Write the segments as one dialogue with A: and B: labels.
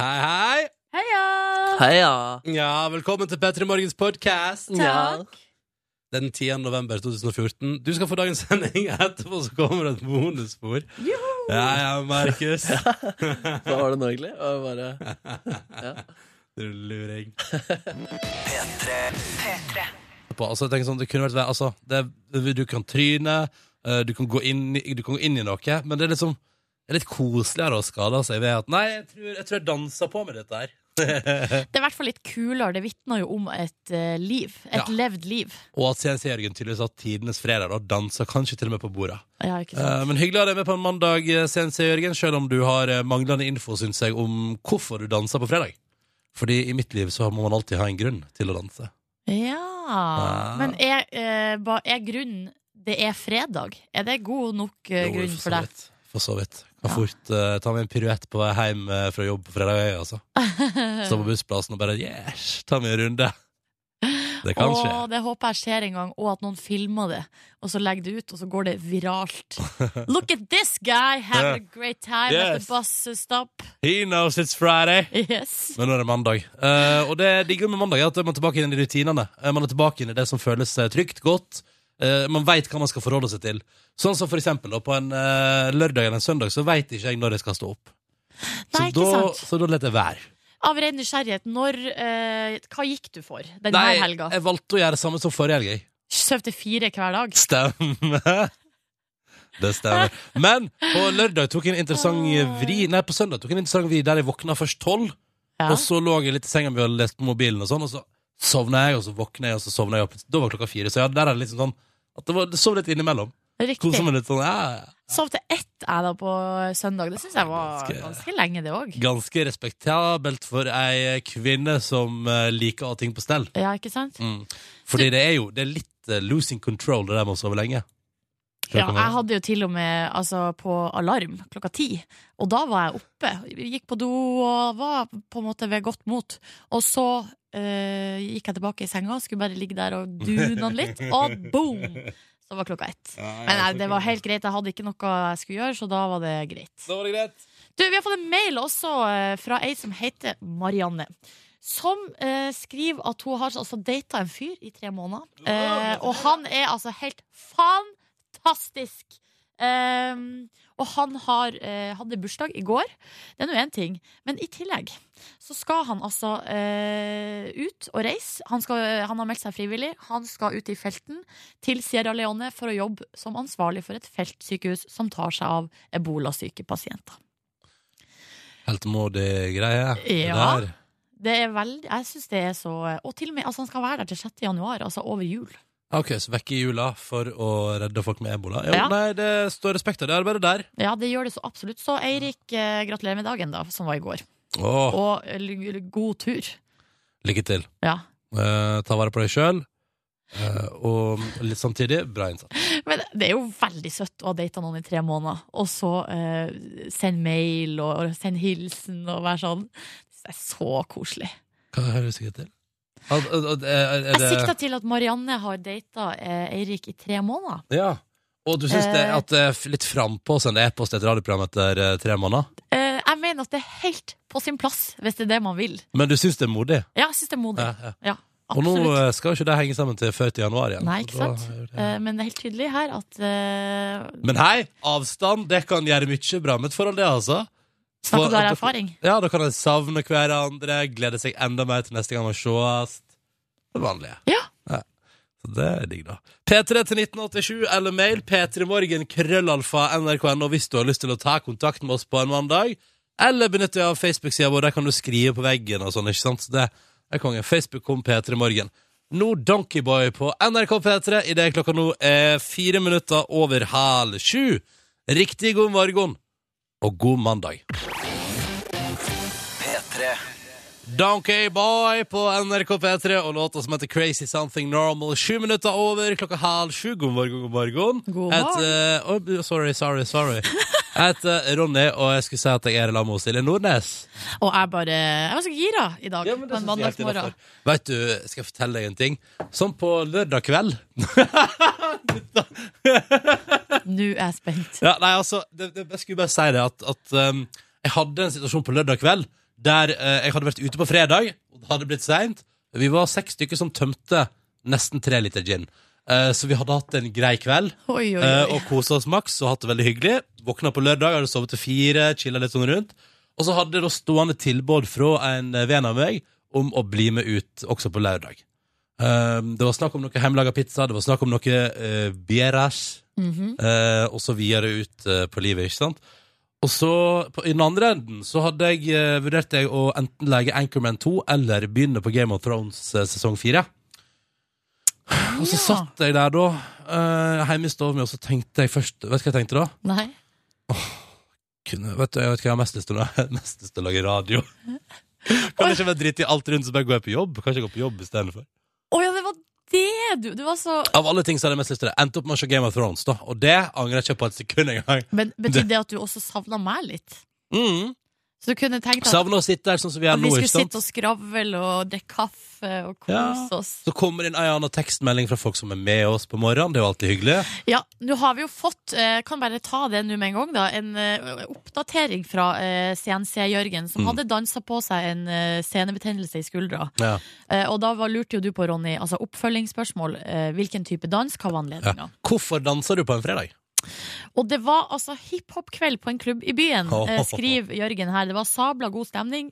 A: Hei, hei!
B: Heia!
C: Heia.
A: Ja, velkommen til P3 Morgens podkast.
B: Takk.
A: Den 10. november 2014. Du skal få dagens sending. Etterpå så kommer det et bonusspor. Ja, ja, Markus.
C: Ja. Hva var det nå, egentlig? Det var bare...
A: Du luring. På, altså, jeg tenker sånn, det kunne vært altså, det, Du kan tryne, eh, du kan, gå inn, i- du kan gå inn i noe, men det er liksom det er litt koseligere å skade seg ved at Nei, jeg tror jeg, tror jeg dansa på med dette her.
B: Det er i hvert fall litt kulere. Det vitner jo om et eh, liv. Et
A: Ja.
B: levd liv.
A: Og at CNC-Jørgen tydeligvis har hatt tidenes fredag og dansa kanskje til og med på bordet.
B: Ja, ikke
A: Eh,
B: sant?
A: men hyggelig å ha deg med på en mandag, eh, CNC Jørgen, selv om du har eh, manglende info, synes jeg, om hvorfor du danser på fredag. Fordi i mitt liv så må man alltid ha en grunn til å danse.
B: Ja. Men er, eh, ba- er grunnen det er fredag? Er det god nok eh,
A: Jo,
B: grunn
A: så
B: for deg?
A: vidt. For så vidt. Kan
B: Ja.
A: fort eh, ta med en piruett på vei hjem eh, fra jobb på fredag, jeg, altså. Stå på bussplassen og bare yes, ta med en runde. Det kan skje.
B: Å, det håper jeg skjer en gang, og at noen filmer det. Og så legger det ut, og så går det viralt. Look at this guy having a great time at
A: Yes.
B: the bus stop.
A: He knows it's Friday.
B: Yes.
A: Men nå er det mandag. Eh, og det digger med mandag er at man er tilbake inn i rutinene. Eh, man er tilbake inn i det som føles eh, trygt, godt. Eh, man veit hva man skal forholde seg til. Sånn som for eksempel da, på en eh, lørdag eller en søndag, så veit ikke jeg når jeg skal stå opp. Så,
B: Nei, ikke
A: da,
B: sant?
A: så da lar jeg det være.
B: Av ren nysgjerrighet, når eh, Hva gikk du for denne
A: Nei,
B: helga?
A: jeg valgte å gjøre det samme som forrige helg. jeg.
B: Sov til fire hver dag?
A: Stemmer. Det stemmer. Men på lørdag tok jeg en interessant vri Nei, på søndag tok jeg en interessant vri der jeg våkna først tolv.
B: Ja.
A: Og så lå jeg litt i senga mi og leste på mobilen, og sånn Og så sovna jeg, og så våkna jeg, og så sovna jeg. Og da var klokka fire. Så ja, der er det liksom sånn at det, var, det sov litt innimellom. Kosa
B: Riktig.
A: meg litt sånn. Ja, ja.
B: Sov til ett jeg da på søndag. Det syns jeg var
A: Ganske-
B: ganske lenge, det òg.
A: Ganske respektabelt for ei kvinne som eh, liker å ha ting på stell.
B: Ja, ikke sant?
A: Mm. Fordi det er jo det er litt eh, losing control, det der med å sove lenge.
B: Ja, jeg hadde jo til og med altså, på alarm klokka ti, og da var jeg oppe. Gikk på do og var på en måte ved godt mot. Og så eh, gikk jeg tilbake i senga, skulle bare ligge der og dune han litt, og boom! Så var klokka ett. Men nei, det var helt greit, jeg hadde ikke noe jeg skulle gjøre, så da var det greit.
A: Da var det greit.
B: Du, Vi har fått en mail også eh, fra ei som heter Marianne. Som eh, skriver at hun har altså data en fyr i tre måneder. Eh, og han er altså helt fantastisk! Eh, og han har, eh, hadde bursdag i går. Det er nå én ting. Men i tillegg så skal han altså eh, ut og reise. Han, skal, han har meldt seg frivillig. Han skal ut i felten til Sierra Leone for å jobbe som ansvarlig for et feltsykehus som tar seg av ebolasyke pasienter.
A: Helt modig greie. det
B: Ja.
A: der.
B: Det er veldig, jeg synes det er så Og til og med, altså han skal være der til 6. januar Altså over jul
A: Ok, så vekke i jula for å redde folk med ebola. Jo,
B: Ja.
A: Nei, det står respekt av det arbeidet der.
B: Ja, det gjør det så absolutt Så Eirik, eh, gratulerer med dagen da Som var i går
A: Åh,
B: Og eh, l- l- god tur
A: lykke til.
B: ja.
A: Eh, ta vare på deg sjøl. og litt samtidig, bra innsats.
B: Men det er jo veldig søtt Å ha datet noen i tre måneder Og så eh, send mail og, og send hilsen Og være sånn Det er så koselig
A: Hva hører du sikkert til? Al- al- al- eh, Er, er
B: Jeg
A: det
B: sikter til at Marianne har datet eh, Eirik i tre måneder
A: Ja. Og du syns det,
B: Eh.
A: at det er f- litt frampå å sende e-post etter radioprogram etter eh, tre måneder?
B: eh, Jeg mener at det er helt på sin plass Hvis det er det man vil
A: Men du syns det er modig?
B: Ja, jeg synes det er modig
A: Ja, ja.
B: Ja,
A: Og nå
B: absolutt
A: eh, skal jo ikke det henge sammen til 40. januar igjen.
B: Nei,
A: så
B: ikke
A: da
B: sant?
A: er det-
B: Eh, Men det er helt tydelig her at eh,
A: Men hei, avstand det kan gjøre mye bra med et forhold, det, altså. For-
B: Snakker du av erfaring?
A: Ja, da kan en savne hverandre, glede seg enda mer til neste gang man sees. Det vanlige.
B: Ja.
A: Så det er digg, da. P3 til 1987 eller mail p3morgen krøllalfa nrk.no hvis du har lyst til å ta kontakt med oss på en mandag. Eller benytte deg av Facebook-sida vår, der kan du skrive på veggen og sånn, ikke sant? Så det er konge. Facebook kom P3 Morgen. Nå Donkeyboy på NRK P3 idet klokka nå er fire minutter over halv sju. Riktig god morgen og god mandag. Donkey Boy på NRK P3 og låta som heter Crazy Something Normal. Sju minutter over klokka halv sju. God morgen, god morgen.
B: God
A: Jeg heter- Oi, sorry, sorry, sorry. Jeg heter Ronny, og jeg skulle si at jeg er i lag med Silje Nordnes.
B: Og jeg bare Jeg var så gira i dag. på en mandagsmorgen.
A: Vet du, skal jeg fortelle deg en ting? Sånn på lørdag kveld
B: Nå er jeg spent.
A: Ja, nei, altså, det, det, jeg skulle bare si det at, at um, Jeg hadde en situasjon på lørdag kveld der eh, jeg hadde vært ute på fredag, og det hadde blitt seint. Vi var seks stykker som tømte nesten tre liter gin. Eh, så vi hadde hatt en grei kveld
B: Oi, oi,
A: eh,
B: oi.
A: og kosa oss maks og hatt det veldig hyggelig. Våkna på lørdag, hadde sovet til fire, chilla litt sånn rundt. Og så hadde jeg da stående tilbud fra en eh, venn av meg om å bli med ut også på lørdag. Eh, det var snakk om noe hjemmelaga pizza, det var snakk om noe uh, bieras
B: Mhm.
A: eh, og så videre ut eh, på livet, ikke sant? Og så, på, i den andre enden, så hadde jeg, eh, vurderte jeg å enten lage Anchorman 2 eller begynne på Game of Thrones eh, sesong 4. Og så
B: Ja.
A: satt jeg der da, eh, hjemme i stua mi, og så tenkte jeg først Vet du hva jeg tenkte da?
B: Nei.
A: Kunne, vet du, jeg vet hva jeg har mest lyst til nå? Jeg har mest lyst til å lage radio. Kan ikke være dritt i alt rundt, så bare går jeg på jobb. Kanskje jeg går på jobb istedenfor.
B: Å ja, det var det du Du var så
A: Av alle ting så hadde jeg mest lyst til det. Endte opp med å se Game of Thrones, da. Og det angrer jeg ikke på et sekund engang.
B: Men betydde det at du også savna meg litt?
A: Mm.
B: Så du kunne tenkt at,
A: Savner å sitte her sånn som vi er
B: at vi
A: nå.
B: skulle
A: ikke sant?
B: sitte og skravle og drikke kaffe og kose
A: Ja.
B: oss?
A: Så kommer det inn en annen tekstmelding fra folk som er med oss på morgenen. Det er jo alltid hyggelig.
B: Ja, nå har vi jo fått, eh, kan bare ta det nå med en gang, da, en eh, oppdatering fra eh, CNC Jørgen, som
A: Mm.
B: hadde dansa på seg en eh, senebetennelse i skuldra.
A: Ja.
B: Eh, og da var, lurte jo du på, Ronny, altså oppfølgingsspørsmål. Eh, hvilken type dans? Hva var anledninga?
A: Hvorfor danser du på en fredag?
B: Og det var altså hiphop-kveld på en klubb i byen,
A: Åh.
B: eh, skriver Jørgen her. Det var sabla god stemning,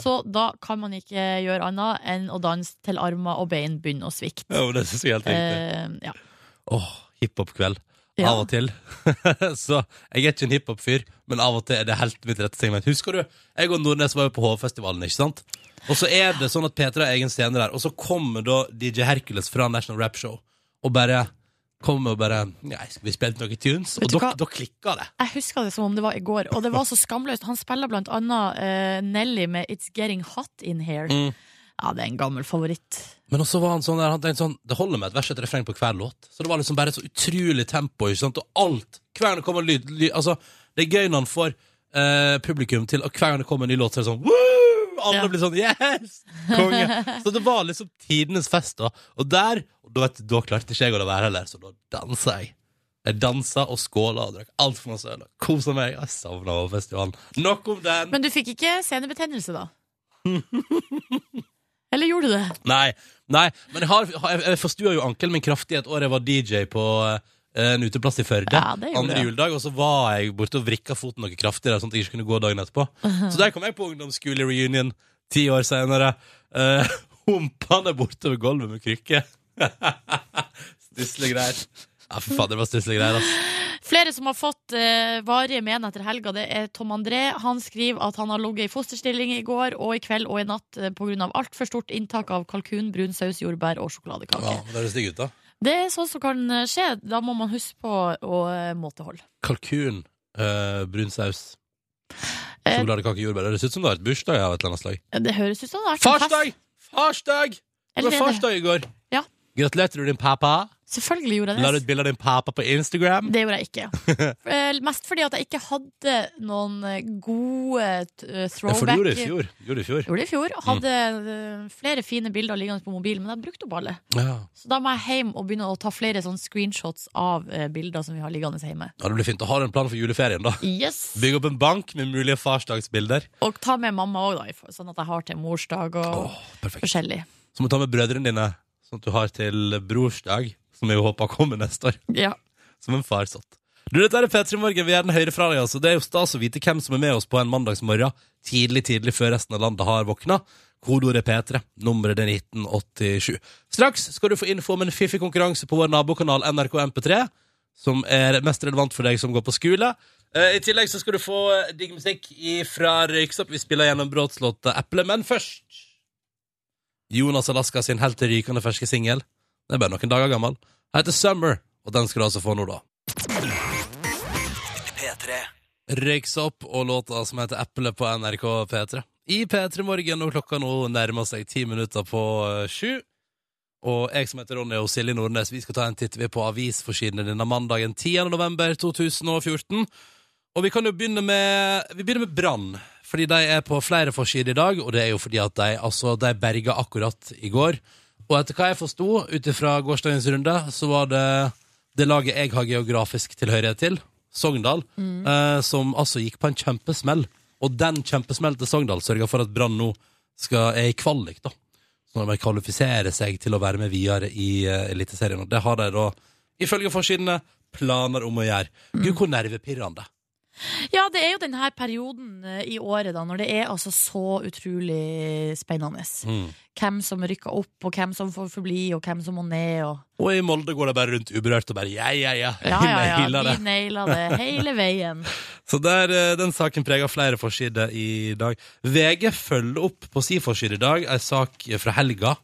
B: så da kan man ikke eh, gjøre annet enn å danse til armer og bein begynner å svikte.
A: Ja, men det synes jeg er helt riktig.
B: Eh, ja.
A: Åh, hiphop-kveld.
B: Ja.
A: Av og til. så jeg er ikke en hiphop-fyr, men av og til er det helt mitt rette segment. Husker du, jeg og Nordnes var jo på Hovefestivalen, ikke sant? Og så er det sånn at Petra har egen scene der, og så kommer da DJ Hercules fra National Rap Show og bare kommer og bare Nei, skal vi spille noen tunes?
B: Vet
A: Og
B: du
A: da
B: hva?
A: da klikker det.
B: Jeg husker det som om det var i går, og det var så skamløst. Han spiller blant annet eh, Nelly med It's Getting Hot In Here.
A: Mm.
B: Ja, det er en gammel favoritt.
A: Men også var han sånn der, han tenkte sånn Det holder med et vers og et refreng på hver låt. Så det var liksom bare et så utrolig tempo, ikke sant, og alt. Hver gang det kommer lyd, lyd Altså, det er gøy når han får eh, publikum til Og hver gang det kommer en ny låt, så er det sånn Woo! Alle
B: Ja.
A: blir sånn Yes! Konge! så det var liksom tidenes fest, da. Og der og da, vet, du, da klarte ikke jeg å la være heller, så da dansa jeg. Jeg dansa og skåla og drakk altfor masse øl og kosa meg. Jeg savna festivalen. Nok om den!
B: Men du fikk ikke senebetennelse, da? Eller gjorde du det?
A: Nei, nei men jeg, har, jeg, jeg forstua jo ankelen min kraftig et år jeg var DJ på eh, en uteplass i Førde.
B: Ja, det gjorde
A: andre
B: du, ja.
A: juledag, og så var jeg borte og vrikka foten noe kraftig der, sånn at jeg ikke kunne gå dagen etterpå. Så der kom jeg på ungdomsskolereunion ti år senere. Uh, humpende bortover gulvet med krykke. stusslige greier. Ja, for faen, det var stusslige greier, ass.
B: Flere som har fått eh, varige men etter helga, det er Tom André. Han skriver at han har ligget i fosterstilling i går og i kveld og i natt eh, på grunn av altfor stort inntak av kalkun, brun saus, jordbær og sjokoladekake.
A: Ja, det høres digg ut, da.
B: Det er sånt som kan eh, skje. Da må man huske på å eh, måtehold.
A: Kalkun, eh, brun saus,
B: Eh,
A: sjokoladekake, jordbær. Det høres ut som det har vært bursdag av et eller annet slag.
B: Det høres ut som det har vært en fest.
A: Farsdag! Farsdag! Det
B: Eller
A: var
B: er det-
A: farsdag i går.
B: Ja.
A: Gratulerer du din pappa.
B: Selvfølgelig gjorde
A: La
B: jeg
A: ut
B: det.
A: bilde av din pappa på Instagram.
B: Det gjorde jeg ikke. Eh, Mest fordi at jeg ikke hadde noen eh, gode t- eh,
A: Ja, for du
B: throwback.
A: gjorde det i fjor. Mm. Du Gjorde det i fjor.
B: Gjorde det i fjor. Hadde eh, flere fine bilder liggende på mobilen, men jeg brukte opp alle.
A: Ja.
B: Så da må jeg hjem og begynne å ta flere sånne screenshots av eh, bilder som vi har liggende hjemme.
A: ja, Det blir fint. Da har du en plan for juleferien, da.
B: Yes!
A: Bygg opp en bank med mulige farsdagsbilder.
B: Og ta med mamma òg, da, i for- sånn at jeg har til morsdag og
A: Åh, perfekt.
B: forskjellig.
A: Så må du ta med brødrene dine, sånn at du har til brorsdag, som jeg jo håper kommer neste år.
B: Ja.
A: Som en farsott. Du, dette er P3 Morgen. Vi er den høyre fra deg, altså. Det er jo stas å vite hvem som er med oss på en mandagsmorgen tidlig, tidlig før resten av landet har våkna. Kodeordet er P3. Nummeret er 1987. Straks skal du få info om en fiffig konkurranse på vår nabokanal NRK MP3, som er mest relevant for deg som går på skole. Eh, I tillegg så skal du få eh, digg musikk fra Røyksopp. Vi spiller gjennom Bråtslåta Eple, men først Jonas Alaska sin helt rykende ferske singel. Den er bare noen dager gammel. Den heter Summer, og den skal du altså få nå, da. Røyksa opp og låta som heter Eple på NRK P3. I P3 Morgen, og klokka nå nærmer seg ti minutter på eh, sju. Og jeg som heter Ronny og Silje Nordnes, vi skal ta en titt vi på avisforsidene denne mandagen 10. november 2014. Og vi kan jo begynne med, vi begynner med Brann, fordi de er på flere forsider i dag, og det er jo fordi at de, altså, de berga akkurat i går. Og etter hva jeg forsto ut ifra gårsdagens runde, så var det det laget jeg har geografisk tilhørighet til, Sogndal, eh, som altså gikk på en kjempesmell Og den kjempesmellen til Sogndal sørger for at Brann nå skal, er i kvalik, da. Så når de kvalifiserer seg til å være med videre i eh, Eliteserien. Og det har de da, ifølge forsidene, planer om å gjøre. Gud, hvor nervepirrende.
B: Ja, det er jo denne perioden eh, i året da, når det er altså så utrolig spennende.
A: Mm.
B: Hvem som rykker opp, og hvem som får forbli, og hvem som må ned. Og...
A: Og i Molde går de bare rundt uberørt og bare ja, ja, ja.
B: Ja, ja, ja,
A: Nailer det.
B: de naila det hele veien.
A: Så der, eh, den saken preger flere forsider i dag. VG følger opp på si forside i dag en sak fra helga.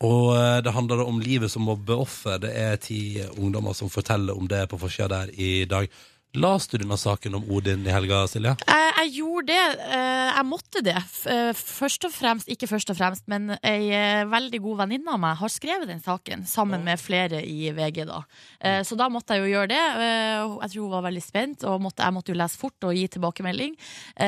A: Og eh, det handler da om livet som mobbeoffer. Det er ti eh, ungdommer som forteller om det på forsida der i dag. Leste du denne saken om Odin i helga, Silje?
B: Jeg, jeg gjorde det. eh, Jeg måtte det. F- eh, Først og fremst, ikke først og fremst, men ei eh, veldig god venninne av meg har skrevet den saken, sammen med flere i VG, da. Eh,
A: Mm.
B: Så da måtte jeg jo gjøre det. eh, og Jeg tror hun var veldig spent, og måtte, jeg måtte jo lese fort og gi tilbakemelding.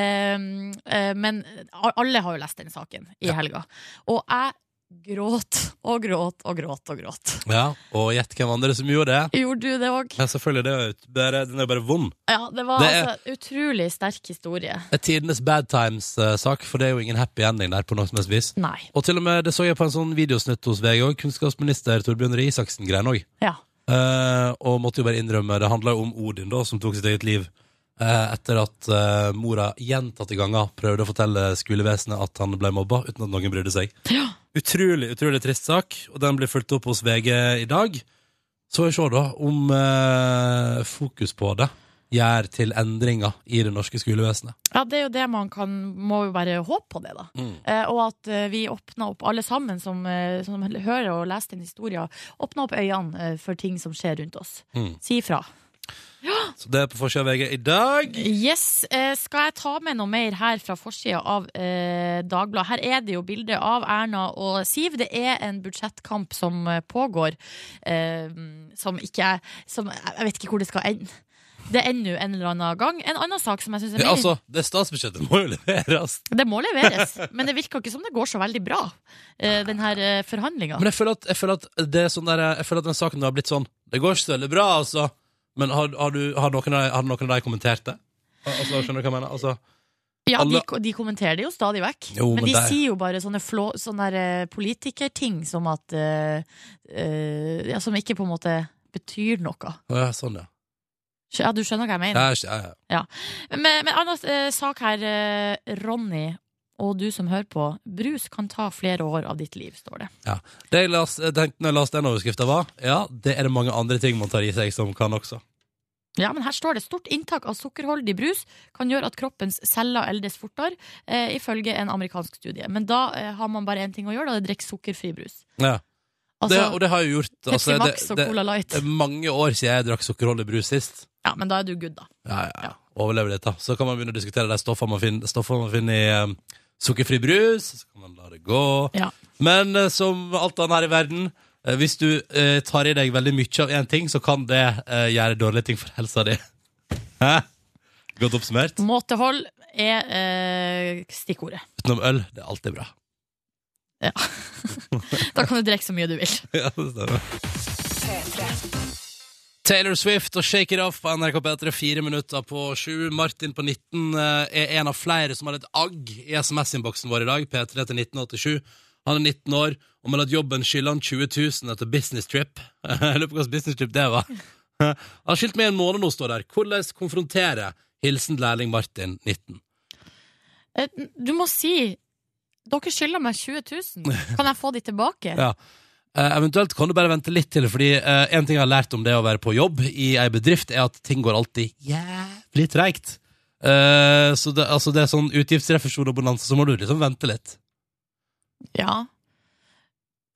B: Eh, eh, Men a- alle har jo lest den saken i helga. Og jeg gråt og gråt og gråt og gråt.
A: Ja. Og gjett hvem andre som gjorde det?
B: Gjorde du det òg?
A: Ja, selvfølgelig. Det er jo bare, den er jo bare vond.
B: Ja, det var
A: Det er-
B: altså utrolig sterk historie.
A: Det er Tidenes bad times-sak, for det er jo ingen happy ending der på noe som helst vis.
B: Nei.
A: Og til og med, det så jeg på en sånn videosnutt hos VG òg. Kunnskapsminister Torbjørn Røe Isaksen-greien òg.
B: Ja.
A: Eh, og måtte jo bare innrømme Det handla jo om Odin, da, som tok sitt eget liv. eh, etter at eh, mora gjentatte ganger prøvde å fortelle skolevesenet at han ble mobba, uten at noen brydde seg. Utrolig utrolig trist sak, og den blir fulgt opp hos VG i dag. Så får vi se, da, om eh, fokus på det gjør til endringer i det norske skolevesenet.
B: Ja, det er jo det man kan Må jo bare håpe på det, da.
A: Mm.
B: Eh, og at eh, vi åpner opp, alle sammen som, eh, som hører og leser den historien, åpner opp øynene eh, for ting som skjer rundt oss.
A: Mm.
B: Si ifra.
A: Så det er på forsida av VG i dag.
B: Yes, eh, skal jeg ta med noe mer her fra forsida av eh, Dagbladet? Her er det jo bilde av Erna og Siv. Det er en budsjettkamp som eh, pågår, eh, som ikke er som, Jeg vet ikke hvor det skal ende. Det ender jo en eller annen gang. En annen sak som jeg syns er
A: Det,
B: mer
A: altså, det statsbudsjettet må jo leveres.
B: Det må leveres, men det virker ikke som det går så veldig bra, eh, den her eh, forhandlinga.
A: Men jeg føler at, jeg føler at, det er sånn der, jeg føler at den saken har blitt sånn Det går ikke så veldig bra, altså. Men har, har, du, har, noen, av, de- har noen av deg kommentert det? Al- Altså, skjønner du hva jeg mener? Altså,
B: Ja, de,
A: alle-
B: ko- de kommenterer det jo stadig vekk,
A: Jo,
B: men,
A: men
B: de
A: der-
B: sier jo bare sånne, flå, sånne der, eh, politikerting som at eh, eh, ja, Som ikke på en måte betyr noe.
A: å ja, sånn, ja.
B: Skjø- Ja, du skjønner hva jeg mener.
A: ja, ikke- ja, ja.
B: Men, men annen eh, sak her, eh, Ronny. Og du som hører på, brus kan ta flere år av ditt liv, står det.
A: Det jeg las, jeg tenkte når jeg leste den overskrifta, var ja, det er det mange andre ting man tar i seg som kan også.
B: Ja, men her står det stort inntak av sukkerholdig brus kan gjøre at kroppens celler eldes fortere, eh, ifølge en amerikansk studie. Men da eh, har man bare én ting å gjøre, da er det å drikke sukkerfri brus.
A: Ja.
B: Altså,
A: Det, og det har jeg jo gjort.
B: Pepsi
A: altså, det,
B: Max og
A: det,
B: Cola Light.
A: det er mange år siden jeg drakk sukkerholdig brus sist.
B: Ja, men da er du good, da.
A: Ja, ja, ja. Overlever dette. Så kan man begynne å diskutere de stoffene man finner, stoffene man finner i eh, sukkerfri brus. Så kan man la det gå.
B: Ja.
A: Men eh, som alt annet her i verden, eh, hvis du eh, tar i deg veldig mye av én ting, så kan det eh, gjøre dårlige ting for helsa di. Hæ? Godt oppsummert.
B: Måtehold er eh, stikkordet.
A: Utenom øl, det er alltid bra.
B: Da kan du drikke så mye du vil.
A: ja, det stemmer. Taylor Swift og Shake It Off på NRK P3, fire minutter på sju. Martin på 19 eh, er en av flere som har et agg i SMS-innboksen vår i dag. P3 til 1987. Han er 19 år og melder at jobben skylder han 20 000 etter business trip. Jeg lurer på hvilken business trip det var. Han har skilt med i en måned nå, står der. Hvordan konfrontere? Hilsen lærling Martin, 19.
B: Eh, Du må si dere skylder meg 20 000. Kan jeg få de tilbake?
A: Ja. Eh, eventuelt kan du bare vente litt til, fordi eh, en ting jeg har lært om det å være på jobb i ei bedrift, er at ting går alltid jævlig treigt. Eh, så det, altså det er sånn utgiftsrefusjon og bonanza, så må du liksom vente litt.
B: Ja.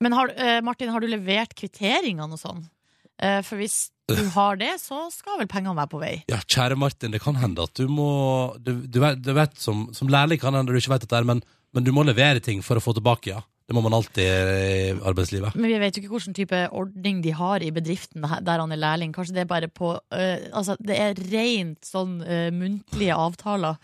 B: Men har, eh, Martin, har du levert kvitteringene og sånn? Eh, for hvis du har det, så skal vel pengene være på vei.
A: Ja, kjære Martin, det kan hende at du må Du, du, vet, du vet, som, som lærling kan det hende du ikke vet dette, her, men, men du må levere ting for å få tilbake, ja. Det må man alltid i arbeidslivet.
B: Men vi vet jo ikke hvilken type ordning de har i bedriften her- der han er lærling. Kanskje det er bare på øh, Altså, det er rent sånn øh, muntlige avtaler.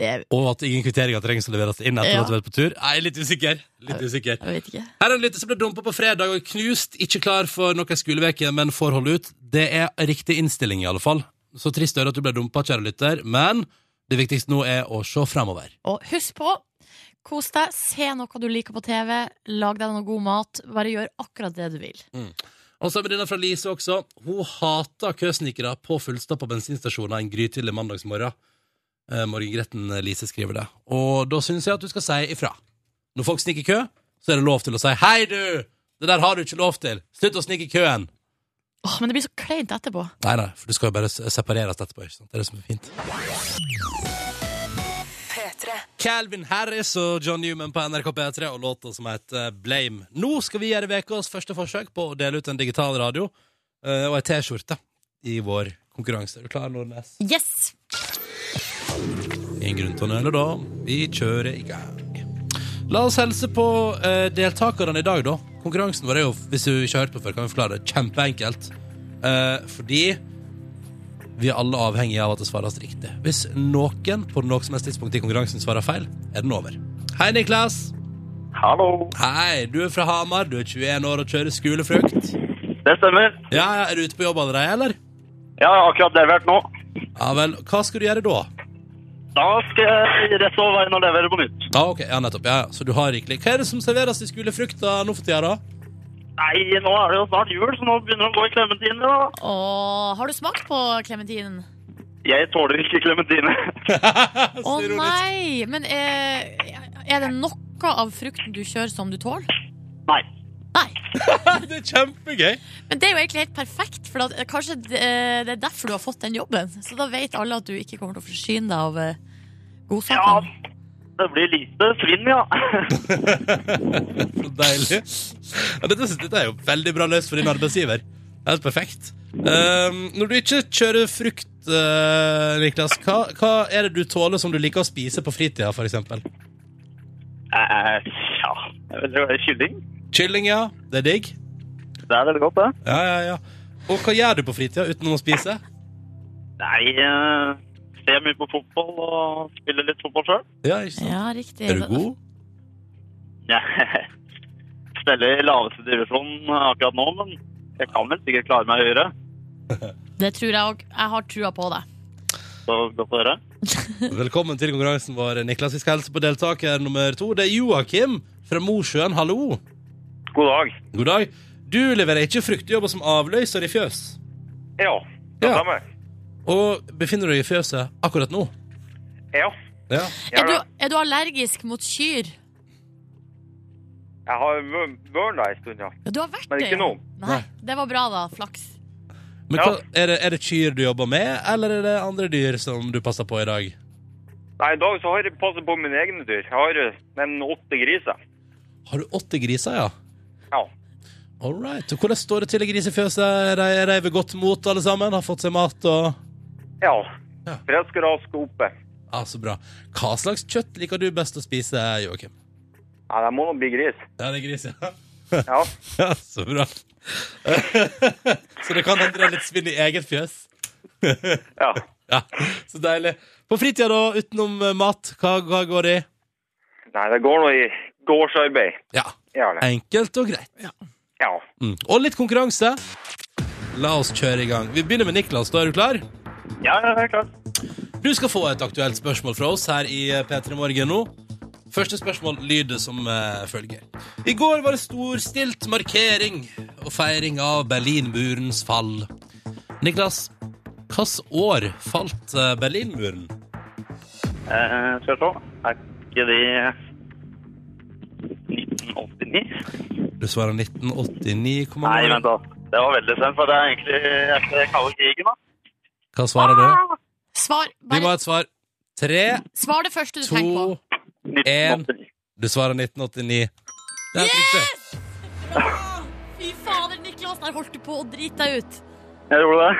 B: Det er
A: Og at ingen kvitteringer trengs å leveres inn etter
B: Ja.
A: at du har vært på tur. Nei, litt usikker. Litt usikker.
B: Jeg vet ikke.
A: Her er en lytter som ble dumpa på fredag og knust, ikke klar for noen skoleveke, men får holde ut. Det er riktig innstilling, i alle fall. Så trist er det at du ble dumpa, kjære lytter, men Det viktigste nå er å se fremover.
B: Og husk på, kos deg, se noe du liker på TV, lag deg noe god mat, bare gjør akkurat det du vil.
A: Og så er det denne fra Lise også. Hun hater køsnikere på fullstappa bensinstasjoner en grytidlig mandagsmorgen. Eh, Morgengretten Lise skriver det. Og da syns jeg at du skal si ifra. Når folk sniker i kø, så er det lov til å si 'hei, du', det der har du ikke lov til, slutt å snike i køen.
B: Åh, men det blir så kleint etterpå.
A: Nei, nei, for du skal jo bare s- separeres etterpå, ikke sant? Det er det som er fint. Calvin Harris og John Newman på NRK P3 og låta som heter eh, Blame. Nå skal vi gjøre ukas første forsøk på å dele ut en digital radio eh, og ei T-skjorte i vår konkurranse. Er du klar, Nordnes?
B: Yes!
A: Ingen grunn til å nøle, da. Vi kjører i gang. La oss helse på eh, deltakerne i dag, da. Konkurransen vår er jo, hvis du ikke har hørt på før, kan vi forklare det kjempeenkelt. Eh, fordi vi er alle avhengige av at det svares riktig. Hvis noen på noe som helst tidspunkt i konkurransen svarer feil, er den over. Hei, Niklas.
D: Hallo.
A: Hei, du er fra Hamar. Du er 21 år og kjører skolefrukt.
D: Det stemmer.
A: Ja, ja, Er du ute på jobb allerede, eller?
D: Jeg har akkurat levert nå.
A: Ja vel. Hva skal du gjøre da?
D: Da skal jeg rett over veien og levere på nytt.
A: Ja, ok, ja, nettopp. Ja, ja. Så du har rikelig. Hva er det som serveres i skolefrukta nå for tida, da?
D: Nei, nå er det jo snart jul, så nå begynner det å gå i klementiner. da.
B: Åh, har du smakt på klementinen?
D: Jeg tåler ikke klementiner.
B: Å
A: Å
B: nei! Men er, er det noe av frukten du kjører som du tåler?
D: Nei.
B: Nei.
A: Det er kjempegøy.
B: Men det er jo egentlig helt perfekt, for at, eh, kanskje det, det er derfor du har fått den jobben. Så da vet alle at du ikke kommer til å forsyne deg av eh,
D: Ja,
B: godsakene.
D: det blir lite svinn, ja.
A: Så deilig. Ja, dette, dette er jo veldig bra løst for din arbeidsgiver. Helt perfekt. Ehm, når du ikke kjører frukt, eh, Niklas, hva, hva er det du tåler som du liker å spise på fritida, for eksempel?
D: Eh, ja, jeg vet ikke hva det er kylling.
A: Kylling, ja. Det er digg.
D: Det er veldig godt, det.
A: Ja, ja, ja. Og hva gjør du på fritida utenom å spise?
D: Nei, eh, ser mye på fotball og spiller litt fotball sjøl.
A: Ja, ikke sant?
B: Ja, riktig.
A: Er du god?
D: Ja. Spiller i laveste divisjon akkurat nå, men jeg kan vel sikkert klare meg høyere.
B: Det tror jeg òg. Jeg har trua på deg.
D: Så godt å høre.
A: Velkommen til konkurransen vår, Niklas. Vi skal helse på deltaker nummer to. Det er Joakim fra Mosjøen. Hallo.
D: God dag.
A: God dag. Du leverer ikke fruktjobber som avløser i fjøs.
D: Ja,
A: det Ja. Og befinner du deg i fjøset akkurat nå?
D: Ja.
A: Ja.
D: Ja,
B: Er du,
D: ja.
B: er du allergisk mot kyr?
D: Jeg har vørna en stund, ja.
B: Ja, du har vært
D: Men
B: det.
D: ikke
B: ja.
D: nå.
B: Nei, det var bra, da. Flaks.
A: Men
D: Ja.
A: hva, er, det, er det kyr du jobber med, eller er det andre dyr som du passer på i dag?
D: Nei, I dag så har jeg passet på mine egne dyr. Jeg har eh, nemlig åtte griser.
A: Har du åtte griser, ja?
D: Ja.
A: All right. Og hvordan står det til i grisefjøset? Er de- Er de ved godt mot, alle sammen? Har fått seg mat og
D: ja.
A: Ja.
D: Frisk og rask og oppe.
A: Ja, så bra. Hva slags kjøtt liker du best å spise, Joakim?
D: Nei, det må nå bli gris.
A: Ja, det er gris, ja.
D: Ja.
A: Ja, så bra. så det kan hende det er litt svinn i eget fjøs.
D: ja.
A: Ja, Så deilig. På fritida, da, utenom eh, mat, hva, hva går det i?
D: Nei, det går nå i gårdsarbeid.
A: Ja,
D: Ja, det.
A: Enkelt og greit.
D: Ja.
A: Mm. Og litt konkurranse. La oss kjøre i gang. Vi begynner med Niklas. Da er du klar?
D: Ja, ja, det er klart.
A: Du skal få et aktuelt spørsmål fra oss her i eh, P3 Morgen nå. Første spørsmål lyder som eh, følger. I går var det storstilt markering og feiring av Berlinmurens fall. Niklas, hvilket år falt eh, Berlinmuren?
D: Eh, skal vi se. Er ikke det 1989?
A: Du svarer 1989. Hvor
D: Nei,
A: mange år?
D: vent da. Det var veldig sent, for det er egentlig etter den kalde krigen, da.
A: Hva svarer du?
B: Svar,
A: Vi må
B: bare,
A: ha et svar. Tre,
B: svar det første du tenker
A: to
B: på.
A: En.
D: 1989.
A: Du svarer 1989. Det er helt riktig.
B: Åh, Fy fader, Niklas, der holdt du på å drite deg ut.
D: Jeg gjorde det.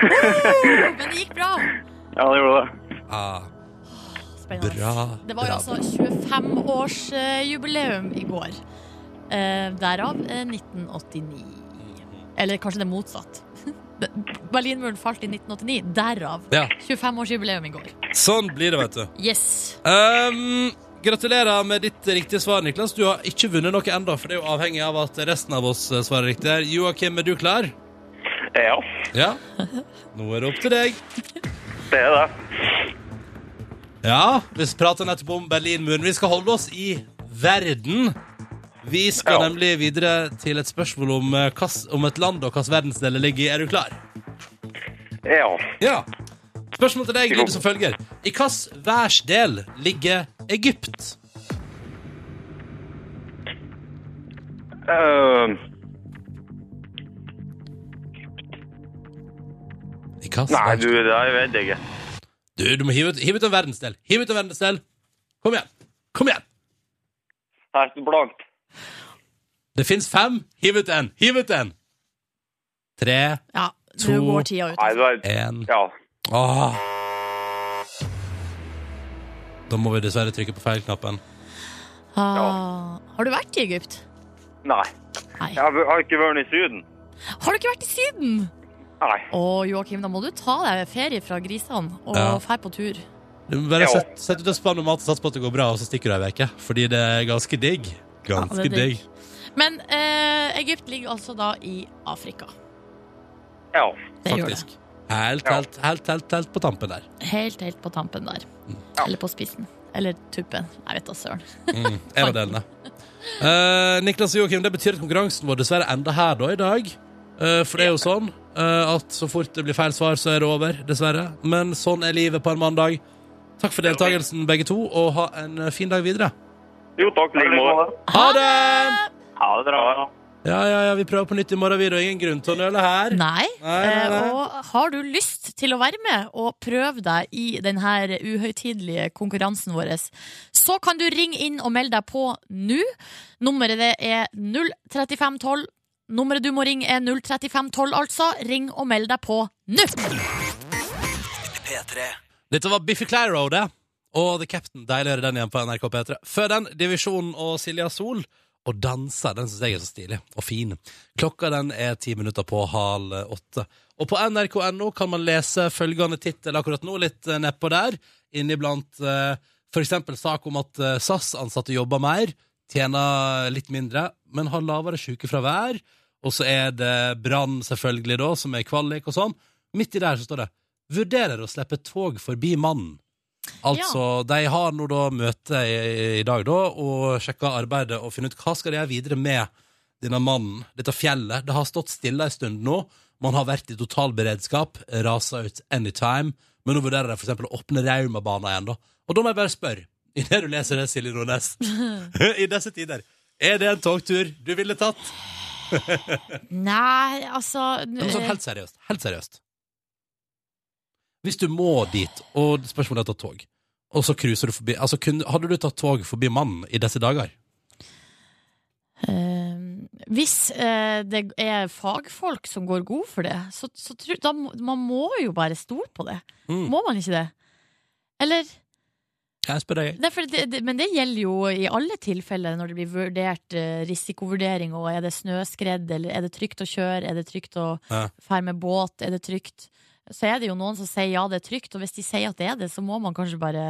B: Men det gikk bra.
D: Ja, det gjorde det.
A: Ah,
B: Spennende.
A: bra.
B: Det var jo
A: bra.
B: altså 25-årsjubileum i går. Eh, derav eh, 1989. Eller kanskje det er motsatt. Berlinmuren falt i 1989. Derav
A: Ja,
B: 25-årsjubileum i går.
A: sånn blir det, vet du.
B: Yes.
A: Ehm, gratulerer med ditt riktige svar, Niklas. Du har ikke vunnet noe ennå, for det er jo avhengig av at resten av oss eh, svarer riktig. her. Joakim, er du klar?
D: Ja,
A: Ja. Nå er det opp til deg.
D: det er det.
A: Ja, vi prater nettopp om Berlinmuren. Vi skal holde oss i verden. Vi skal
D: Ja.
A: nemlig videre til et spørsmål om, eh, hvass- om et land og hvilken verdensdel det ligger i. Er du klar?
D: Ja.
A: Ja. Spørsmål til deg lyder som følger. I hvilken værsdel ligger Egypt?
D: eh,
A: I hvilken
D: nei,
A: værsdel?
D: du, det er- jeg vet ikke.
A: Du, du må hive ut, hive ut en verdensdel. Hive ut en verdensdel. Kom igjen. Kom igjen.
D: Helt blankt.
A: Det fins fem. Hiv ut en. Hiv ut en. Tre,
B: Ja, nå
A: To.
B: går tida ut.
D: Nei, du er
A: én
D: Ja.
A: Åh. Ah. Da må vi dessverre trykke på feilknappen.
B: Ah. Har du vært i Egypt?
D: Nei.
B: Nei.
D: Jeg har jeg har ikke vært i Syden.
B: Har du ikke vært i Syden?
D: Nei.
B: Å, Joakim, da må du ta deg ferie fra grisene og
A: Ja.
B: dra på tur.
A: Du må bare
D: Ja.
A: sett, sett ut en spann med mat og sats på at det går bra, og så stikker du ei uke. Fordi det er ganske digg. Ganske
B: Ja, det er digg.
A: digg.
B: Men eh, Egypt ligger altså da i Afrika.
D: Ja.
B: Det gjør det.
A: Faktisk. Helt,
D: Ja.
A: helt, helt, helt, helt på tampen der.
B: Helt, helt på tampen der. Eller på spissen. Eller tuppen. Jeg vet da søren.
A: Mm, en av delene. Eh, Niklas og Joakim, det betyr at konkurransen vår dessverre ender her da i dag. Eh, for det er jo sånn eh, at så fort det blir feil svar, så er det over, dessverre. Men sånn er livet på en mandag. Takk for deltakelsen, begge to, og ha en eh, fin dag videre.
D: Jo, takk. Ligg med.
A: Ha det!
D: Ha det bra.
A: Ja, ja, ja, vi prøver på nytt i morgen, vi. Det er ingen grunn til å nøle her.
B: Nei.
A: Nei, nei, nei.
B: Eh, og har du lyst til å være med og prøve deg i denne uhøytidelige konkurransen vår, så kan du ringe inn og melde deg på nå. Nummeret det er 03512. Nummeret du må ringe er 03512, altså. Ring og meld deg på nå!
A: Dette var Biffy Clyro, det. Og The Captain. Deilig å høre den igjen på NRK P3. Før den, Divisjonen og Silja Sol. Og danser. Den syns jeg er så stilig og fin. Klokka den er ti minutter på halv åtte. Og på nrk.no kan man lese følgende tittel akkurat nå, litt eh, nedpå der. Inniblant eh, for eksempel sak om at eh, SAS-ansatte jobber mer, tjener litt mindre, men har lavere sykefravær. Og så er det Brann, selvfølgelig, da, som er kvalik og sånn. Midt i der så står det vurderer å slippe tog forbi mannen. Altså, de har nå da møte i, i dag da, og sjekker arbeidet og finner ut hva skal de gjøre videre med denne mannen, dette fjellet. Det har stått stille en stund nå. Man har vært i totalberedskap, rasa ut anytime, men nå vurderer de for eksempel å åpne Raumabanen igjen da. Og da må jeg bare spørre, i det du leser det, Silje Nordnes, i disse tider, er det en togtur du ville tatt?
B: Nei, altså
A: Ja, men sånn, helt seriøst. Helt seriøst. Hvis du må dit, og spørsmålet er å ta tog, og så cruiser du forbi altså, kunne, Hadde du tatt tog forbi mannen i disse dager?
B: Eh, hvis eh, det er fagfolk som går god for det, så, så tru, da, må- man må jo bare stole på det.
A: Mm.
B: Må man ikke det? Eller
A: Jeg spør deg.
B: det er fordi det, det, Men det gjelder jo i alle tilfeller når det blir vurdert eh, risikovurdering, og er det snøskred, eller er det trygt å kjøre, er det trygt å
A: Ja.
B: fære med båt, er det trygt Så er det jo noen som sier ja, det er trygt, og hvis de sier at det er det, så må man kanskje bare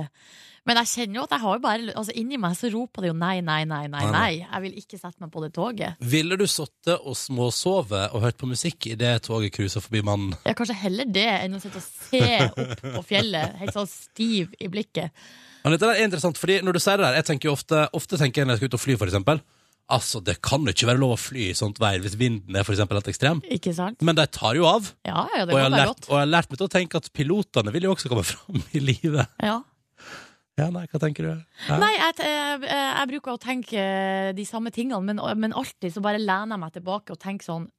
B: Men jeg kjenner jo at jeg har jo bare Altså inni meg så roper det jo nei, nei, nei, nei,
A: Nei,
B: nei.
A: nei.
B: Jeg vil ikke sette meg på det toget.
A: Ville du sittet og småsove og hørt på musikk idet toget cruiser forbi mannen?
B: Ja, kanskje heller det enn å sitte og se opp på fjellet, helt sånn stiv i blikket.
A: Men dette der er interessant, fordi når du sier det der Jeg tenker jo ofte, ofte tenker jeg når jeg skal ut og fly, for eksempel. Altså, det kan jo ikke være lov å fly i sånt vær hvis vinden er for eksempel helt ekstrem.
B: Ikke sant?
A: Men de tar jo av.
B: Ja, ja, det
A: Og jeg,
B: går
A: har
B: bare
A: lært,
B: rått.
A: og jeg har lært meg til å tenke at pilotene vil jo også komme fram i livet.
B: Ja.
A: Ja, nei, hva tenker du? Ja.
B: Nei, jeg, t- jeg, jeg bruker å tenke eh, de samme tingene, men, men alltid så bare lener jeg meg tilbake og tenker sånn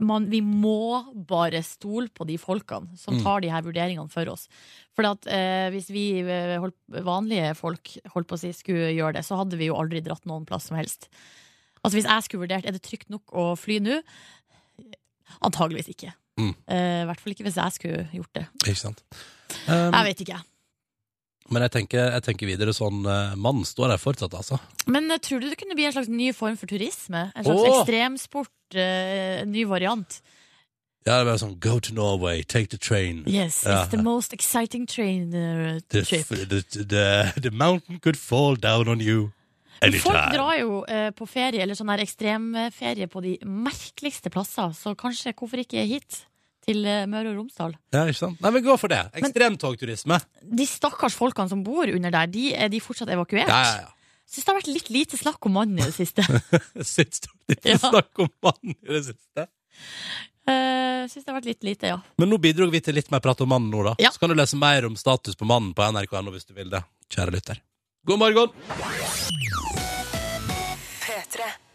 B: man, Vi må bare stole på de folkene som
A: Mm.
B: tar de her vurderingene for oss. For at, eh, hvis vi eh, holdt, vanlige folk holdt på å si, skulle gjøre det, så hadde vi jo aldri dratt noen plass som helst. Altså Hvis jeg skulle vurdert er det trygt nok å fly nå, antageligvis ikke.
A: Mm.
B: Eh, I hvert fall ikke hvis jeg skulle gjort det.
A: Ikke sant? Um,
B: Jeg vet ikke.
A: Men jeg tenker, jeg tenker videre sånn eh, Mannen står der fortsatt, altså.
B: Men eh, tror du det kunne bli en slags ny form for turisme? En slags
A: Åh!
B: ekstremsport, eh, ny variant?
A: Ja, det er bare sånn Go to Norway, take the train.
B: Yes,
A: Ja.
B: it's the most exciting train eh,
A: The,
B: trip.
A: the, the, the mountain could fall down on you
B: Folk
A: anytime.
B: drar jo eh, på ferie, eller sånn her ekstremferie, på de merkeligste plasser, så kanskje hvorfor ikke hit? til eh, Møre og Romsdal.
A: Ja, ikke sant? Nei, men gå for det. Ekstremtogturisme.
B: De stakkars folkene som bor under der, de er de fortsatt evakuert?
A: Ja, ja, ja.
B: Syns det har vært litt lite snakk om mannen i det siste.
A: Sist litt
B: Ja.
A: snakk om mannen i det siste.
B: Eh, Syns det har vært litt lite, ja.
A: Men nå bidro vi til litt mer prat om mannen nå, da.
B: Ja.
A: Så kan du lese mer om status på mannen på nrk.no hvis du vil det, kjære lytter. God morgen!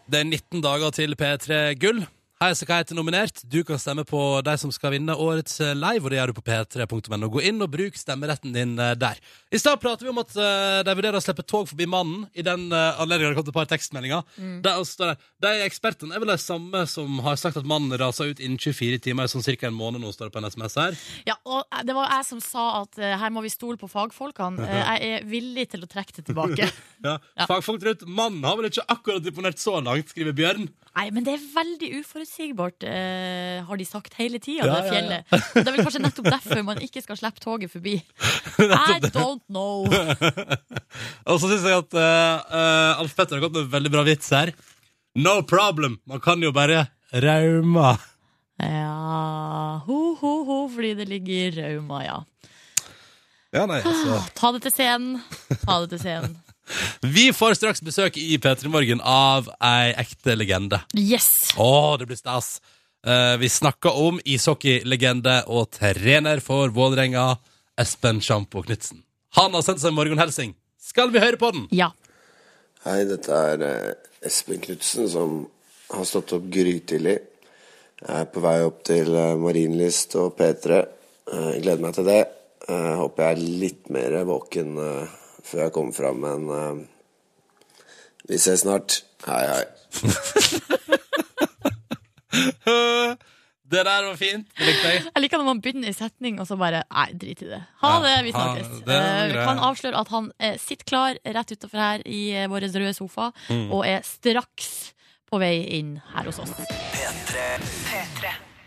A: Det er 19 dager til P3 Gull. Heis og Kite er nominert. Du kan stemme på de som skal vinne årets eh, live, og det gjør du på p3.no. Gå inn og bruk stemmeretten din eh, der. I stad prater vi om at eh, de vurderer å slippe tog forbi mannen. I den uh, anledningen har det kommet et par tekstmeldinger. Der også står det De ekspertene er vel de samme som har sagt at mannen raser ut innen 24 timer, sånn ca. en måned nå, står det på en SMS her.
B: ja og eh, det var jeg som sa at eh, her må vi stole på fagfolkene. Eh, jeg er villig til å trekke det tilbake.
A: Ja.
B: Ja.
A: Fagfolk der ute, mannen har vel ikke akkurat imponert så langt, skriver Bjørn.
B: Nei, men det er veldig uforutsigbart, eh, har de sagt hele tida,
A: Ja,
B: det
A: ja, ja.
B: fjellet. Og Det er vel kanskje nettopp derfor man ikke skal slippe toget forbi. I don't know.
A: Og så syns jeg at eh, eh, Alf Petter har gått med en veldig bra vits her. No problem! Man kan jo bare rauma.
B: Ja, ho, ho, ho, fordi det ligger i Rauma, ja.
A: Ja, nei, altså.
B: Ta det til scenen. Ta det til scenen.
A: Vi får straks besøk i P3 Morgen av ei ekte legende.
B: Yes!
A: Å, det blir stas. Eh, vi snakker om ishockeylegende og trener for Vålerenga, Espen Sjampo Knutsen. Han har sendt seg en morgenhelsing. Skal vi høre på den?
B: Ja.
E: Hei, dette er eh, Espen Knutsen, som har stått opp grytidlig. Jeg er på vei opp til eh, Marienlyst og P3. Eh, Jeg gleder meg til det. Eh, Jeg håper jeg er litt mer våken eh, før jeg kommer fram, men eh, vi ses snart. Hei, hei.
A: Det der var fint. Det likte jeg.
B: Jeg liker når man begynner i setning, og så bare Nei, drit i det. Ha det, vi
A: Ja,
B: snakkes.
A: det er
B: Eh,
A: greit.
B: kan avsløre at han eh, sitter klar rett utafor her i eh, vår røde sofa,
A: Mm.
B: og er straks på vei inn her hos oss.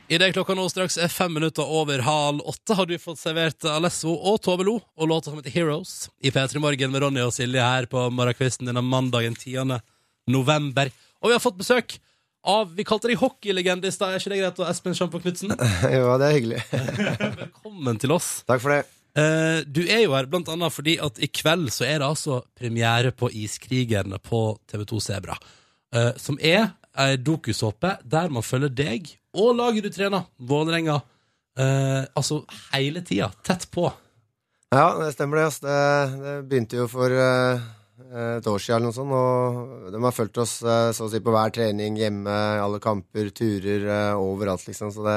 A: I det klokka nå straks er fem minutter over halv åtte, har du fått servert Alesso og Tove Lo og låta som heter Heroes i P3 Morgen med Ronny og Silje her på morgenkvisten denne mandagen 10. november. Og vi har fått besøk av Vi kalte deg hockeylegende i stad, er ikke det greit? Og Espen Sjampo Knutsen,
F: Jo, det er hyggelig.
A: velkommen til oss.
F: Takk for det.
A: Eh, du er jo her blant annet fordi at i kveld så er det altså premiere på Iskrigerne på TV2 Sebra. eh, som er ei dokusåpe der man følger deg og laget du trener, Vålerenga, eh, altså hele tida, tett på.
F: Ja, det stemmer det. ass. Det, det begynte jo for eh, et år siden eller noe sånt, og de har fulgt oss eh, så å si på hver trening, hjemme, i alle kamper, turer, eh, overalt, liksom. Så det,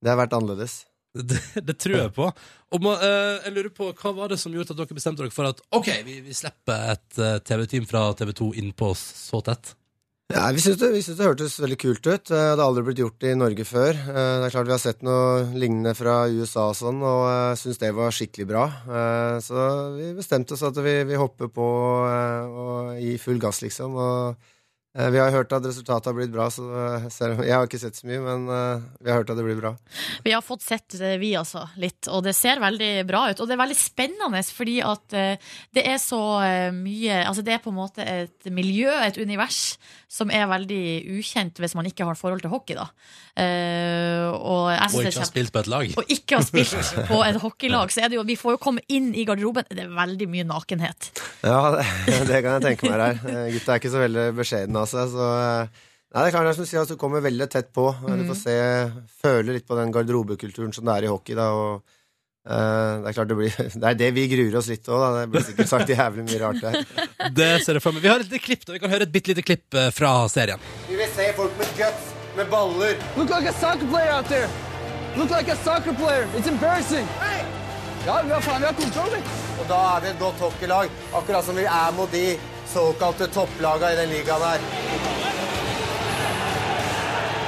F: det har vært annerledes.
A: Det, det tror jeg på. Og må- eh, jeg lurer på, Hva var det som gjorde at dere bestemte dere for at ok, vi, vi slipper et eh, TV-team fra TV2 innpå oss så tett?
F: Ja, vi syns det, vi syns det hørtes veldig kult ut. Eh, Det har aldri blitt gjort i Norge før. Eh, Det er klart Vi har sett noe lignende fra USA og sånn, og eh, syns det var skikkelig bra. Eh, Så vi bestemte oss at vi, vi hopper på eh, og gir full gass, liksom. Og eh, vi har hørt at resultatet har blitt bra, så eh, selv om jeg har ikke sett så mye, men eh, vi har hørt at det blir bra.
B: Vi har fått sett eh, vi altså litt, og det ser veldig bra ut. Og det er veldig spennende fordi at eh, det er så eh, mye Altså det er på en måte et miljø, et univers, som er veldig ukjent hvis man ikke har forhold til hockey, da. Eh, og jeg
A: Og ikke
B: synes det er
A: har
B: kjempe...
A: spilt på et lag?
B: Og ikke har spilt på et hockeylag, så er det jo Vi får jo komme inn i garderoben. Det er veldig mye nakenhet.
F: Ja, det, det kan jeg tenke meg her. Eh, Gutta er ikke så veldig beskjedne av seg, så eh, Nei, det er klart, det er som du sier, altså, du kommer veldig tett på. Eh, Du får se, føle litt på den garderobekulturen som det er i hockey, da, og eh, det er klart det blir Det er det vi gruer oss litt òg, da. Det blir sikkert sagt jævlig mye rart der.
A: Det ser jeg for meg. Vi har et lite klipp, da. vi kan høre et bitte lite klipp eh, fra serien.
F: Vi vil se folk med guts, med baller.
G: Look like a soccer player out there. Look like a soccer player. It's embarrassing. Ja, vi har faen, vi har kontroll, vi.
F: Og da er vi et godt hockeylag, akkurat som vi er mot de såkalte topplaga i den ligaen her.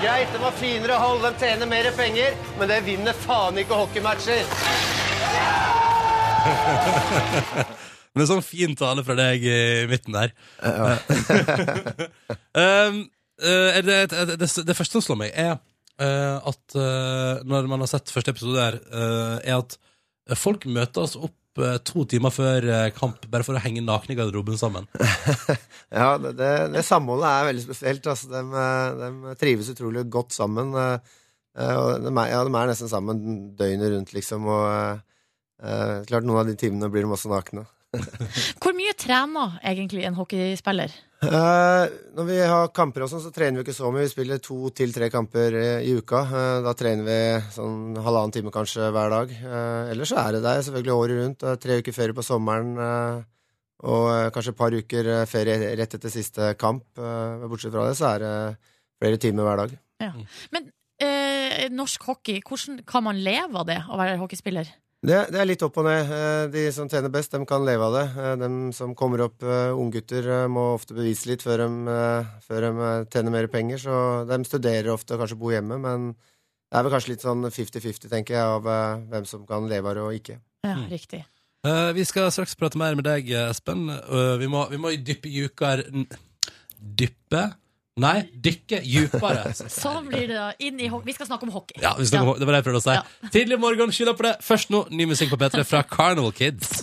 F: Greit, det var finere hold, de tjener mer penger, men det vinner faen ikke hockeymatcher.
A: Men sånn fin tale fra deg i midten der. um, eh, det, det, det, det første som slår meg, er eh, at eh, når man har sett første episode der, eh, er at folk møter oss opp eh, to timer før eh, kamp bare for å henge nakne i garderoben sammen.
F: Ja, det, det, det samholdet er veldig spesielt. Altså, de, trives utrolig godt sammen. eh, Eh, og de er, ja, de er nesten sammen døgnet rundt, liksom, og eh, eh, klart noen av de timene blir de også nakne.
B: Hvor mye trener egentlig en hockeyspiller?
F: Eh, når vi har kamper og sånn, så trener vi ikke så mye. Vi spiller to til tre kamper eh, i uka. Eh, da trener vi sånn halvannen time kanskje hver dag. Eh, ellers så er det der selvfølgelig året rundt. Det er tre uker ferie på sommeren. Eh, og eh, kanskje et par uker eh, ferie rett etter siste kamp. Eh, men bortsett fra det så er det flere timer hver dag.
B: Eh, norsk hockey, hvordan kan man leve av det, å være hockeyspiller?
F: Det, det er litt opp og ned. Eh, De som tjener best, dem kan leve av det. Eh, Dem som kommer opp, eh, unggutter, eh, må ofte bevise litt før de, eh, før de eh, tjener mer penger. Så de studerer ofte og kanskje bor hjemme, men det er vel kanskje litt sånn 50-50, tenker jeg, av eh, hvem som kan leve av det og ikke.
B: Ja,
A: Mm.
B: riktig.
A: Eh, vi skal straks prate mer med deg, Espen. Eh, vi, må, vi må dyppe djupere n- Dyppe? Nei, dykke djupere.
B: Sånn blir det da. Inn i ho- Vi skal snakke om hockey.
A: Ja, vi snakker om- Det var det jeg prøvde å si.
B: Ja.
A: Tidlig morgen, skylda på det. Først nå, ny musikk på P3 fra Carnival Kids.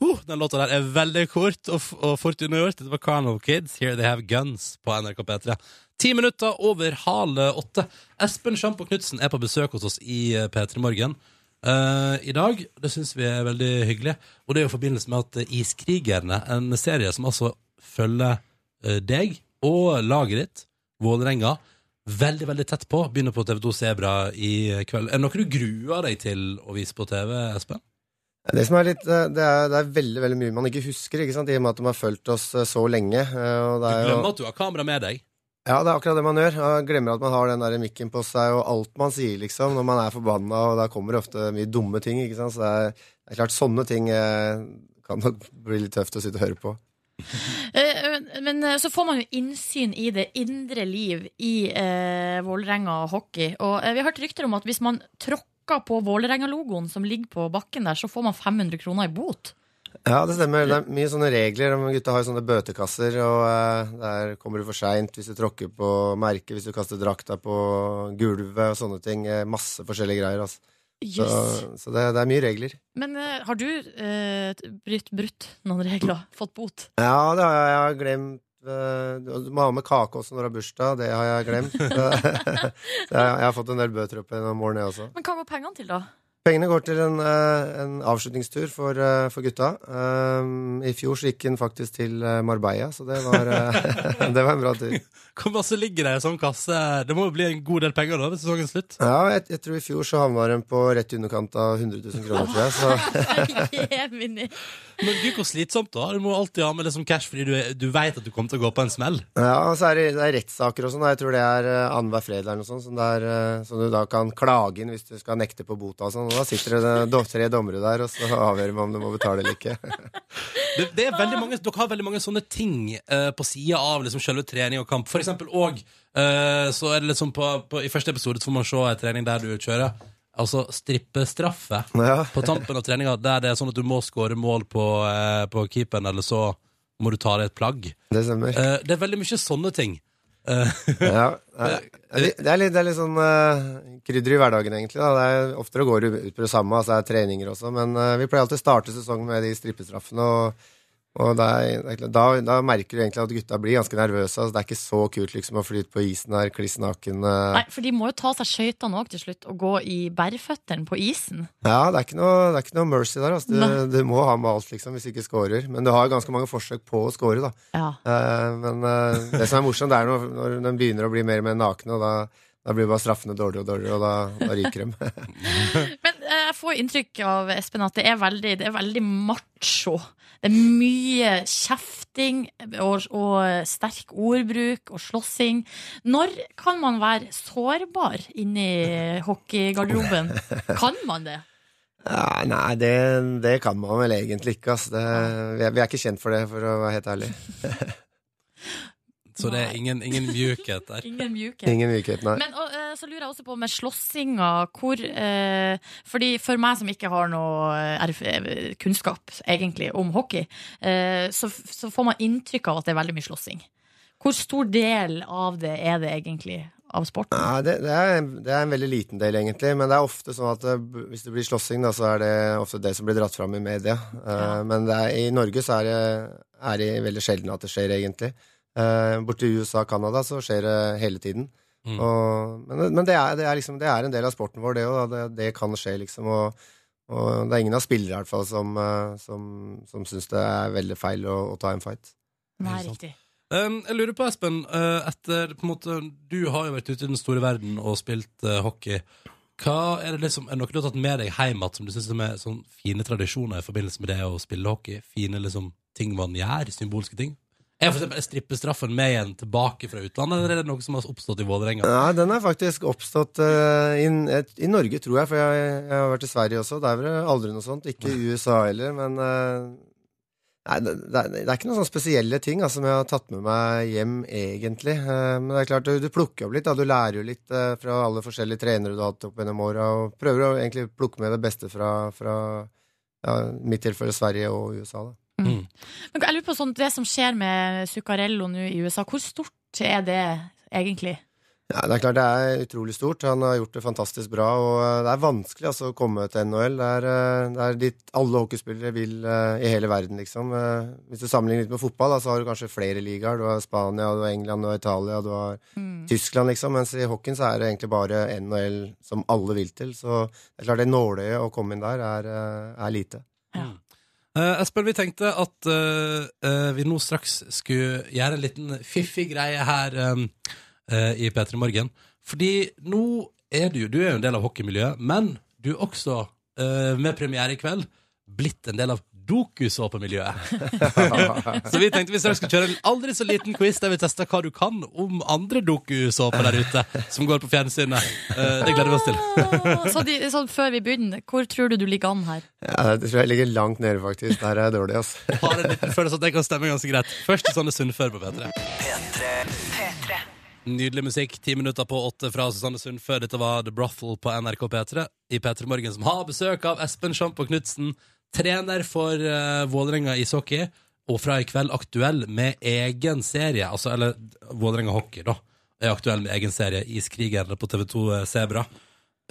A: Oh, den låta der er veldig kort og, f og fort unnagjort. Dette var Carnival Kids, Here They Have Guns, på NRK P3. Ti minutter over halv åtte. Espen Sjampo Knutsen er på besøk hos oss i eh, P3 Morgen eh, i dag. Det syns vi er veldig hyggelig. Og det er jo i forbindelse med at eh, Iskrigerne, en serie som altså følger eh, deg og laget ditt, Vålerenga, veldig, veldig tett på, begynner på TV2 Sebra i kveld. Er det noe du gruer deg til å vise på TV, Espen?
F: Det som er litt, eh, det er, det er veldig veldig mye man ikke husker, ikke sant? i og med at de har fulgt oss eh, så lenge. eh, Og
A: Du
F: det er jo,
A: glemmer at du har kamera med deg.
F: Ja, det er akkurat det man gjør. Man glemmer at man har den der mikken på seg, og alt man sier, liksom, når man er forbanna, og da kommer det ofte mye dumme ting, ikke sant. Så det er, det er klart, sånne ting eh, kan nok bli litt tøft å sitte og høre på.
B: Eh, Men eh, så får man jo innsyn i det indre liv i eh, Vålerenga hockey. Og eh, vi har hørt rykter om at hvis man tråkker på Vålerenga-logoen som ligger på bakken der, så får man 500 kroner i bot.
F: Ja, det stemmer. Det er mye sånne regler. De Gutta har jo sånne bøtekasser, og eh, der kommer du for seint hvis du tråkker på merket, hvis du kaster drakta på gulvet og sånne ting. Eh, Masse forskjellige greier, altså. Så,
B: Jøss.
F: så det, det er mye regler.
B: Men eh, har du eh, brutt, brutt noen regler? Fått bot?
F: Ja, det har jeg, jeg har glemt. eh, Du må ha med kake også når du har bursdag. Det har jeg glemt. Så jeg, jeg har fått en del bøter opp gjennom årene, jeg også.
B: Men hva går pengene til, da?
F: Pengene går til en, eh, en avslutningstur for, eh, for gutta. Um, I fjor så gikk den faktisk til eh, Marbella, så det var, eh, det var en bra tur.
A: Hvor masse ligger det i en sånn kasse? Det må jo bli en god del penger da, ved sesongens slutt.
F: Ja, jeg, jeg tror i fjor så havna den på rett i underkant av 100 000 kroner, tror jeg. Så
B: Jemini.
A: Men gud, hvor slitsomt da. Du må alltid ha med liksom cash, fordi du, er- du vet at du kommer til å gå på en smell.
F: Ja, og så er det, det er rettssaker og sånn. da. Jeg tror det er eh, annenhver fredag eller noe sånt. Som, det er, eh, som du da kan klage inn hvis du skal nekte på bota og sånn. Og da sitter det do- tre dommere der, og så avgjør man om du må betale eller ikke.
A: Det, det er veldig mange, dere har veldig mange sånne ting eh, på sida av liksom selve trening og kamp. For eksempel òg så er det liksom på, på, I første episode så får man se en trening der du kjører altså strippestraffe.
F: Ja.
A: På tampen av treninga der det er sånn at du må skåre mål på, eh, på keeperen, eller så må du ta deg et plagg.
F: Det stemmer.
A: Eh, det er veldig mye sånne ting.
F: Ja. eh, Det er litt, det er litt sånn eh, krydder i hverdagen, egentlig. Da. Det er Oftere går det ut på det samme, altså det er treninger også. Men eh, vi pleier alltid å starte sesongen med de strippestraffene. og og det er, det er, klart- da, da merker du egentlig at gutta blir ganske nervøse. Altså det er ikke så kult liksom, å flyte på isen her kliss naken. eh,
B: Nei, for de må jo ta seg skøytene òg til slutt, og gå i bærføttene på isen.
F: Ja, det er ikke noe, det er ikke noe mercy der. Altså.
B: Nei.
F: Du, du må ha med alt liksom, hvis du ikke scorer. Men du har ganske mange forsøk på å score. Da.
B: Ja.
F: Eh, men eh, det som er morsomt, det er når, når de begynner å bli mer og mer nakne, og da, da blir bare straffene dårligere og dårligere, og da, da ryker de.
B: Men eh, jeg får inntrykk av Espen at det er veldig, det er veldig macho. Det er mye kjefting og, og sterk ordbruk og slåssing. Når kan man være sårbar inni hockeygarderoben? Kan man det?
F: Ja, nei, det, det kan man vel egentlig ikke. Altså. Det, vi, er, vi er ikke kjent for det, for å være helt ærlig.
A: Så det er ingen, ingen mjukhet der.
B: Ingen mjukhet.
F: Ingen mykhet, nei.
B: Men og, eh, så lurer jeg også på med slåssinga hvor eh, Fordi for meg som ikke har noe eh, erf eh, kunnskap egentlig om hockey, eh, så, f- så får man inntrykk av at det er veldig mye slåssing. Hvor stor del av det er det egentlig av sporten?
F: Nei, det, det, er, det er en veldig liten del, egentlig. Men det er ofte sånn at eh, b- hvis det blir slåssing, da, så er det ofte det som blir dratt fram i media. Eh,
B: Ja.
F: Men det er, i Norge så er det, er det veldig sjelden at det skjer, egentlig. Eh, Borte i USA og Canada så skjer det hele tiden.
A: Mm.
F: Og, men men det, er, det, er liksom, det er en del av sporten vår, det òg. Det, det kan skje, liksom. Og, og det er ingen av spillere i hvert fall som, eh, som, som syns det er veldig feil å, å ta en fight.
B: Nei,
A: Ikke sant.
B: riktig.
A: Um, jeg lurer på, Espen, eh, etter på en måte, Du har jo vært ute i den store verden og spilt eh, hockey. Hva Er det liksom, er det noe du har tatt med deg hjem igjen som du syns er sånn fine tradisjoner i forbindelse med det å spille hockey? Fine liksom, ting man gjør? Symbolske ting? Er for eksempel strippestraffen med igjen tilbake fra utlandet, eller er det noe som har oppstått i Vålerenga?
F: Nei, den er faktisk oppstått eh, inn- et- i Norge, tror jeg, for jeg, jeg har vært i Sverige også. Der var det aldri noe sånt. Ikke i USA heller, men eh, Nei, det, det er- det er ikke noen sånne spesielle ting altså, som jeg har tatt med meg hjem, egentlig. Eh, Men det er klart, du, du plukker opp litt. Da. Du lærer jo litt eh, fra alle forskjellige trenere du har hatt opp gjennom åra, og prøver å egentlig plukke med det beste fra, fra ja, i mitt tilfelle Sverige og USA. Da.
B: Men jeg lurer på sånn, det som skjer med Zuccarello nå i USA, hvor stort er det egentlig?
F: Ja, det er klart det er utrolig stort. Han har gjort det fantastisk bra. Og eh, det er vanskelig altså, å komme til NHL. Det er, eh, det er dit alle hockeyspillere vil eh, i hele verden, liksom. Eh, Hvis du sammenligner litt med fotball, da, så har du kanskje flere ligaer. Du har Spania, du har England, du har Italia, du har
B: Mm.
F: Tyskland, liksom. Mens i hockeyen så er det egentlig bare NHL som alle vil til. Så det er klart det nåløyet å komme inn der er, eh, er lite.
A: Eh, Espen, vi tenkte at eh, eh, vi nå straks skulle gjøre en liten fiffig greie her em, eh, i P3 Morgen. Fordi nå er du jo Du er jo en del av hockeymiljøet, men du er også, eh, med premiere i kveld, blitt en del av dokusåpemiljøet. så vi tenkte vi straks skulle kjøre en aldri så liten quiz der vi tester hva du kan om andre dokusåper der ute som går på fjernsynet. Eh, det gleder vi oss til.
B: Ah, Så, de, sånn før vi begynner, hvor tror du du ligger an her?
F: Ja, det tror jeg ligger langt nede, faktisk. Der er jeg dårlig, altså.
A: Har en liten følelse at det kan stemme ganske greit. Først Susanne Sundfør på P3. Nydelig musikk. Ti minutter på åtte fra Susanne Sundfør. Dette var The Brothel på NRK P3 i P3 Morgen, som har besøk av Espen Sjampo Knutsen, trener for eh, Vålerenga ishockey, og fra i kveld aktuell med egen serie. Altså, eller Vålerenga hockey, da. Er aktuell med egen serie Iskrigerne på TV2 eh, Sebra.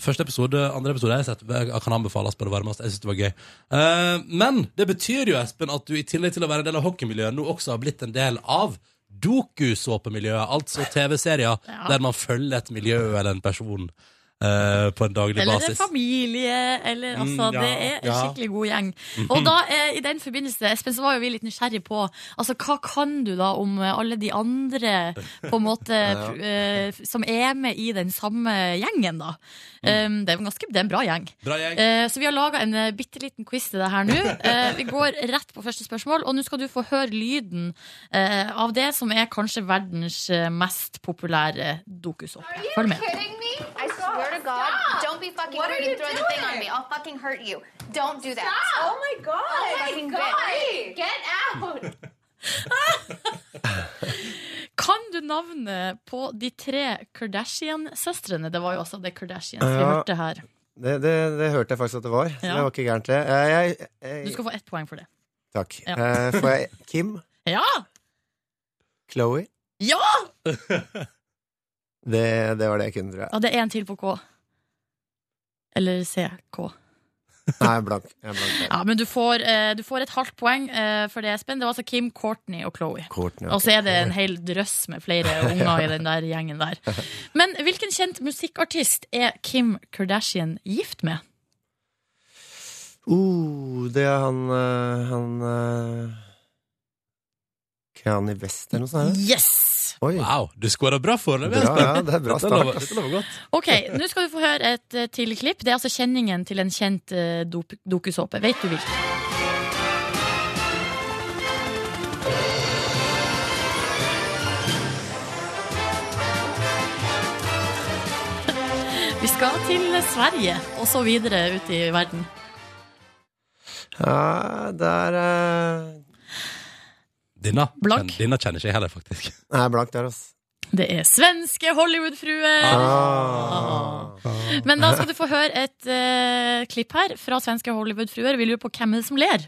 A: Første episode, andre episode jeg har sett, jeg kan anbefales på det varmeste. Jeg synes det var gøy. Eh, men det betyr jo, Espen, at du i tillegg til å være en del av hockeymiljøet, nå også har blitt en del av dokusåpemiljøet, altså TV-serier
B: Ja.
A: der man følger et miljø eller en person eh, på en daglig
B: Eller det er
A: basis.
B: familie, eller altså
A: Mm, ja,
B: Det er en
A: ja. Mhm.
B: skikkelig god gjeng. Og da, eh, i den forbindelse, Espen, så var jo vi litt nysgjerrig på Altså, hva kan du da om eh, alle de andre på en måte pr- eh, som er med i den samme gjengen, da?
A: Mm.
B: Um, det er jo en ganske, det er en bra gjeng.
A: Bra gjeng.
B: Eh, Så vi har laga en eh, bitte liten quiz til det her nå. Eh, Vi går rett på første spørsmål, og nå skal du få høre lyden eh, av det som er kanskje verdens eh, mest populære dokusåpe. Følg med.
H: kidding me? I swear to God, don't be fucking
I: What are
H: rude and
I: you
H: throw the thing on me. I'll fucking hurt you. Don't do that.
I: Oh my god!
H: fucking
I: Get out!
B: Kan du navnet på de tre Kardashian-søstrene? Det var jo altså The Kardashians vi
F: Ja.
B: hørte her.
F: Det, det, det hørte jeg faktisk at det var. Så
B: Ja.
F: Det var ikke gærent, det. Eh, Jeg,
B: Du
F: jeg,
B: skal få ett poeng for det.
F: takk.
B: Ja.
F: Eh, Får jeg Kim?
B: Ja!
F: Chloé?
B: Ja!
F: Det, det var det jeg kunne, tror jeg.
B: ja det er en til på K. Eller CK.
F: Nei, jeg er blank. Jeg er blank.
B: Ja, men du får, eh, du får et halvt poeng eh, for det, Espen. Det var altså Kim, Courtney og Chloé.
F: Courtney,
B: Og så er det en hel drøss med flere unger i den der gjengen der. Men hvilken kjent musikkartist er Kim Kardashian gift med?
F: Uh, det er han eh, Han eh, Kanye West eller noe sånt? er det?
B: Yes!
F: Oi.
A: Wow, du skåra bra foreløpig,
F: Bra,
A: Espen.
F: ja, det er bra
A: Dette
F: start.
A: lover-
F: ass.
A: Dette lover godt.
B: Ok, nå skal du få høre et eh, til klipp. Det er altså kjenningen til en kjent eh, dop- dokusåpe. Vet du hvilken? Vi skal til Sverige, og så videre ut i verden.
F: Ja, det er eh,
A: Denne,
B: Blank.
A: kjen- denne kjenner ikke jeg heller, faktisk.
F: Nei, jeg er blank der, altså.
B: Det er svenske Hollywood-fruer!
F: Ah.
B: Men da skal du få høre et eh, klipp her fra svenske Hollywood-fruer. Vi lurer på hvem er det som ler.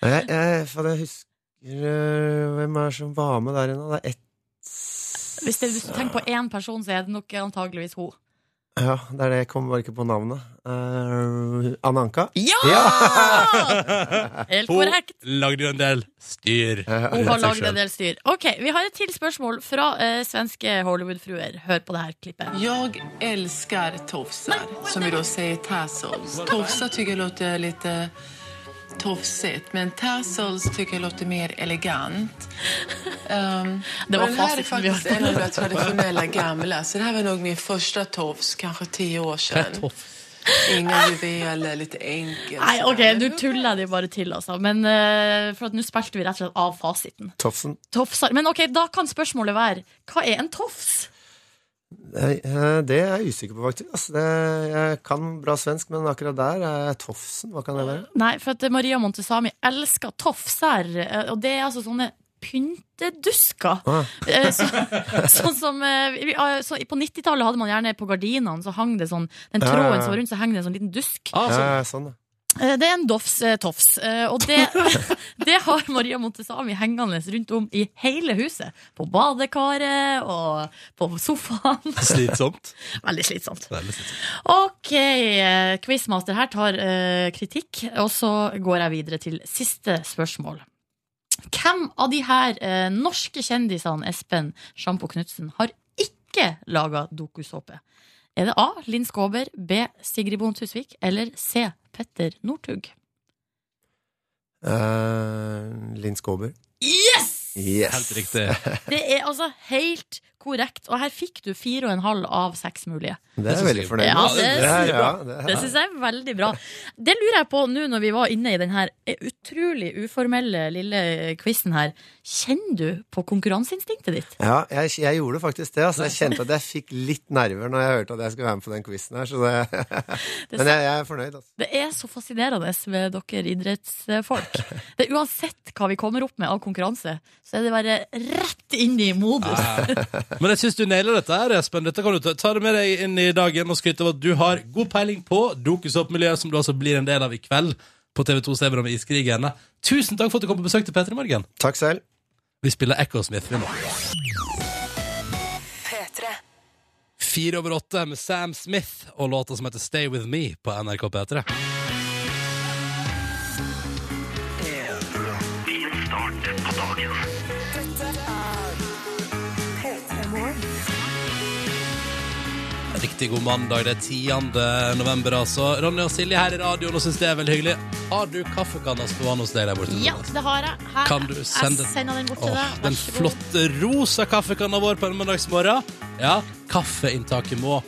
F: Jeg, jeg, faen, jeg husker eh, Hvem er det som var med der inne? Det er ett
B: Hvis, det, hvis du tenker på én person, så er det nok antageligvis hun.
F: Ja, det er det. Jeg kommer bare ikke på navnet. Eh, Anna Anka?
B: Ja! Helt
A: Hun
B: korrekt.
A: lagde jo en del styr.
F: Eh,
B: Hun har lagd en del styr. Ok, Vi har et til spørsmål fra eh, svenske Hollywood-fruer. Hør på det her klippet.
J: Jag älskar tofsar, som vi då säger tassels. Tofsar tycker jag låter lite tofsigt, men tassels tycker jag låter mer elegant. Ehm,
B: Det var
J: och den här är
B: facit som vi
J: faktiskt en av de traditionella gamla, så det här var nog min första tofs, kanske tio år sedan. Inga juveler, lite enkelt.
B: Nei, ok,
J: sådär.
B: Nå tuller jeg de bare til, altså. Men eh, for at nå spilte vi rett og slett av fasiten.
F: Tofsen.
B: Tofsar. Men ok, da kan spørsmålet være hva er en tofs?
F: Nei, eh, Det er jeg usikker på, faktisk. Altså, det, jeg kan bra svensk, men akkurat der er Tofsen. Hva kan det være?
B: Nei, for at Maria Montesami elsker tofser, eh, og det er altså sånne pyntedusker.
F: Ah.
B: Eh, Så, sånn som eh, vi- eh, så På 90-tallet hadde man gjerne på gardinene, så hang det sånn Den
F: Ja, ja, ja.
B: tråden som var rundt, så hang det en sånn liten dusk.
A: Ah, sånn.
F: Eh, sånn, ja.
B: Eh, Det er en dofs, eh, tofs, eh, og det, det har Maria Montesami hengende rundt om i hele huset. På badekaret og på sofaen.
A: Slitsomt.
B: Veldig slitsomt.
A: Veldig slitsomt.
B: Ok, eh, quizmaster her tar eh, kritikk, og så går jeg videre til siste spørsmål. Hvem av de her eh, norske kjendisene Espen Sjampo Knutsen har ikke laga dokusåpe? Er det A. Linn Skåber, B. Sigrid Bonde Tusvik eller C. Petter Northug?
F: Eh, Linn Skåber.
B: Yes!
A: Helt riktig.
B: Det er altså helt korrekt, og her fikk du fire og en halv av seks mulige.
F: Det
A: synes
F: er jeg veldig
A: jeg-
F: fornøyd med.
B: Ja, det
F: Det er-
B: synes jeg
F: ja,
B: Det syns jeg er veldig bra. Det lurer jeg på nå når vi var inne i den her eh, utrolig uformelle lille quizen her. Kjenner du på konkurranseinstinktet ditt?
F: Ja, jeg, jeg gjorde faktisk det. Altså, jeg kjente at jeg fikk litt nerver når jeg hørte at jeg skulle være med på den quizen her. Så det, men jeg, jeg er fornøyd. Altså.
B: Det er så fascinerende med dere idrettsfolk. Det er Uansett hva vi kommer opp med av konkurranse, så er det bare rett inn i modus.
A: Men jeg syns du nailer dette, her, Espen. Dette kan du ta, ta det med deg inn i dagen og skryte av at du har god peiling på Dokusopp-miljøet, som du altså blir en del av i kveld på TV2 Sebra med Iskrigerne. Tusen takk for at du kom på besøk til P3 Morgen.
F: Takk selv.
A: Vi spiller Echo Smith vi nå. Fire over åtte med Sam Smith og låta som heter Stay With Me på NRK P3. Riktig god mandag, det er 10. november altså. Ronny og Silje her i radioen og syns det er veldig hyggelig. Har du kaffekanna stående hos deg der borte?
B: Ja, det har jeg. Her.
A: Kan du sende-
B: Jeg sender den bort til
A: Åh,
B: deg.
A: den flotte rosa kaffekanna vår på en mandagsmorgen. Ja, kaffeinntaket må,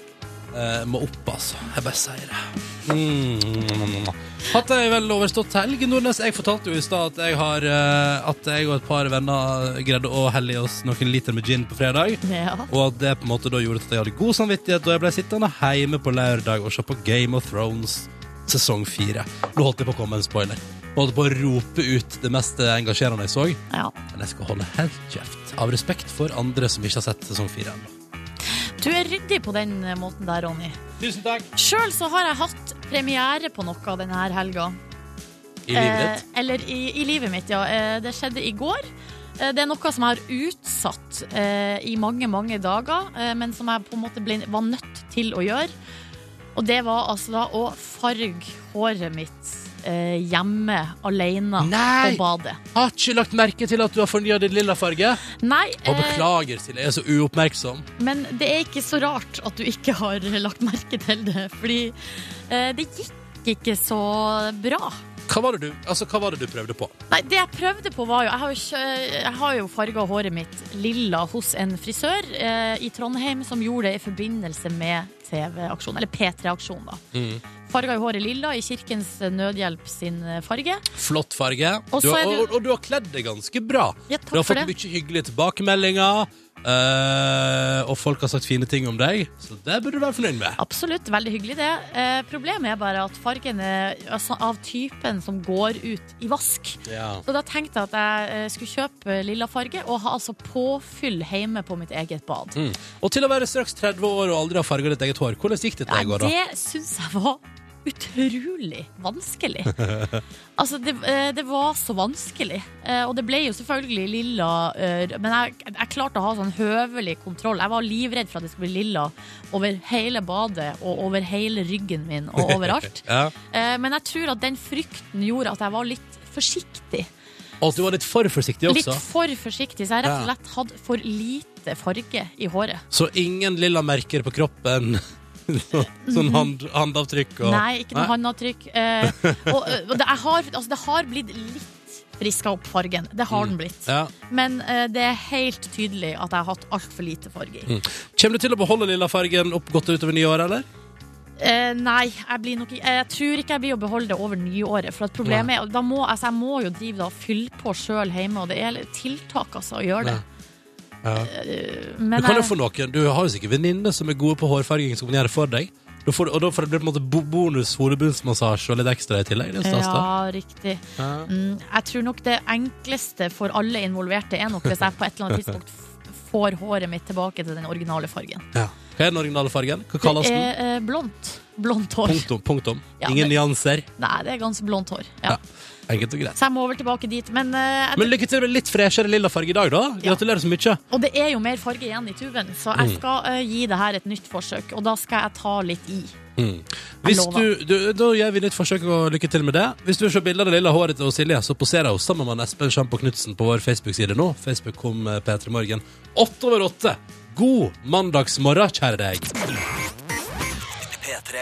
A: eh, må opp, altså. Jeg bare sier det. Mm. Hatt ei vel overstått helg, Nordnes. Jeg fortalte jo i stad at jeg har eh, At jeg og et par venner greide å helle i oss noen liter med gin på fredag.
B: Ja.
A: Og at det på en måte da gjorde at jeg hadde god samvittighet da jeg ble sittende hjemme på lørdag og se på Game of Thrones sesong fire. Nå holdt jeg på å komme med en spoiler. Holdt på å rope ut det mest engasjerende jeg så.
B: Ja.
A: Men jeg skal holde helt kjeft, av respekt for andre som ikke har sett sesong fire ennå.
B: Du er ryddig på den måten der, Ronny.
A: Tusen takk!
B: Sjøl så har jeg hatt premiere på noe denne helga.
A: I livet ditt.
B: Eh, eller i, i livet mitt, ja. Eh, det skjedde i går. Eh, det er noe som jeg har utsatt eh, i mange, mange dager, eh, men som jeg på en måte ble, var nødt til å gjøre. Og det var altså da å farge håret mitt eh, hjemme alene
A: Nei!
B: på badet.
A: Har ikke lagt merke til at du har fornya din lilla farge.
B: Nei,
A: Og
B: eh,
A: beklager, Silje, jeg er så uoppmerksom.
B: men det er ikke så rart at du ikke har lagt merke til det, fordi eh, det gikk ikke så bra.
A: Hva var det du, altså, hva var det du prøvde på?
B: Nei, det jeg prøvde på var jo Jeg har jo, kjø- jeg har jo farga håret mitt lilla hos en frisør eh, i Trondheim som gjorde det i forbindelse med TV-aksjon, eller P3-aksjon, da. Farga jo håret lilla i Kirkens Nødhjelp sin eh, farge.
A: Flott farge.
B: Og
A: Du
B: så
A: har,
B: er det jo-
A: og, og du har kledd deg ganske bra.
B: Ja,
A: Du har
B: takk for
A: fått
B: det.
A: mye hyggelige tilbakemeldinger, eh, og folk har sagt fine ting om deg, så det burde du være fornøyd med.
B: Absolutt, veldig hyggelig det. Eh, problemet er bare at fargen er altså, av typen som går ut i vask.
A: Ja.
B: Så da tenkte jeg at jeg eh, skulle kjøpe lilla farge og ha altså påfyll hjemme på mitt eget bad.
A: Hm. Og til å være straks 30 år og aldri ha farga ditt eget hår, hvordan gikk det til deg i går, da?
B: Det syns jeg var utrolig vanskelig. Altså, det, eh, det var så vanskelig. Eh, Og det ble jo selvfølgelig lilla. eh, Men jeg, jeg klarte å ha sånn høvelig kontroll. Jeg var livredd for at det skulle bli lilla over hele badet og over hele ryggen min og overalt.
A: ja.
B: Eh, Men jeg tror at den frykten gjorde at jeg var litt forsiktig.
A: Og at du var litt for forsiktig også.
B: Litt for forsiktig. Så jeg har rett
A: Ja.
B: og slett hatt for lite farge i håret.
A: Så ingen lilla merker på kroppen. sånn hand, handavtrykk og
B: Nei, ikke noe handavtrykk. Eh, og eh, og det, jeg har, altså, det har blitt litt friska opp fargen. Det har den blitt.
A: Mm. Ja.
B: Men eh, det er helt tydelig at jeg har hatt altfor lite farge i.
A: Mm. Kommer du til å beholde lilla fargen opp godt utover nye år, eller?
B: Eh, nei, jeg, blir nok, ikke- jeg tror ikke jeg blir å beholde det over nyåret. For at problemet er, da må, altså, jeg må jo drive da, og fylle på sjøl hjemme, og det er litt tiltak altså, å gjøre det.
A: Ja.
B: Eh,
A: Du
B: Men
A: kan jo
B: jeg-
A: få noen Du har jo sikkert venninner som er gode på hårfarging, som kan gjøre det for deg. Da får, du- og da får det bli på en måte bo- bonus hodebunnsmassasje og litt ekstra i tillegg. Det er stas, da.
B: Ja, riktig. Mm, jeg tror nok det enkleste for alle involverte er nok hvis jeg på et eller annet tidspunkt f- får håret mitt tilbake til den originale fargen.
A: Ja. Hva er den originale fargen? Hva
B: Det
A: kalles den?
B: er eh, blondt. Blondt hår.
A: Punktum. punktum.
B: Ja,
A: Ingen
B: men-
A: nyanser.
B: Nei, det er ganske blondt hår. Ja.
A: Enkelt og greit.
B: Så jeg må vel tilbake dit. Men, eh, jeg-
A: Men lykke til med litt freshere lilla farge i dag, da. Gratulerer så mye.
B: og det er jo mer farge igjen i tuben, så jeg
A: Mm.
B: skal eh, gi det her et nytt forsøk. Og da skal jeg ta litt i.
A: Mm. Hvis du,
B: lover.
A: du, da gjør vi nytt forsøk og lykke til med det. Hvis du vil se bilder av det lille håret til Silje, så poserer hun sammen med Espen Sjampo Knutsen på vår Facebook-side nå. Facebook kom eh, P3 Morgen. Åtte over åtte. God mandagsmorgen, kjære deg.
K: P3.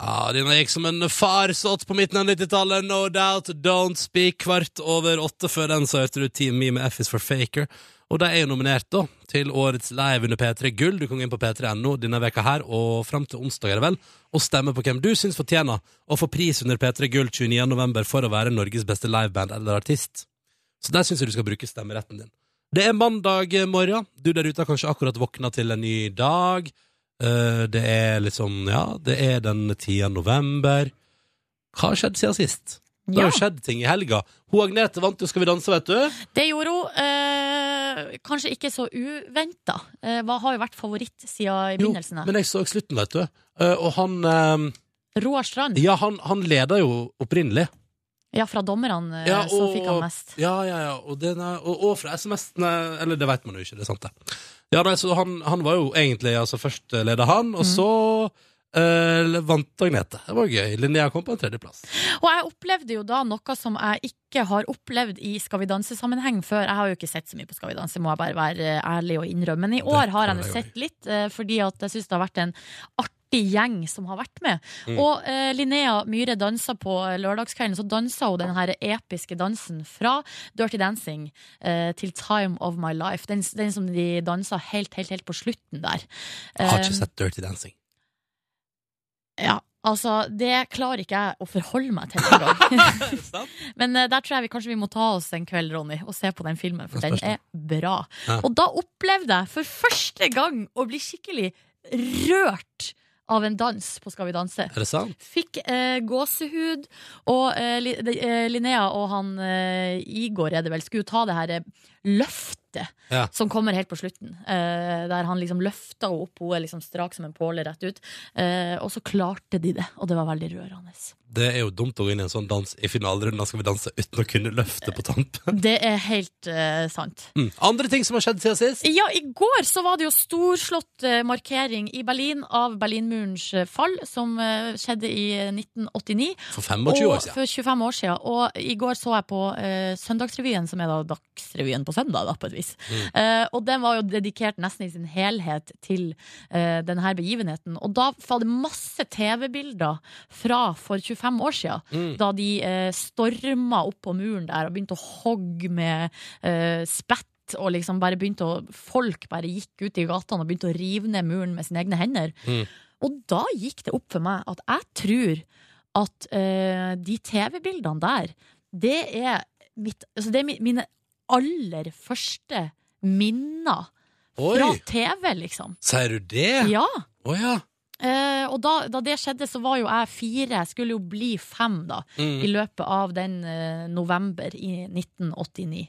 A: Ja, Denne gikk som en farsott på midten av 90-tallet. No doubt, don't speak. Kvart over åtte før den så hørte du Team Me med F is for Faker. Og de er jo nominert da til årets Live under P3 Gull. Du kan gå inn på p3.no denne veka her og fram til onsdag er det vel, og stemme på hvem du syns fortjener å få pris under P3 Gull 29. november for å være Norges beste liveband eller artist. Så der syns jeg du skal bruke stemmeretten din. Det er mandag morgen. Du der ute har kanskje akkurat våkna til en ny dag. Eh, Det er litt sånn, ja, det er den 10. november. Hva har skjedd siden sist? Det har jo skjedd ting i helga. Hun Agnete vant jo Skal vi danse, vet du.
B: Det gjorde hun. eh, kanskje ikke så uventa. Eh, hva har jo vært favoritt siden i begynnelsen. her.
A: Men jeg så slutten, vet du. Eh, Og han eh,
B: Roar Strand.
A: Ja, han, han leda jo opprinnelig.
B: Ja, fra dommerne eh,
A: Ja,
B: så fikk han mest.
A: Ja, ja, ja. Og, den er- og, og fra SMS-ene Eller det vet man jo ikke, det er sant, det. Ja, nei, så han, han var jo egentlig altså, Først leda han,
B: Mhm.
A: og så eh, vant Agnete. Det var gøy. Linnea kom på en tredjeplass.
B: Og jeg opplevde jo da noe som jeg ikke har opplevd i Skal vi danse-sammenheng før. Jeg har jo ikke sett så mye på Skal vi danse, må jeg bare være eh, ærlig og innrømme. Men i år har jeg nå sett litt, eh, fordi at jeg syns det har vært en artig gjeng som har vært med.
I: Mm.
B: Og eh, Linnea Myhre dansa på eh, lørdagskvelden, så dansa hun den her episke dansen fra Dirty Dancing eh, til Time of My Life. Den, den som de dansa helt, helt, helt på slutten der.
A: Jeg har ikke
B: Eh,
A: sett Dirty Dancing.
B: ja, altså det klarer ikke jeg å forholde meg til engang. Men eh, der tror jeg vi kanskje vi må ta oss en kveld, Ronny, og se på den filmen, for den er bra.
I: Ja.
B: Og da opplevde jeg for første gang å bli skikkelig rørt av en dans på Skal vi danse.
A: Er det sant?
B: Fikk eh, gåsehud, og eh, Li- de- eh, Linnea og han eh, Igor er det vel, skulle ta det her eh, løftet
I: Ja.
B: som kommer helt på slutten. Eh, der han liksom løfta henne opp, hun er liksom strak som en påle rett ut. Eh, og så klarte de det, og det var veldig rørende.
A: Det er jo dumt å gå inn i en sånn dans i finalerunden. Da skal vi danse uten å kunne løfte på tampen.
B: Det er helt eh, sant.
A: Mm. Andre ting som har skjedd siden sist?
B: Ja, i går så var det jo storslått eh, markering i Berlin av Berlinmurens eh, fall, som eh, skjedde i eh, 1989.
A: For 25 år
B: Og
A: siden.
B: For 25 år siden. Og i går så jeg på eh, Søndagsrevyen, som er da Dagsrevyen på søndag, da, på et vis.
I: Mm.
B: Eh, og den var jo dedikert nesten i sin helhet til eh, denne begivenheten. Og da var det masse TV-bilder fra for 25 år siden,
I: Mm.
B: da de eh, storma opp på muren der og begynte å hogge med eh, spett. Og liksom bare begynte å, folk bare gikk ut i gatene og begynte å rive ned muren med sine egne hender. Og da gikk det opp for meg at jeg tror at eh, de TV-bildene der, det er, mitt, altså det er mi- mine aller første minner fra
A: Oi.
B: TV, liksom.
A: Sier du det?
B: Ja.
A: Å ja.
B: Eh, og da, da det skjedde, så var jo jeg fire, jeg skulle jo bli fem da,
A: Mm.
B: i løpet av den eh, november i 1989.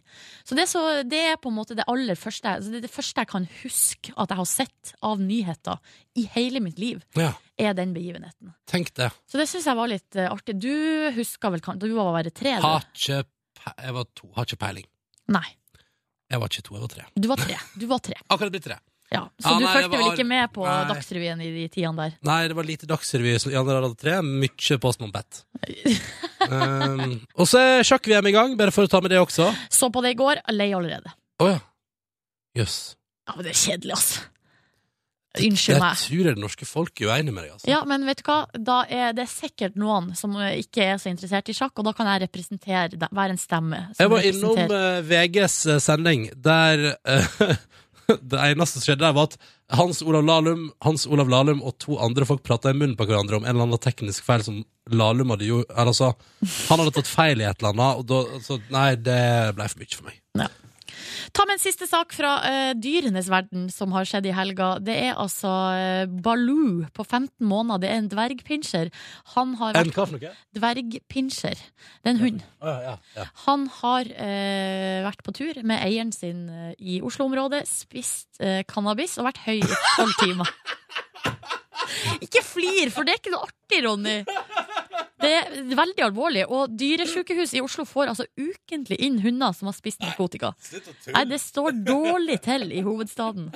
B: Så det, er så det er på en måte det aller første, altså det, er det første jeg kan huske at jeg har sett av nyheter i hele mitt liv,
A: Ja,
B: er den begivenheten.
A: tenk det.
B: Så det syns jeg var litt eh, artig. Du husker vel kan- Du var bare tre? du?
A: Har ikke, pe- jeg var to. Har ikke peiling.
B: Nei.
A: Jeg var ikke to, jeg var tre.
B: Du var tre. Du var tre.
A: Akkurat blitt tre.
B: Ja. Så
A: Ja, nei,
B: du
A: det
B: fulgte vel
A: var-
B: ikke med på
A: nei.
B: Dagsrevyen i de tidene der?
A: Nei, det var lite Dagsrevy i januar hadde tre. Mye Postman Pat. um, og så er sjakk-VM i gang, bare for å ta med det også. Å
B: Så på det i går, lei allerede.
A: ja. Jøss.
B: Ja, men det er kjedelig, altså. Unnskyld
A: Der
B: meg.
A: tror jeg det norske folk er uenig med deg, altså.
B: Ja, men vet du hva? Da er det sikkert noen som eh, ikke er så interessert i sjakk, og da kan jeg representere deg, være en stemme. Som
A: Jeg var innom
B: representerer-
A: eh, VGs sending, der eh, det eneste som skjedde der, var at Hans Olav Lahlum, Hans Olav Lahlum og to andre folk prata i munnen på hverandre om en eller annen teknisk feil som Lahlum hadde gjort eller altså, Han hadde tatt feil i et eller annet, og da altså, Nei, det ble for mye for meg.
B: Ta med en siste sak fra eh, dyrenes verden som har skjedd i helga. Det er altså eh, Baloo på 15 måneder. Det er en dvergpinsjer. Han har
A: En
B: vært
A: hva for noe?
B: dvergpinsjer. Det er en hund.
A: Å, ja, ja.
B: Han har eh, vært på tur med eieren sin eh, i Oslo-området, spist eh, cannabis og vært høy i tolv timer. Ikke flir, for det er ikke noe artig, Ronny. Det er veldig alvorlig. Og dyresykehuset i Oslo får altså ukentlig inn hunder som har spist narkotika. Nei, det står dårlig til i hovedstaden.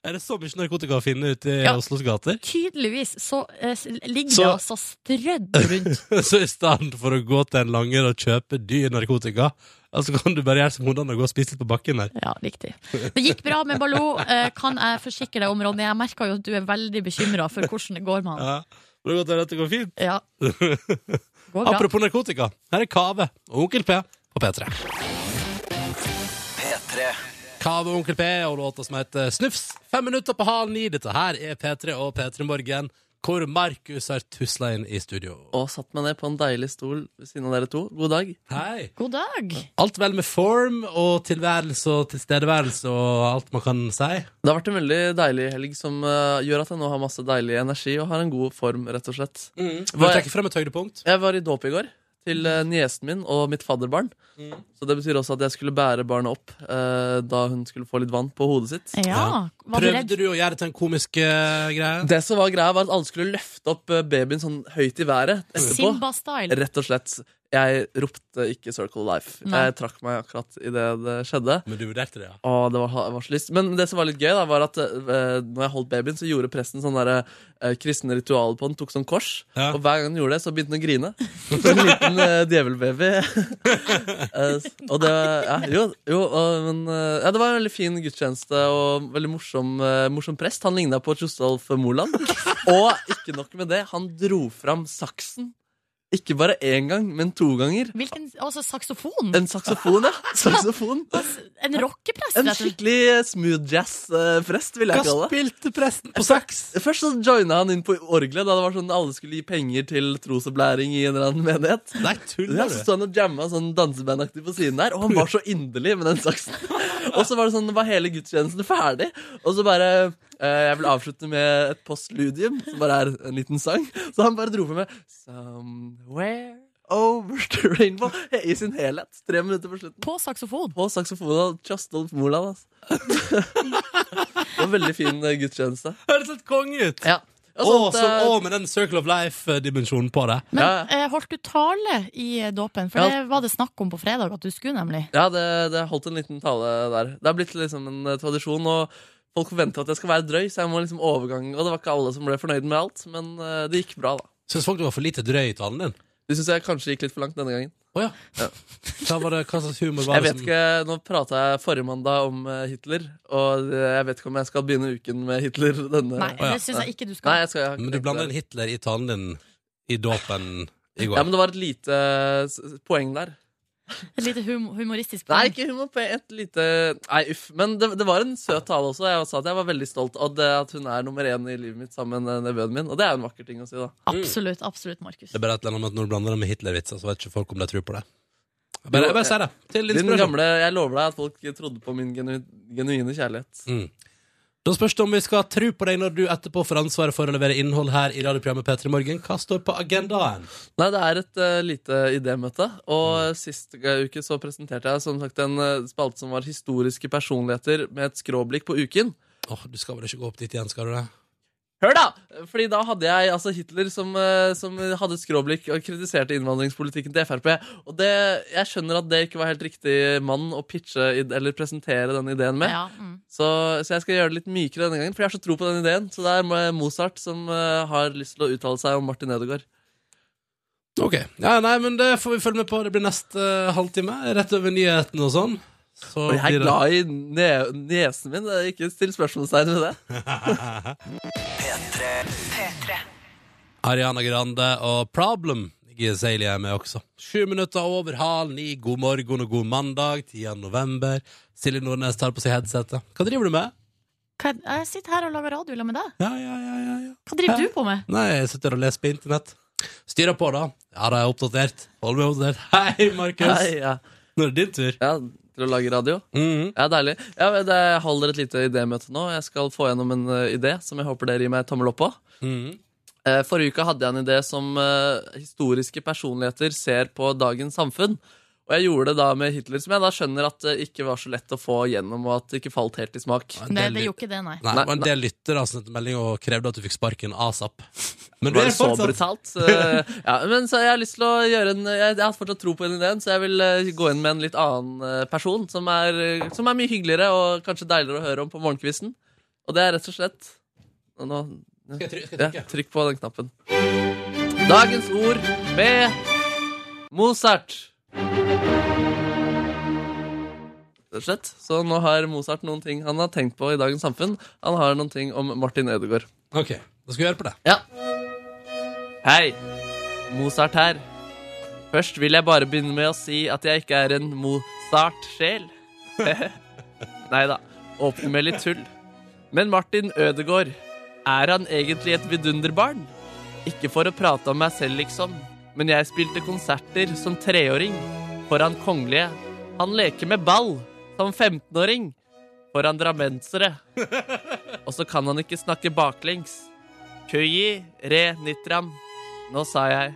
A: Er det så mye narkotika å finne ute i
B: Ja.
A: Oslos gater?
B: Tydeligvis så eh, s- ligger det
A: Så-
B: altså strødd rundt.
A: Så i stedet for å gå til en langer og kjøpe dyr narkotika, altså kan du bare gjøre som hundene og gå og spise litt på bakken der.
B: Ja, riktig. Det gikk bra med Baloo, eh, kan jeg forsikre deg om, Ronny. Jeg merker jo at du er veldig bekymra for hvordan det går med han.
A: Ja. Det er godt at dette går fint.
B: Ja. Går bra.
A: Apropos narkotika, her er Kave og Onkel P på P3. Kave og Onkel P og låta som heter Snufs. Fem minutter på halv ni. Dette her er P3 og P3 Morgen, hvor Markus har tusla inn i studio.
C: Og satt meg ned på en deilig stol ved siden av dere to. God dag.
A: Hei!
B: God dag.
A: Alt vel med form og tilværelse og tilstedeværelse og alt man kan si?
C: Det har vært en veldig deilig helg som eh, gjør at jeg nå har masse deilig energi og har en god form, rett og slett.
A: Vil du trekke frem et høydepunkt?
C: Jeg var i dåp i går til eh, niesen min og mitt fadderbarn. Så det betyr også at jeg skulle bære barnet opp eh, da hun skulle få litt vann på hodet sitt.
B: Ja. Var du redd?
A: Prøvde du å gjøre det til en komisk eh, greie?
C: Det som var greia, var at alle skulle løfte opp eh, babyen sånn høyt i været etterpå.
B: Simba-style.
C: Rett og slett. Jeg ropte ikke 'Circle Life'.
B: Nei.
C: Jeg trakk meg akkurat idet det skjedde.
A: Men du vurderte det, ja.
C: Å, det var, det var så lyst. Men det som var litt gøy, da, var at eh, når jeg holdt babyen, så gjorde presten sånn der, eh, kristne ritual på den. Tok sånn kors.
A: Ja.
C: Og hver gang den gjorde det, så begynte den å grine. Som en liten eh, djevelbaby. Eh, s- og det ja, Jo, jo og, men eh, ja, det var en veldig fin gudstjeneste og veldig morsom, eh, morsom prest. Han ligna på Tjostolf Moland. Og ikke nok med det, han dro fram saksen. Ikke bare én gang, men to ganger.
B: Hvilken Altså saksofon?
C: En saksofon, ja. Saksofon.
B: En rockepress, rett
C: En
B: og slett.
C: skikkelig smooth jazz-prest, vil jeg kalle det.
A: spilte presten på saks?
C: Først så joina han inn på orgelet, da det var sånn alle skulle gi penger til trosopplæring i en eller annen menighet.
A: Nei,
C: Ja,
A: tuller
C: så
A: du?
C: sto han og jamma sånn dansebandaktig på siden der, og han var så inderlig med den saksen. Og så var det sånn, var hele gudstjenesten ferdig, og så bare eh, Jeg vil avslutte med et postludium, som bare er en liten sang. Så han bare dro på med Somewhere Over the Rainbow i sin helhet. Tre minutter på slutten
B: På saksofon.
C: på saksofonen av Tjostolf Moland. Altså. det var en veldig fin eh, gudstjeneste.
A: Høres helt konge ut!
C: Ja.
A: Å,
C: sånt,
A: så,
C: eh,
A: å, med den Circle of Life-dimensjonen på det.
B: Men
C: Ja.
B: eh, holdt du tale i eh, dåpen? For
C: Ja.
B: det var det snakk om på fredag at du skulle, nemlig.
C: ja, det, det holdt en liten tale der. Det har blitt liksom en eh, tradisjon, og folk forventer at jeg skal være drøy, så jeg må liksom overgang. Og det var ikke alle som ble fornøyd med alt, men eh, det gikk bra, da.
A: Syns folk det var for lite drøy i talen din?
C: Det syns jeg kanskje gikk litt for langt denne gangen.
A: Å ja. Hva, var det, hva slags humor var
C: Jeg
A: det
C: vet ikke, Nå prata jeg forrige mandag om eh, Hitler, og eh, jeg vet ikke om jeg skal begynne uken med Hitler denne
B: Nei,
A: ja.
B: det syns jeg ikke du
C: Nei,
B: skal.
C: jeg skal jeg har ikke
A: Men du
C: tenkt
A: blanda
C: det.
A: inn Hitler i talen din i dåpen i går.
C: Ja, men det var et lite eh, s- poeng der.
B: Et lite hum humoristisk
C: Nei,
B: poeng.
C: ikke humor på et lite Nei, uff. Men det, det var en søt tale også. Jeg sa at jeg var veldig stolt av det at hun er nummer én i livet mitt sammen med nevøen min. Og det er jo en vakker ting å si, da.
B: Absolutt, absolutt, Markus.
A: Det er bare et eller annet med at når du blander det med Hitler-vitser, så vet ikke folk om de tror på det. Jeg Bare, jeg bare sier det. Til
C: eh, Din
A: inspirasjon.
C: gamle, Jeg lover deg at folk trodde på min genu, genuine kjærlighet.
A: Mm. Da spørs det om vi skal tro på deg når du etterpå får ansvaret for å levere innhold her i radioprogrammet P3 Morgen. Hva står på agendaen?
C: Nei, det er et eh, lite idémøte. Og eh, sist uke så presenterte jeg som sagt en eh, spalte som var historiske personligheter med et skråblikk på uken.
A: Åh, Du skal vel ikke gå opp dit igjen, skal du det?
C: Hør, da! Fordi da hadde jeg altså Hitler som, eh, som hadde et skråblikk og kritiserte innvandringspolitikken til Frp. Og det, jeg skjønner at det ikke var helt riktig mann å pitche id- eller presentere den ideen med.
B: Ja, mm.
C: Så, så jeg skal gjøre det litt mykere denne gangen, for jeg har så tro på den ideen. Så det er Mo- Mozart som eh, har lyst til å uttale seg om Martin Edegaard.
A: Ok, ja, nei, men det får vi følge med på. Det blir neste eh, halvtime, rett over nyhetene og sånn. Så
C: Og jeg
A: blir
C: er
A: det-
C: glad i ne nesen min. det er Ikke still spørsmålstegn ved det.
A: Ariana Grande og Problem. Giseli er med også. Sju minutter over halv ni. God morgen og god mandag. 10. november. Silje Nordnes tar på seg headsetet. Hva driver du med?
B: Hva, jeg sitter her og lager radio sammen med deg.
A: Ja, ja, ja, ja, ja.
B: Hva driver du på med?
A: Nei, jeg sitter og leser på internett. Styrer på, da. Ja, da er jeg oppdatert. Hold meg oppdatert. Hei, Markus.
C: Nei, ja.
A: Nå er det din tur.
C: ja, Til å lage radio.
A: Mhm.
C: Ja, Deilig. Ja, men det- Jeg holder et lite idémøte nå. Jeg skal få gjennom en eh, idé som jeg håper dere gir meg tommel opp på.
A: Mhm.
C: Eh, Forrige uke hadde jeg en idé som eh, historiske personligheter ser på dagens samfunn. Og jeg gjorde det da med Hitler, som jeg da skjønner at det ikke var så lett å få gjennom, og at det ikke falt helt i smak.
A: En
B: Nei,
A: del
B: det
A: lyt-
B: gjorde ikke det, nei.
A: Nei,
C: Nei,
A: det var en del lyttere som sendte melding og krevde at du fikk sparken asap. Men
C: Var det så
A: fortsatt-
C: brutalt? Eh, ja, men så jeg har lyst til å gjøre en Jeg, jeg har fortsatt tro på den ideen, så jeg vil eh, gå inn med en litt annen eh, person, som er, eh, som er mye hyggeligere og kanskje deiligere å høre om på morgenkvisten. Og det er rett og slett og Nå,
A: Skal jeg try- skal jeg
C: ja,
A: trykke?
C: Trykk på den knappen. Dagens ord med Mozart. Rett og slett. Så nå har Mozart noen ting han har tenkt på i dagens samfunn. Han har noen ting om Martin Ødegaard.
A: Ok, da skal vi høre på det.
C: Ja. Hei. Mozart her. Først vil jeg bare begynne med å si at jeg ikke er en Mozart-sjel. Nei da. Åpne med litt tull. Men Martin Ødegaard, er han egentlig et vidunderbarn? Ikke for å prate om meg selv, liksom, men jeg spilte konserter som treåring foran kongelige. Han leker med ball som 15-åring foran drammensere. Og så kan han ikke snakke baklengs. Køyi re nitram. Nå sa jeg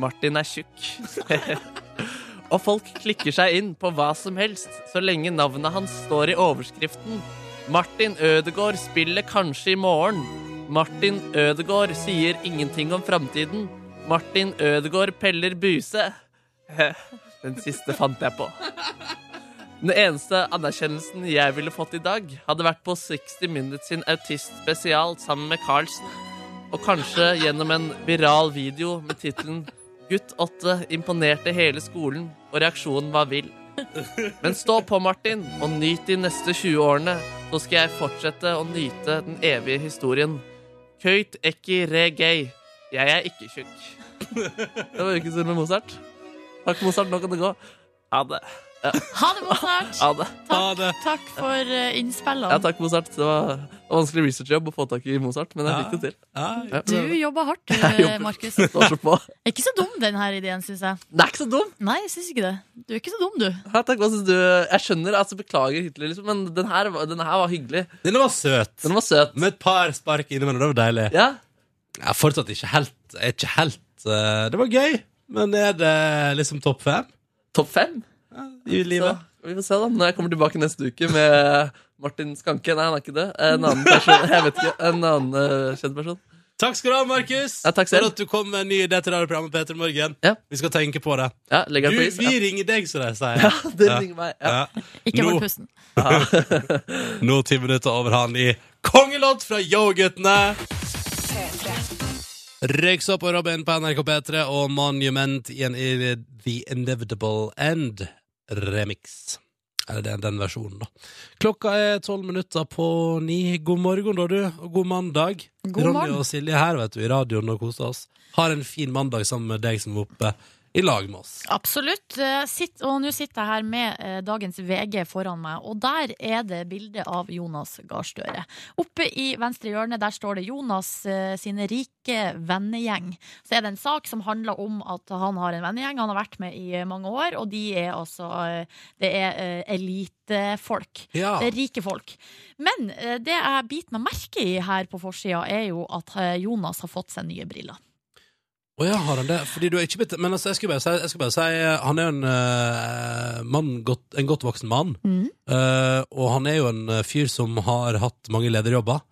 C: Martin er tjukk. og folk klikker seg inn på hva som helst så lenge navnet hans står i overskriften. Martin Ødegaard spiller kanskje i morgen. Martin Ødegaard sier ingenting om framtiden. Martin Ødegaard peller buse. Den siste fant jeg på. Den eneste anerkjennelsen jeg ville fått i dag, hadde vært på 60 Minutes sin autist-spesial sammen med Carlsen. Og kanskje gjennom en viral video med tittelen 'Gutt 8 imponerte hele skolen', og reaksjonen var vill. Men stå på, Martin, og nyt de neste 20 årene, så skal jeg fortsette å nyte den evige historien. Køyt ekki re gay. Jeg er ikke tjukk. Det var ukens ord med Mozart. Takk, Mozart. Nå kan det gå. Ha det.
B: Ha det, Mozart!
C: Ha det.
A: Ha det.
B: Takk for eh, innspillene.
C: Ja, takk, Mozart. Det var en vanskelig researchjobb å få tak i Mozart, men jeg fikk det til.
A: Ja,
C: Ja.
B: Du jobba hardt, du,
C: Jeg jobber.
B: Markus.
C: Står så på.
B: Er ikke så dum, den her ideen, syns jeg.
C: Det er ikke så dum!
B: Nei, jeg syns ikke det. Du er ikke så dum, du.
C: Ja, takk, hva synes du? Jeg skjønner, altså beklager Hitler, liksom, men den her, var- den her var hyggelig.
A: Denne var søt.
C: Den var søt.
A: Med et par spark innimellom. Det var deilig.
C: Ja,
A: Jeg er fortsatt ikke helt, jeg er ikke helt eh, Det var gøy, men er det liksom topp fem
C: Topp fem.
A: i
C: Så,
A: livet?
C: vi får se, da. Når jeg kommer tilbake neste uke med Martin Skanke Nei, han er ikke det. En annen person. Jeg vet ikke. En annen eh, kjent person.
A: Takk skal du ha, Markus,
C: Ja, takk selv.
A: for at du kom med en ny idé til radioprogrammet Peter Morgen.
C: Ja.
A: Vi skal tenke på det.
C: Ja,
A: Du,
C: legger jeg på is.
A: vi
C: Ja.
A: ringer deg, som de sier.
C: Det ringer meg. Ja.
A: Ja.
B: Ikke
A: Nå-
B: hold pusten.
A: Nå ti minutter over han i Kongelåt fra Yoghurtene. Røyksopp og Robin på NRK P3 og Monument i en i The Inevitable End remix. Eller det er den versjonen, da. Klokka er tolv minutter på ni. God morgen, da, du, og god mandag.
B: God
A: Ronny
B: morgen.
A: og Silje her, vet du, i radioen og koser oss. Har en fin mandag sammen med deg som er oppe i lag med oss.
B: Absolutt. Eh, Sitt, og nå sitter jeg her med eh, dagens VG foran meg, og der er det bilde av Jonas Gahr Støre. Oppe i venstre hjørne der står det Jonas eh, sine rike vennegjeng. Så er det en sak som handler om at han har en vennegjeng han har vært med i eh, mange år, og de er altså eh, Det er eh, elitefolk.
A: Ja.
B: Det er rike folk. Men eh, det jeg biter meg merke i her på forsida, er jo at eh, Jonas har fått seg nye briller.
A: Å ja, har han det? Fordi du er ikke blitt Men altså, jeg skulle bare si, jeg skulle bare si eh, Han er jo en eh, mann, godt, en godt voksen mann. Eh, og han er jo en eh, fyr som har hatt mange lederjobber.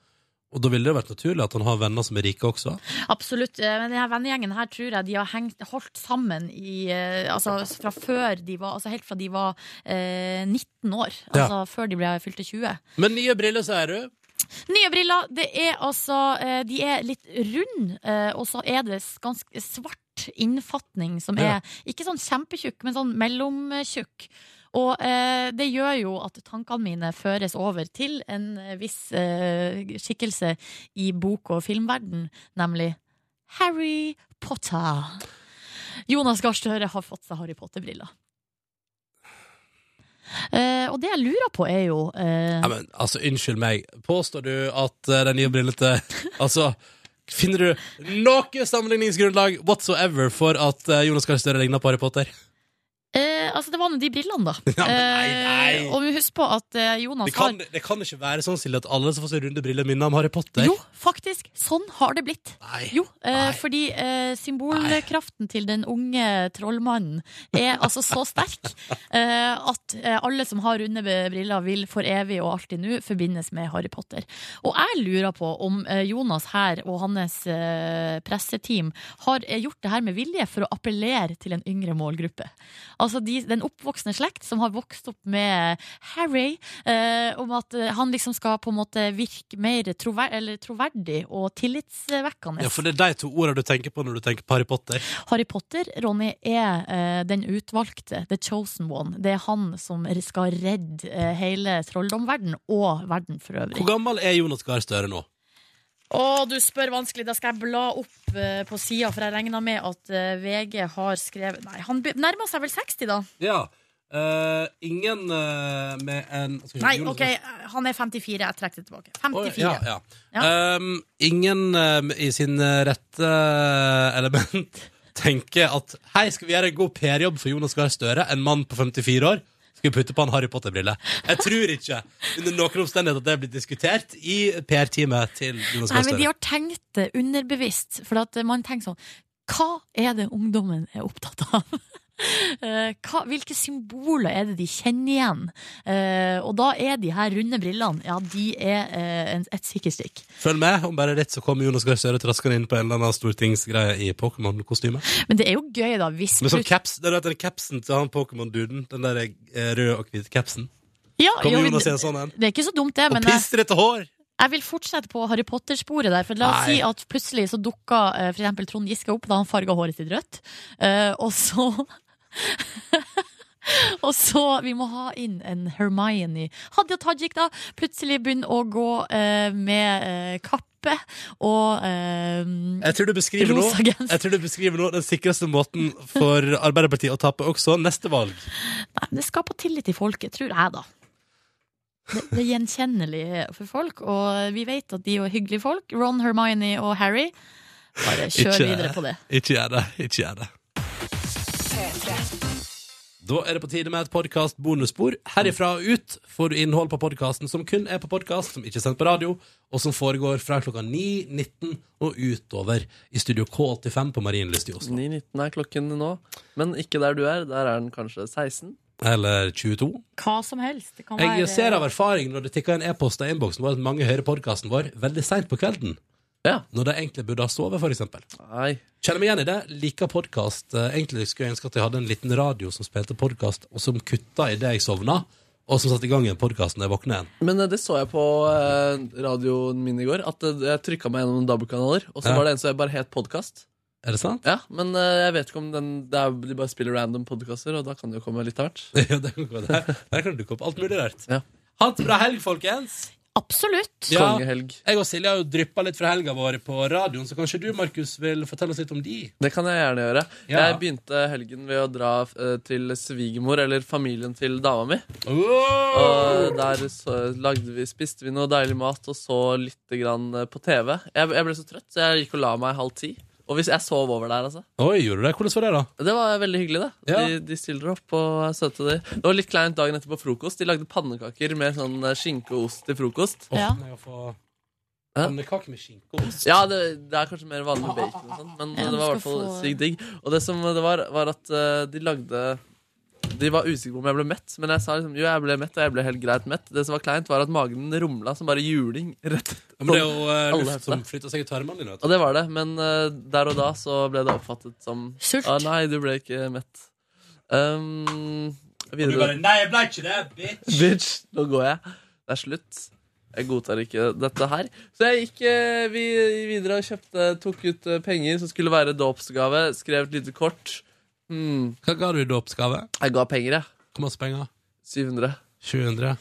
A: Og da ville det jo vært naturlig at han har venner som er rike også.
B: Absolutt. eh, Men denne vennegjengen her tror jeg de har hengt, holdt sammen i, eh, altså, fra før de var, altså, helt fra de var eh, 19 år.
A: Ja.
B: Altså før de ble fylte 20.
A: Men nye briller, sier du?
B: Nye briller. Det er altså, eh, de er litt runde, eh, og så er det s- ganske svart innfatning som
A: Ja.
B: er ikke sånn kjempetjukk, men sånn mellomtjukk. Og eh, det gjør jo at tankene mine føres over til en viss eh, skikkelse i bok- og filmverden, nemlig Harry Potter. Jonas Gahr Støre har fått seg Harry Potter-briller. Eh, og det jeg lurer på, er jo eh,
A: Nei, men altså, unnskyld meg. Påstår du at eh, de nye brillene til Altså, finner du noe sammenligningsgrunnlag whatsoever for at eh, Jonas Gahr Støre ligner på Harry Potter?
B: Eh, altså, det var nå de brillene, da.
A: Ja, men nei, nei.
B: Eh, og vi husker på at eh, Jonas
A: Det kan, det kan ikke være sånn, Silje, at alle som får seg runde briller, minner om Harry Potter.
B: har Jo, faktisk. Sånn har det blitt.
A: Nei.
B: Jo, eh,
A: Nei.
B: fordi eh, symbolkraften til den unge trollmannen er altså så sterk eh, at eh, alle som har runde be- briller, vil for evig og alltid nå forbindes med Harry Potter. Og jeg lurer på om eh, Jonas her og hans eh, presseteam har eh, gjort det her med vilje for å appellere til en yngre målgruppe. Altså de, den oppvoksende slekt som har vokst opp med Harry, eh, om at eh, han liksom skal på en måte virke mer trover eller troverdig og tillitsvekkende.
A: Ja, for det er de to ordene du tenker på når du tenker på Harry Potter.
B: Harry Potter, Ronny, er eh, den utvalgte, the chosen one. Det er han som skal redde eh, hele trolldomverden og verden for øvrig.
A: Hvor gammel er Jonas Gahr Støre nå?
B: Å, du spør vanskelig. Da skal jeg bla opp eh, på sida, for jeg regna med at eh, VG har skrevet Nei, han be- nærmer seg vel 60, da?
A: Ja. eh, ingen eh, med en Skal vi se,
B: Nei,
A: Jonas
B: OK,
A: Gahr-
B: han er 54. Jeg trekker det tilbake. 54.
A: Oi, ja, ja. Um, ingen um, i sin uh, rette eh, element tenker at hei, skal vi gjøre en god PR-jobb for Jonas Gahr Støre, en mann på 54 år? Skal vi putte på en Harry Potter-brille? Jeg tror ikke under noen omstendighet at det blir diskutert i PR-teamet til Jonas
B: Nei,
A: Gahr
B: men de
A: Støre.
B: har tenkt det underbevisst. For at man tenker sånn Hva er det ungdommen er opptatt av? Eh, Hva, hvilke symboler er det de kjenner igjen? Eh, og da er de her runde brillene Ja, de er eh, en, et sikkerstykk.
A: Følg med, om bare litt så kommer Jonas Gahr Støre traskende inn på en eller annen stortingsgreie i Pokémon-kostyme.
B: Men det er jo gøy, da, hvis
A: Men sånn
B: plut-
A: caps, den, der- den capsen til han Pokémon-duden, den der eh, røde og hvite capsen,
B: ja,
A: kommer
B: jo,
A: Jonas i
B: det,
A: en sånn en.
B: det er ikke så dumt, det.
A: Og
B: Men jeg,
A: pissrete hår!
B: jeg vil fortsette på Harry Potter-sporet der. For la oss
A: Nei.
B: si at plutselig så dukka eh, for eksempel Trond Giske opp da han farga håret sitt rødt. Eh, og så Og så vi må ha inn en Hermione. Hadia Tajik da plutselig begynner å gå eh, med eh, kappe og eh,
A: Jeg tror du beskriver nå
B: Rosa genser.
A: Jeg tror du beskriver nå den sikreste måten for Arbeiderpartiet å tape også neste valg.
B: Nei, men det skaper tillit i folket, tror jeg, da. Det, det er gjenkjennelig for folk, og vi vet at de er hyggelige folk. Ron, Hermione og Harry. Bare kjør
A: Ikke-
B: videre på det.
A: Ikke gjør det. Ikke gjør det. Da er det på tide med et podkast-bonusspor. Herifra og ut får du innhold på podkasten som kun er på podkast, som ikke er sendt på radio, og som foregår fra klokka 9, 19 og utover i Studio K85 på Marienlyst i Oslo.
C: 9.19 er klokken nå, men ikke der du er. Der er den kanskje 16.
A: Eller 22.
B: Hva som helst. Det kan
A: Jeg
B: være-
A: ser av erfaring når det tikker inn e-poster i innboksen vår at mange hører podkasten vår veldig seint på kvelden.
C: Ja.
A: Når de egentlig burde ha sovet, for eksempel.
C: Nei.
A: Kjenner meg igjen i det. Liker podkast. Egentlig skulle jeg ønske at jeg hadde en liten radio som spilte podkast, og som kutta idet jeg sovna, og som satte i gang en podkast når jeg våkna igjen.
C: Men eh, det så jeg på eh, radioen min i går, at eh, jeg trykka meg gjennom noen dobbeltkanaler, og så
A: Ja.
C: var det en som bare het podkast.
A: Er det sant?
C: Ja, men eh, jeg vet ikke om den det er, De bare spiller random podkaster, og da kan det jo komme litt av hvert.
A: Ja, det kan gå. Der, der kan det dukke opp alt mulig rart.
C: Ja.
A: Ha det bra helg, folkens!
B: Absolutt.
A: Ja.
C: Kongehelg.
A: Jeg og Silje har jo dryppa litt fra helga vår på radioen, så kanskje du, Markus, vil fortelle oss litt om de?
C: Det kan jeg gjerne gjøre.
A: Ja.
C: Jeg begynte helgen ved å dra eh, til svigermor, eller familien til dama mi.
A: Ah.
C: Og der så lagde vi, spiste vi noe deilig mat og så litt grann eh, på TV. Jeg, jeg ble så trøtt, så jeg gikk og la meg halv ti. Og hvis jeg sov over der, altså.
A: Oi, gjorde du det? Hvordan var det, da?
C: Det var veldig hyggelig, det.
A: Ja.
C: De, de stiller opp og er søte, de. Det var litt kleint dagen etter på frokost. De lagde pannekaker med sånn eh, skinke og ost til frokost.
B: Ja.
A: Nei, å få
C: Hæ?
A: Pannekake med skinke og ost.
C: Ja, det, det er kanskje mer vanlig med bacon og sånn, men
B: Ja,
C: det var i
B: du
C: hvert
B: skal
C: fall
B: få-
C: sykt digg. Og det som det var, var at eh, de lagde De var usikre på om jeg ble mett, men jeg sa liksom jo, jeg ble mett, og jeg ble helt greit mett. Det som var kleint, var at magen rumla som bare juling. Rett.
A: Ja, Men det er jo eh,
C: Alle
A: luft
C: heter
A: som
C: det.
A: flytter seg i tarmene dine. vet du.
C: Og det var det, men eh, der og da så ble det oppfattet som
B: Sult.
C: Ah, nei, du ble ikke mett. Um,
A: Og du
C: videre.
A: bare Nei, jeg ble ikke det, bitch!
C: Bitch, nå går jeg. Det er slutt. Jeg godtar ikke dette her. Så jeg gikk eh, vi videre og kjøpte, tok ut eh, penger som skulle være dåpsgave. Skrev et lite kort. Hmm,
A: Hva ga du i dåpsgave?
C: jeg ga penger, jeg.
A: Hvor masse penger?
C: 700.
A: 700.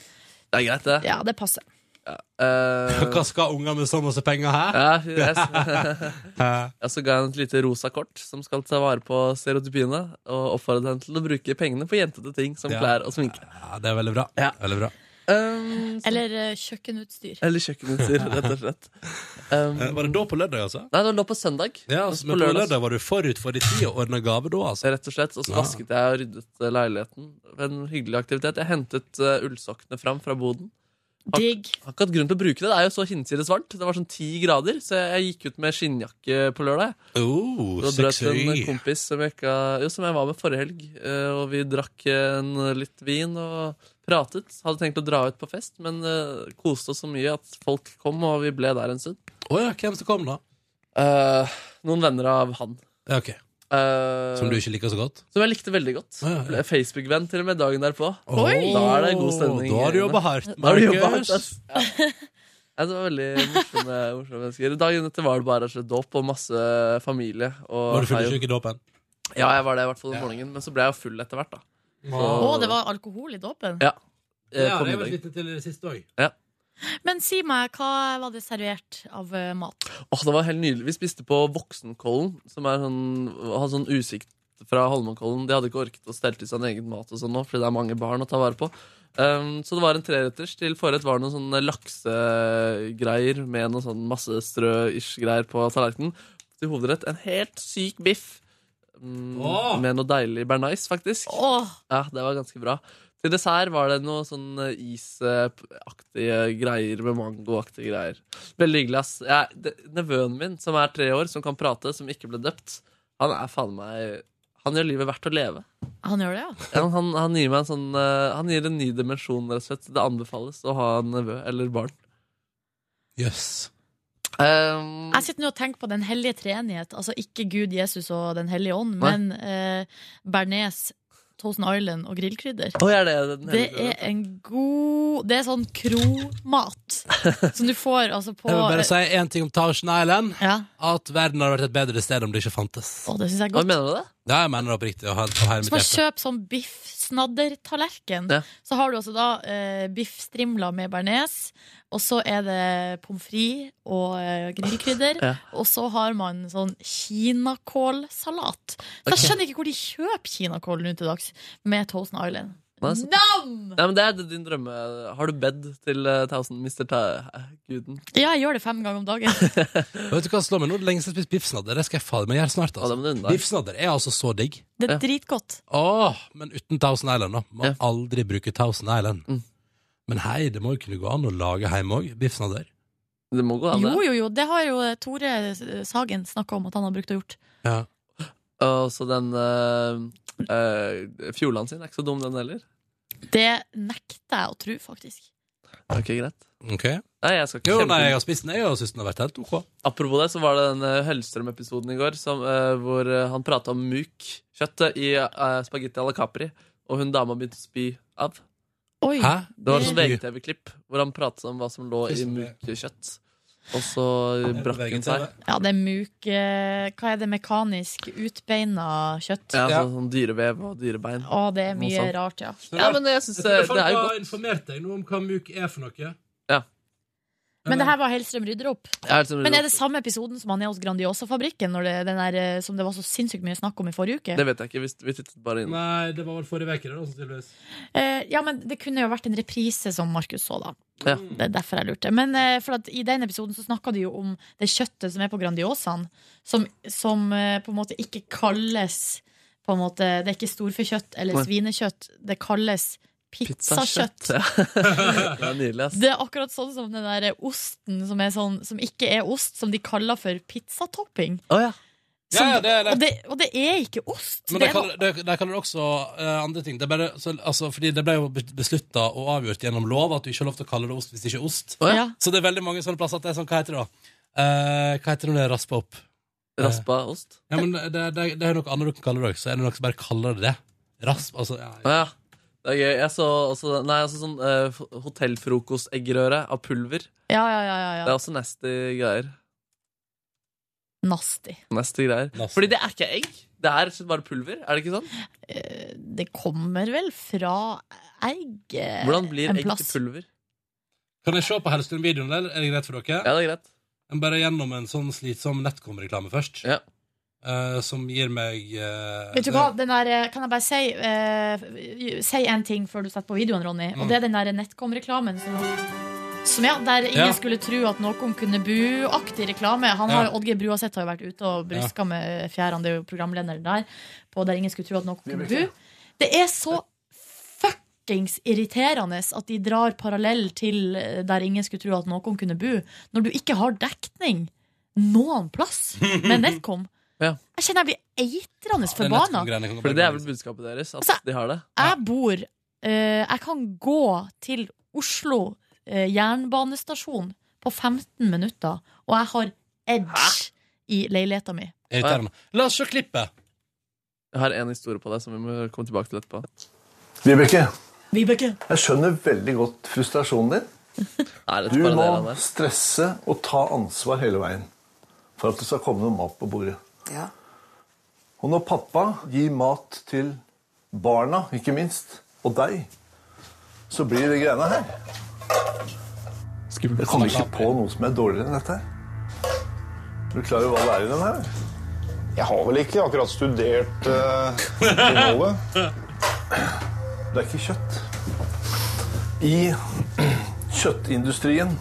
C: Det er greit, det.
B: Ja, det passer.
C: Eh,
A: Hva skal unger med så masse penger her?
C: ja, jeg, jeg så ga jeg henne et lite rosa kort som skal ta vare på stereotypiene, og oppfordret henne til å bruke pengene på jentete ting som
A: Ja.
C: klær og sminke.
A: Ja, det er veldig bra.
C: Ja.
A: Veldig bra.
C: Um,
B: Eller eh, kjøkkenutstyr.
C: eller kjøkkenutstyr, rett og slett. Um,
A: Eh, Var det dåp på lørdag, altså?
C: nei, det lå på søndag.
A: Ja,
C: Mens
A: altså, men på lørdag var du forut for din tid og ordna gave da, altså.
C: rett og slett. Og så
A: Ja.
C: vasket jeg og ryddet eh, leiligheten. En hyggelig aktivitet. Jeg hentet eh, ullsokkene fram fra boden.
B: Digg.
C: Har ikke hatt grunn til å bruke det. Det er jo så hinsides varmt. Det var sånn ti grader, så jeg gikk ut med skinnjakke på lørdag.
A: Oh,
C: Så brøt en
A: sexy.
C: kompis som jeg, ikke, jo, som jeg var med forrige helg, eh, og vi drakk en, litt vin og pratet. Hadde tenkt å dra ut på fest, men eh, koste oss så mye at folk kom, og vi ble der en stund.
A: Å ja, hvem som kom, da?
C: Eh, noen venner av han.
A: Ja, ok.
C: Eh,
A: Som du ikke liker så godt?
C: som jeg likte veldig godt.
A: Ja, ja, ja.
C: Ble Facebook-venn til og med dagen derpå.
A: Oi!
C: Da er det god stemning.
A: Da har du jobba hardt,
C: Da har du jobba
A: Markus.
C: hardt, ass. Ja. Nei, Det var veldig morsomme, morsomme mennesker. Dagen etter var det bare altså, dåp og masse familie. Og
A: Var du fyllesyk i dåpen?
C: Ja, jeg var det i hvert fall om
A: Ja.
C: morgenen. Men så ble jeg jo full etter hvert, da.
B: Å,
C: Så-
B: det var alkohol i dåpen?
C: Ja. eh, på middag.
A: vitne til sist òg.
B: Men si meg, hva var det servert av eh, mat?
C: Åh, det var helt nydelig. Vi spiste på Voksenkollen, som er sånn, har sånn usikt fra Holmenkollen. De hadde ikke orket å stelle til seg en egen mat og sånn nå, fordi det er mange barn å ta vare på. Um, så det var en treretters. Til forrett var det noen sånne laksegreier med noe sånn masse strø-ish-greier på tallerkenen. Til hovedrett en helt syk biff. Mm,
A: Åh!
C: Med noe deilig bearnais, faktisk.
B: Åh,
C: Ja, det var ganske bra. Til dessert var det noe sånn eh, isaktige greier med mangoaktige greier. Veldig hyggelig, ass. Jeg, det, nevøen min, som er tre år, som kan prate, som ikke ble døpt, han er faen meg Han gjør livet verdt å leve.
B: han gjør det, ja.
C: Han, han, han gir meg en sånn eh, Han gir en ny dimensjon, rett og slett. Det anbefales å ha en nevø eller barn.
A: Jøss.
C: Ehm,
B: Jeg sitter nå og tenker på Den hellige treenighet. Altså ikke Gud, Jesus og Den hellige ånd,
C: Nei.
B: men eh, Bernes, Thousand Island og grillkrydder.
C: Oi, er det den
B: Det
C: hellige
B: er en god Det er sånn kromat som du får altså på
A: Jeg vil bare
C: eh.
A: si én ting om Thousand Island.
B: Ja.
A: At verden hadde vært et bedre sted om det ikke fantes.
B: Å, det syns jeg er
C: Hva
B: godt.
C: mener du det?
A: Ja, jeg mener det oppriktig. Og her, og her er
B: Så
A: mitt
B: man
A: hjerte.
B: kjøper sånn biff-snaddertallerken.
C: Ja.
B: Så har du altså da eh, biffstrimler med bearnés, og så er det pommes frites og eh, grillkrydder.
C: Ja.
B: Og så har man sånn kinakålsalat. Så jeg
C: Ok.
B: skjønner ikke hvor de kjøper kinakål nå til dags med Thousand Island.
C: Nei, så-
B: Nam!
C: Nei, men det er din drømme. Har du bedt til eh, Thousand Mr. Ta-guden?
B: Ja, jeg gjør det fem ganger om dagen.
A: Vet du hva som slår meg nå? Det er Lenge siden jeg har spist biffsnadder. Det skal jeg fader meg gjøre snart.
C: Å, det
A: Altså.
C: må du unne deg.
A: Biffsnadder er altså så digg.
B: Det
C: Ja.
B: er dritgodt.
A: Åh, men uten Thousand Island, da. Må
C: Ja.
A: aldri bruke Thousand Island.
C: Mm.
A: Men hei, det må jo kunne gå an å lage hjemme òg. Biffsnadder.
C: Det må gå an, det.
B: Jo, jo, jo. Det har jo eh, Tore eh, Sagen snakka om at han har brukt og gjort.
A: Ja.
C: Og så den uh, Fjordland sin er ikke så dum, den heller.
B: Det nekter jeg å tro, faktisk.
C: Ok, greit.
A: Ok.
C: Nei, jeg skal ikke
A: Jo,
C: kjempe-
A: nei, jeg har spist den, jeg, og syns den har vært helt OK.
C: Apropos det, så var det den eh, Hellstrøm-episoden i går som, eh, hvor eh, han prata om muk-kjøttet i uh, spagetti à la Capri, og hun dama begynte å spy av.
B: Oi.
A: Hæ?
C: Det var et sånt
A: Det-
C: VGTV-klipp hvor han pratet om hva som lå i
A: Tusen takk.
C: muk-kjøtt. Og så brakk hun seg.
A: VGTV.
B: Ja, det er muk eh, Hva er det mekanisk utbeina kjøtt?
C: Ja,
A: Ja.
C: sånn, sånn dyrevev og dyrebein.
B: Å, det er
C: Noe
B: mye
C: sånt.
B: rart, ja.
C: Ja, men jeg synes eh, det er jo godt.
A: informert deg nå om hva muk er for noe.
C: Ja.
B: Men det her var Hellstrøm rydder opp.
C: Jeg er liksom-
B: Men er det samme episoden som han er hos Grandiosa-fabrikken, når det, den der, eh, som det var så sinnssykt mye snakk om i forrige uke?
C: Det vet jeg ikke. Vi, vi tittet bare inn.
A: Nei, det var vel forrige uke, det, da, sannsynligvis.
B: Eh, ja, men det kunne jo vært en reprise som Markus så, da.
C: Ja.
B: Det er derfor jeg lurte. Men eh, for at i den episoden så snakka du jo om det kjøttet som er på Grandiosaen, som, som eh, på en måte ikke kalles på en måte, Det er ikke storfekjøtt eller
C: Nei.
B: svinekjøtt. Det kalles pizzakjøtt.
C: Ja. det er nydelig, ass.
B: Det er akkurat sånn som den der osten som, er sånn, som ikke er ost, som de kaller for pizzatopping.
C: Å ja.
A: Ja,
B: Som-
A: ja, det er det.
B: Og, det, og det er ikke ost!
A: Men de
B: det er noe-
A: kaller, de, de kaller det også eh, andre ting. Det, er bare, så, altså, fordi det ble jo beslutta og avgjort gjennom lov at du ikke har lov til å kalle det ost hvis det ikke er ost.
C: Å, ja.
B: ja.
A: Så det er veldig mange sånne plasser at det er sånn, hva heter det da? Eh, hva heter det når det er raspa opp?
C: Raspa ost.
A: Ja, men det, det, det er noe annet dere kan kalle det også, så er det noen som bare kaller det det. Rasp, altså, ja.
C: Å ja. Det er gøy. Jeg så også Nei, jeg så sånn uh, hotellfrokosteggerøre av pulver.
B: ja, ja, ja, ja,
C: Det er
B: ja.
C: også nasty greier.
B: Nasty.
C: Nasty greier.
A: Nasty.
C: Fordi det er ikke egg. Det er rett og slett bare pulver. Er det ikke sånn?
B: Eh, Det kommer vel fra egg eh,
C: Hvordan blir
B: en
C: egg til
B: plass.
C: pulver?
A: Kan jeg se på Hellstrøm-videoen, eller? Er det greit for dere?
C: Ja, det er greit.
A: Men Bare gjennom en sånn slitsom Netcom-reklame først,
C: Ja.
A: eh, som gir meg eh,
B: Vet du hva, den der, eh, kan jeg bare si eh, Si en ting før du setter på videoen, Ronny.
A: Mm.
B: Og det er den der NetCom-reklamen som, som ja, Der ingen
A: Ja.
B: skulle tro at noen kunne bu-aktig reklame. Han
A: Ja.
B: har jo, Oddgeir Bruaseth har jo vært ute og bruska med fjærene, det er jo programlederen der, på Der ingen skulle tro at noen kunne bu. Det er så fuckings irriterende at de drar parallell til eh, Der ingen skulle tro at noen kunne bu, når du ikke har dekning noen plass med NetCom.
C: Ja.
B: Jeg kjenner jeg blir eitrende
A: det
B: forbanna.
A: Netcom-greiene kan
C: Fordi
A: bare gå
C: det er vel
A: videre.
C: budskapet deres. At
B: Altså-
C: de har det.
B: Jeg bor eh, Jeg kan gå til Oslo eh, jernbanestasjon på 15 minutter, og jeg har edge i leiligheta mi.
A: Irriterende. La oss se klippet.
C: Jeg har en historie på det som vi må komme tilbake til etterpå.
G: Vibeke,
B: Vibeke.
G: jeg skjønner veldig godt frustrasjonen din.
C: Er dette
G: Du
C: bare en del av
G: må
C: det?
G: stresse og ta ansvar hele veien for at det skal komme noe mat på bordet. Og når pappa gir mat til barna, ikke minst, og deg, så blir det greiene her. Jeg kommer ikke på noe som er dårligere enn dette. her. Er du klar over hva det er i den her? Jeg har vel ikke akkurat studert eh, innholdet. Det er ikke kjøtt. I kjøttindustrien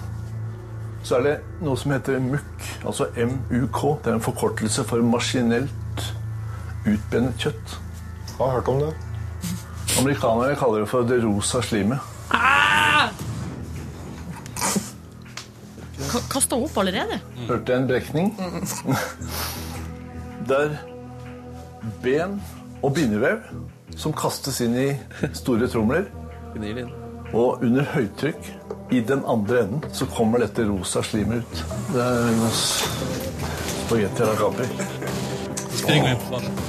G: så er det noe som heter MUK, altså MUK. Det er en forkortelse for maskinelt utbrennet kjøtt. Jeg har hørt om det. Amerikanere kaller det for det rosa slimet.
B: Kasta opp allerede?
G: Hørte jeg en brekning? Der ben og bindevev som kastes inn i store tromler,
C: Gnir det inn.
G: og under høytrykk i den andre enden så kommer dette rosa slimet ut. Det er en spagetti à la Capri.
A: Spring meg inn på svaret.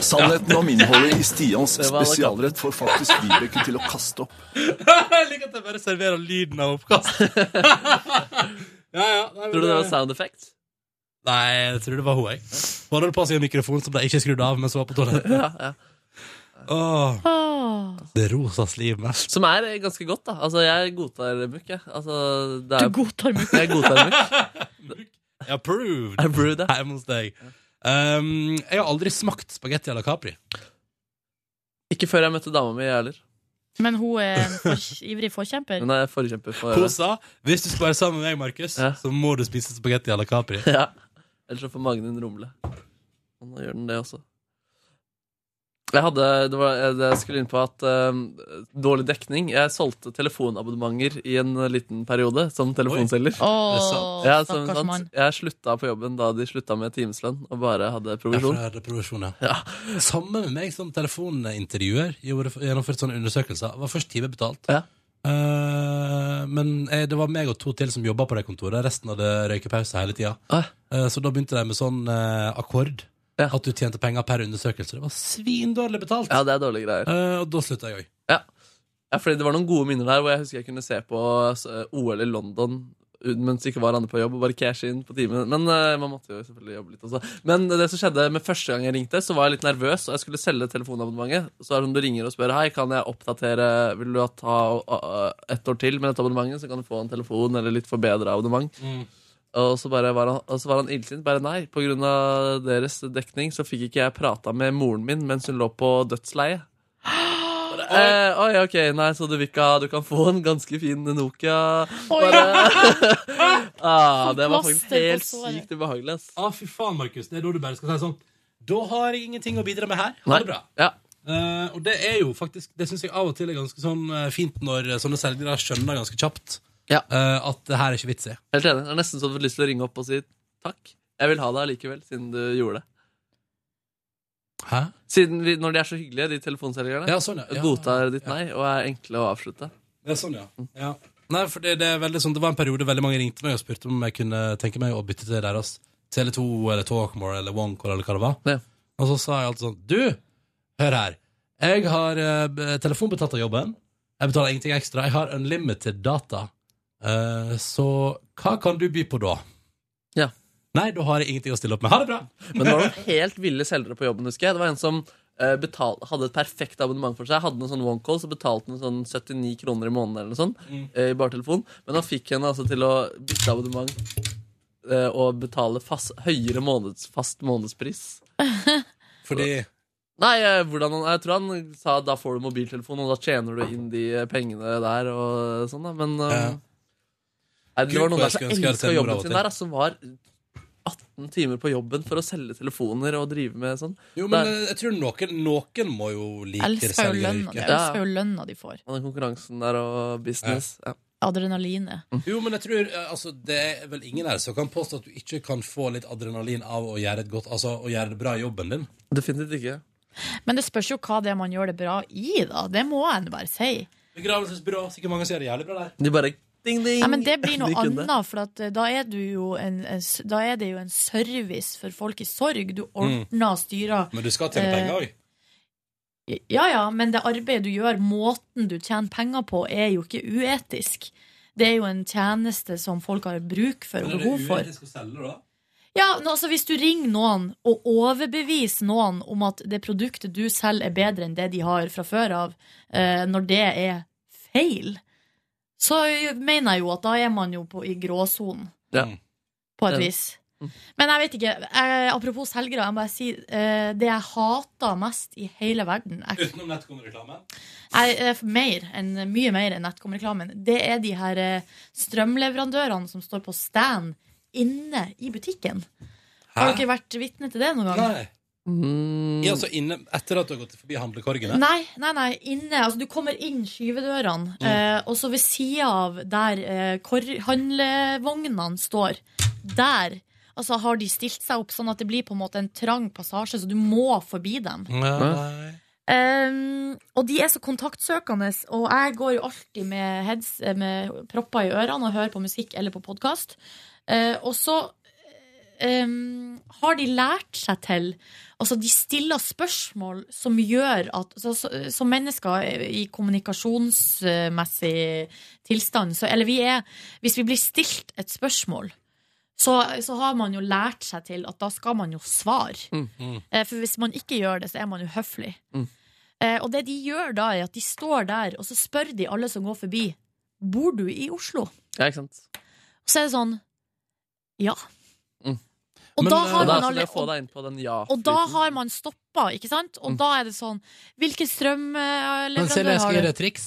G: Sannheten om innholdet i Stians
C: Det var alle
G: spesialrett får faktisk Vibeke til å kaste opp.
A: Jeg liker at jeg bare serverer lyden av oppkast. ja, ja. Nei, men
C: Tror du det
A: det-
C: var sound effects?
A: Nei, jeg tror det var hun, jeg. Hun hadde på seg en mikrofon som ble ikke skrudd av mens hun var på toalettet.
C: Ja, ja.
A: Åh,
B: Åh.
C: Ah.
A: det rosas liv mest.
C: Som er godt, da. Altså, jeg godtar mukk, jeg. Altså, det
B: Du
C: er...
B: godtar meg.
C: Jeg godtar mukk.
A: Approved!
C: Er brew det?
A: Hjemme hos deg. Um, jeg har aldri smakt spagetti à la Capri.
C: Ikke før jeg møtte dama mi, jeg heller.
B: Men hun er en for, ivrig forkjemper.
C: Hun er forkjemper for
A: Hun sa hvis du skal være sammen med meg, Markus,
C: Ja.
A: så må du spise spagetti à la Capri.
C: Ja. Ellers så får magen din rumle. Og nå gjør den det også. Jeg hadde, det var, jeg skulle inn på at eh, dårlig dekning Jeg solgte telefonabonnementer i en liten periode som telefonselger.
B: Åh,
C: Ja, som
B: stakkars
C: sant.
B: mann.
C: Jeg slutta på jobben da de slutta med timeslønn og bare hadde provisjon.
A: Ja, for det er provisjon, ja. Samme med meg som telefonintervjuer. Gjorde- Gjennomførte sånne undersøkelser. Det var først time betalt.
C: Ja.
A: Eh, men eh, det var meg og to til som jobba på det kontoret. Resten hadde røykepause hele tida.
C: Ah,
A: Eh, Så da begynte de med sånn eh, akkord.
C: Ja.
A: At du tjente penger per undersøkelse. Det var svindårlig betalt!
C: ja, det er dårlige greier.
A: Eh, og da slutta jeg òg.
C: Ja, fordi Det var noen gode minner der hvor jeg husker jeg kunne se på eh, OL i London mens ikke var andre på jobb, og bare cash inn på timen. Men eh, man måtte jo selvfølgelig jobbe litt også. Men det som skjedde med første gang jeg ringte, så var jeg litt nervøs, og jeg skulle selge telefonabonnementet. Så er det som du ringer og spør Hei, kan jeg oppdatere Vil du ta ah, ett år til med dette abonnementet, så kan du få en telefon eller litt forbedra abonnement. Og så, bare var han, og så var han illsint. Bare nei. På grunn av deres dekning så fikk ikke jeg prata med moren min mens hun lå på dødsleiet. Bare, Eh, oi, ok, nei, så du, vil ikke, ha- du kan få en ganske fin Nokia Bare, ah, Det var
B: Plaster
C: faktisk
B: på
C: helt
B: såret.
C: sykt ubehagelig ass.
A: Ah, fy faen, Markus. Det er da du bare skal si sånn Da har jeg ingenting å bidra med her. Ha
C: Nei,
A: det bra.
C: ja.
A: Eh, og det er jo faktisk Det syns jeg av og til er ganske sånn eh, fint når eh, sånne selgere skjønner ganske kjapt
C: Ja.
A: eh, at det her er ikke vits i.
C: Helt enig, det er nesten så du får lyst til å ringe opp og si Takk, jeg vil ha deg likevel Siden du gjorde det
A: Hæ?
C: Siden vi, når de er så hyggelige, de telefonselgerne
A: Ja, sånn, ja. ja.
C: Godtar ditt nei, og er enkle å avslutte
A: Det er sånn, ja.
B: Mm.
A: ja. Nei, for det, det er veldig sånn Det var en periode veldig mange ringte meg og spurte om jeg kunne tenke meg å bytte til deres Tele2 eller Talkmore eller Onecore eller hva det var.
C: Ja.
A: Og så sa jeg alltid sånn Du, hør her. Jeg har eh, b- telefonbetalt av jobben. Jeg betaler ingenting ekstra. Jeg har unlimited data. Eh, så hva kan du by på da?
C: Ja.
A: Nei, da har jeg ingenting å stille opp med. Ha det bra!
C: Men det var noen helt ville selgere på jobben, husker jeg. Det var en som eh, betal, hadde et perfekt abonnement for seg. Hadde en sånn one call, så betalte han sånn 79 kroner i måneden eller noe sånt.
A: Mm.
C: eh, I bartelefon. Men han fikk henne altså til å bytte abonnement eh, og betale fast, høyere måneds, fast månedspris.
A: Fordi
C: Nei, eh, hvordan han, jeg tror han sa da får du mobiltelefon, og da tjener du inn de eh, pengene der og sånn, da. Men eh,
A: Ja.
C: nei, det var
A: Gud,
C: noen
A: hvor
C: der som
A: jeg skulle ønske jeg hadde
C: elska
A: Telenor av
C: jobben
A: og
C: sin
A: til.
C: der, altså, som var 18 timer på jobben for å selge telefoner og drive med sånn.
A: Jo,
C: Der.
A: men eh, jeg tror noen, noen må jo like
B: Elsker jo lønna.
A: selgeryrket.
B: Jeg elsker jo lønna de får.
C: Og den konkurransen der og business. Ja.
B: Adrenalinet.
C: Mm.
A: Jo, men jeg tror eh, altså, Det er vel ingen her som kan påstå at du ikke kan få litt adrenalin av å gjøre, et godt, altså, å gjøre det bra i jobben din.
C: Definitivt ikke.
B: Men det spørs jo hva det er man gjør det bra i, da. Det må en bare si.
A: Begravelsesbyrå. Sikkert mange som gjør det jævlig bra der.
C: De bare ding, ding.
B: Nei, men det blir noe
C: De kunne.
B: annet, for at, eh, da, er du jo en, en, s- da er det jo en service for folk i sorg. Du ordner og styrer.
A: Men du skal tjene
B: Eh,
A: penger òg.
B: Ja ja, men det arbeidet du gjør, måten du tjener penger på, er jo ikke uetisk. Det er jo en tjeneste som folk har bruk for og behov for. Ja, nå, altså Hvis du ringer noen og overbeviser noen om at det produktet du selger, er bedre enn det de har fra før av, eh, når det er feil, så mener jeg jo at da er man jo på, i gråsonen.
C: Ja.
B: På et
C: Ja. Mm.
B: vis. Men jeg vet ikke. Eh, apropos selgere, jeg må bare si eh, det jeg hater mest i hele verden jeg,
A: Utenom nettkomreklamen.
B: jeg, eh, mer enn, Mye mer enn Netcom-reklamen. Det er de her eh, strømleverandørene som står på stand inne i butikken. Har dere vært vitne til det noen gang?
A: Nei.
C: Mm,
A: Ja, altså, inne, etter at du har gått forbi handlekorgene.
B: Nei, nei, nei, inne, altså du kommer inn skyvedørene eh, Og så ved siden av der eh, kor- handlevognene står Der altså, har de stilt seg opp sånn at det blir på en måte en trang passasje Så du må forbi dem
A: Nei.
B: Ehm, og de er så kontaktsøkende, og jeg går jo alltid med, heads, eh, med propper i ørene og hører på musikk eller på podkast. og så ehm, har de lært seg til Altså, de stiller spørsmål som gjør at så, så, Som mennesker i kommunikasjonsmessig tilstand, så Eller vi er Hvis vi blir stilt et spørsmål, så, så har man jo lært seg til at da skal man jo svare. Eh, For hvis man ikke gjør det, så er man jo høflig.
C: Mm.
B: Eh, Og det de gjør da, er at de står der, og så spør de alle som går forbi, bor du i Oslo?
C: ja, ikke sant.
B: Og så er det sånn, ja.
C: Mm.
B: Og,
A: Men,
B: da
A: eh,
B: har
C: Og da
B: man
C: skal
B: alle,
C: jeg få
B: og,
C: deg inn på den ja
B: og da har man stoppa, ikke sant? Og
C: Mm.
B: da er det sånn, hvilken strøm eh,
A: Men Silje,
B: leverandør
A: jeg skal gi
B: har du?
A: deg et triks.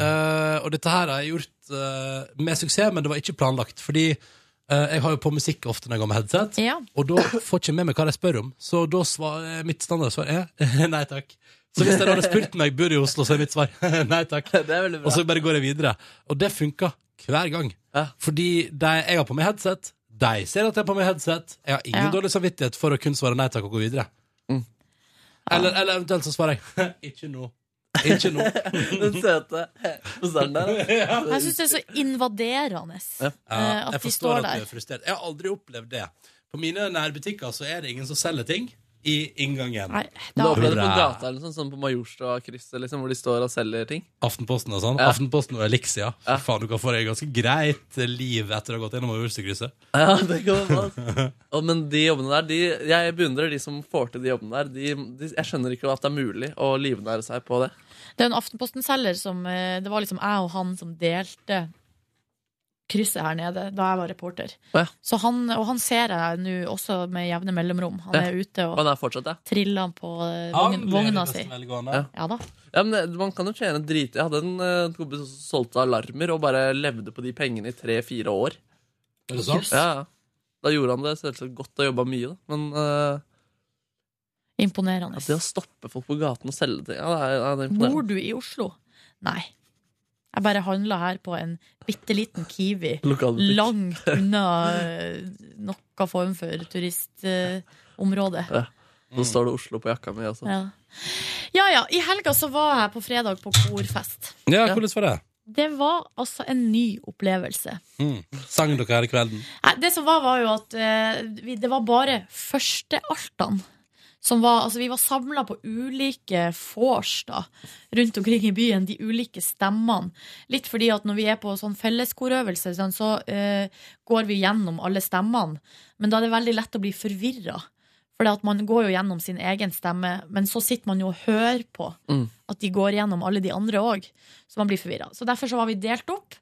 A: Eh, og dette her har jeg gjort eh, med suksess, men det var ikke planlagt. Fordi eh, jeg har jo på musikk ofte når jeg går med headset,
B: Ja.
A: og da får jeg ikke med meg hva de spør om. Så da svar, eh, mitt standardsvar er nei takk. Så hvis de hadde spurt meg bor du i Oslo, så er mitt svar nei takk.
C: Det er veldig bra.
A: Og så bare går jeg videre. Og det funka hver gang.
C: Ja.
A: Fordi de, jeg har på meg headset, de ser at jeg har på meg headset. Jeg har ingen
B: Ja.
A: dårlig samvittighet for å kun svare nei takk og gå videre.
C: Mm.
A: Eller, eller eventuelt så svarer jeg ikke nå. Ikke nå.
C: Den søte poseren der.
B: Jeg syns det er så invaderende
C: Ja.
B: eh,
A: Ja,
B: at
A: jeg
B: de
A: forstår
B: står
A: at du
B: der.
A: er frustrert. Jeg har aldri opplevd det. På mine nærbutikker så er det ingen som selger ting. i inngangen.
B: Nei,
C: Du
B: da,
C: har opplevd det på
A: Hurra.
C: gata eller noe sånt, sånn på Majorstua-krysset, liksom, hvor de står og selger ting?
A: Aftenposten og sånn.
C: Ja.
A: Aftenposten og Elixia. Fy
C: Ja.
A: Faen, du kan få deg et ganske greit liv etter å ha gått gjennom Ulsterkrysset.
C: Ja, det kan man passe. Og, men de jobbene der, de, jeg beundrer de som får til de jobbene der. De, de, jeg skjønner ikke at det er mulig å livnære seg på det.
B: det er en Aftenposten-selger som eh, Det var liksom jeg og han som delte krysset her nede da jeg var reporter.
C: Å, ja.
B: Så han, og han ser jeg nå også med jevne mellomrom. Han
C: Ja.
B: er ute
C: Og
B: og
C: han er fortsatt, ja.
B: triller på eh, vogn, vogna si.
A: Ja.
B: Ja da.
C: ja men det- man kan jo tjene drit. Jeg hadde en eh, kompis som solgte alarmer og bare levde på de pengene i tre-fire år.
A: Er det sant?
C: Ja, ja. Da gjorde han det selvsagt godt og jobba mye, da. Men eh,
B: Imponerende.
C: at det å stoppe folk på gaten og selge ting, ja, det er, ja, det er
B: Bor
C: imponerende.
B: du i Oslo? Nei. Jeg bare handla her på en bitte liten Kiwi.
C: Lokalbutikk.
B: Langt unna eh, noe form for turistområde.
C: Så står det Oslo på jakka mi altså. også.
B: Ja. ja ja, i helga så var jeg på fredag på korfest.
A: Ja, hvordan var det?
B: Det var altså en ny opplevelse.
A: Mm. Sang dere hele kvelden?
B: Nei, det som var, var jo at eh, vi, det var bare førstealtene. Som var, altså vi var samla på ulike vors da, rundt omkring i byen, de ulike stemmene. Litt fordi at når vi er på sånn felleskorøvelse, sånn, så eh, går vi gjennom alle stemmene. Men da er det veldig lett å bli forvirra. For man går jo gjennom sin egen stemme, men så sitter man jo og hører på
C: Mm.
B: at de går gjennom alle de andre òg. Så man blir forvirra. Så derfor så var vi delt opp.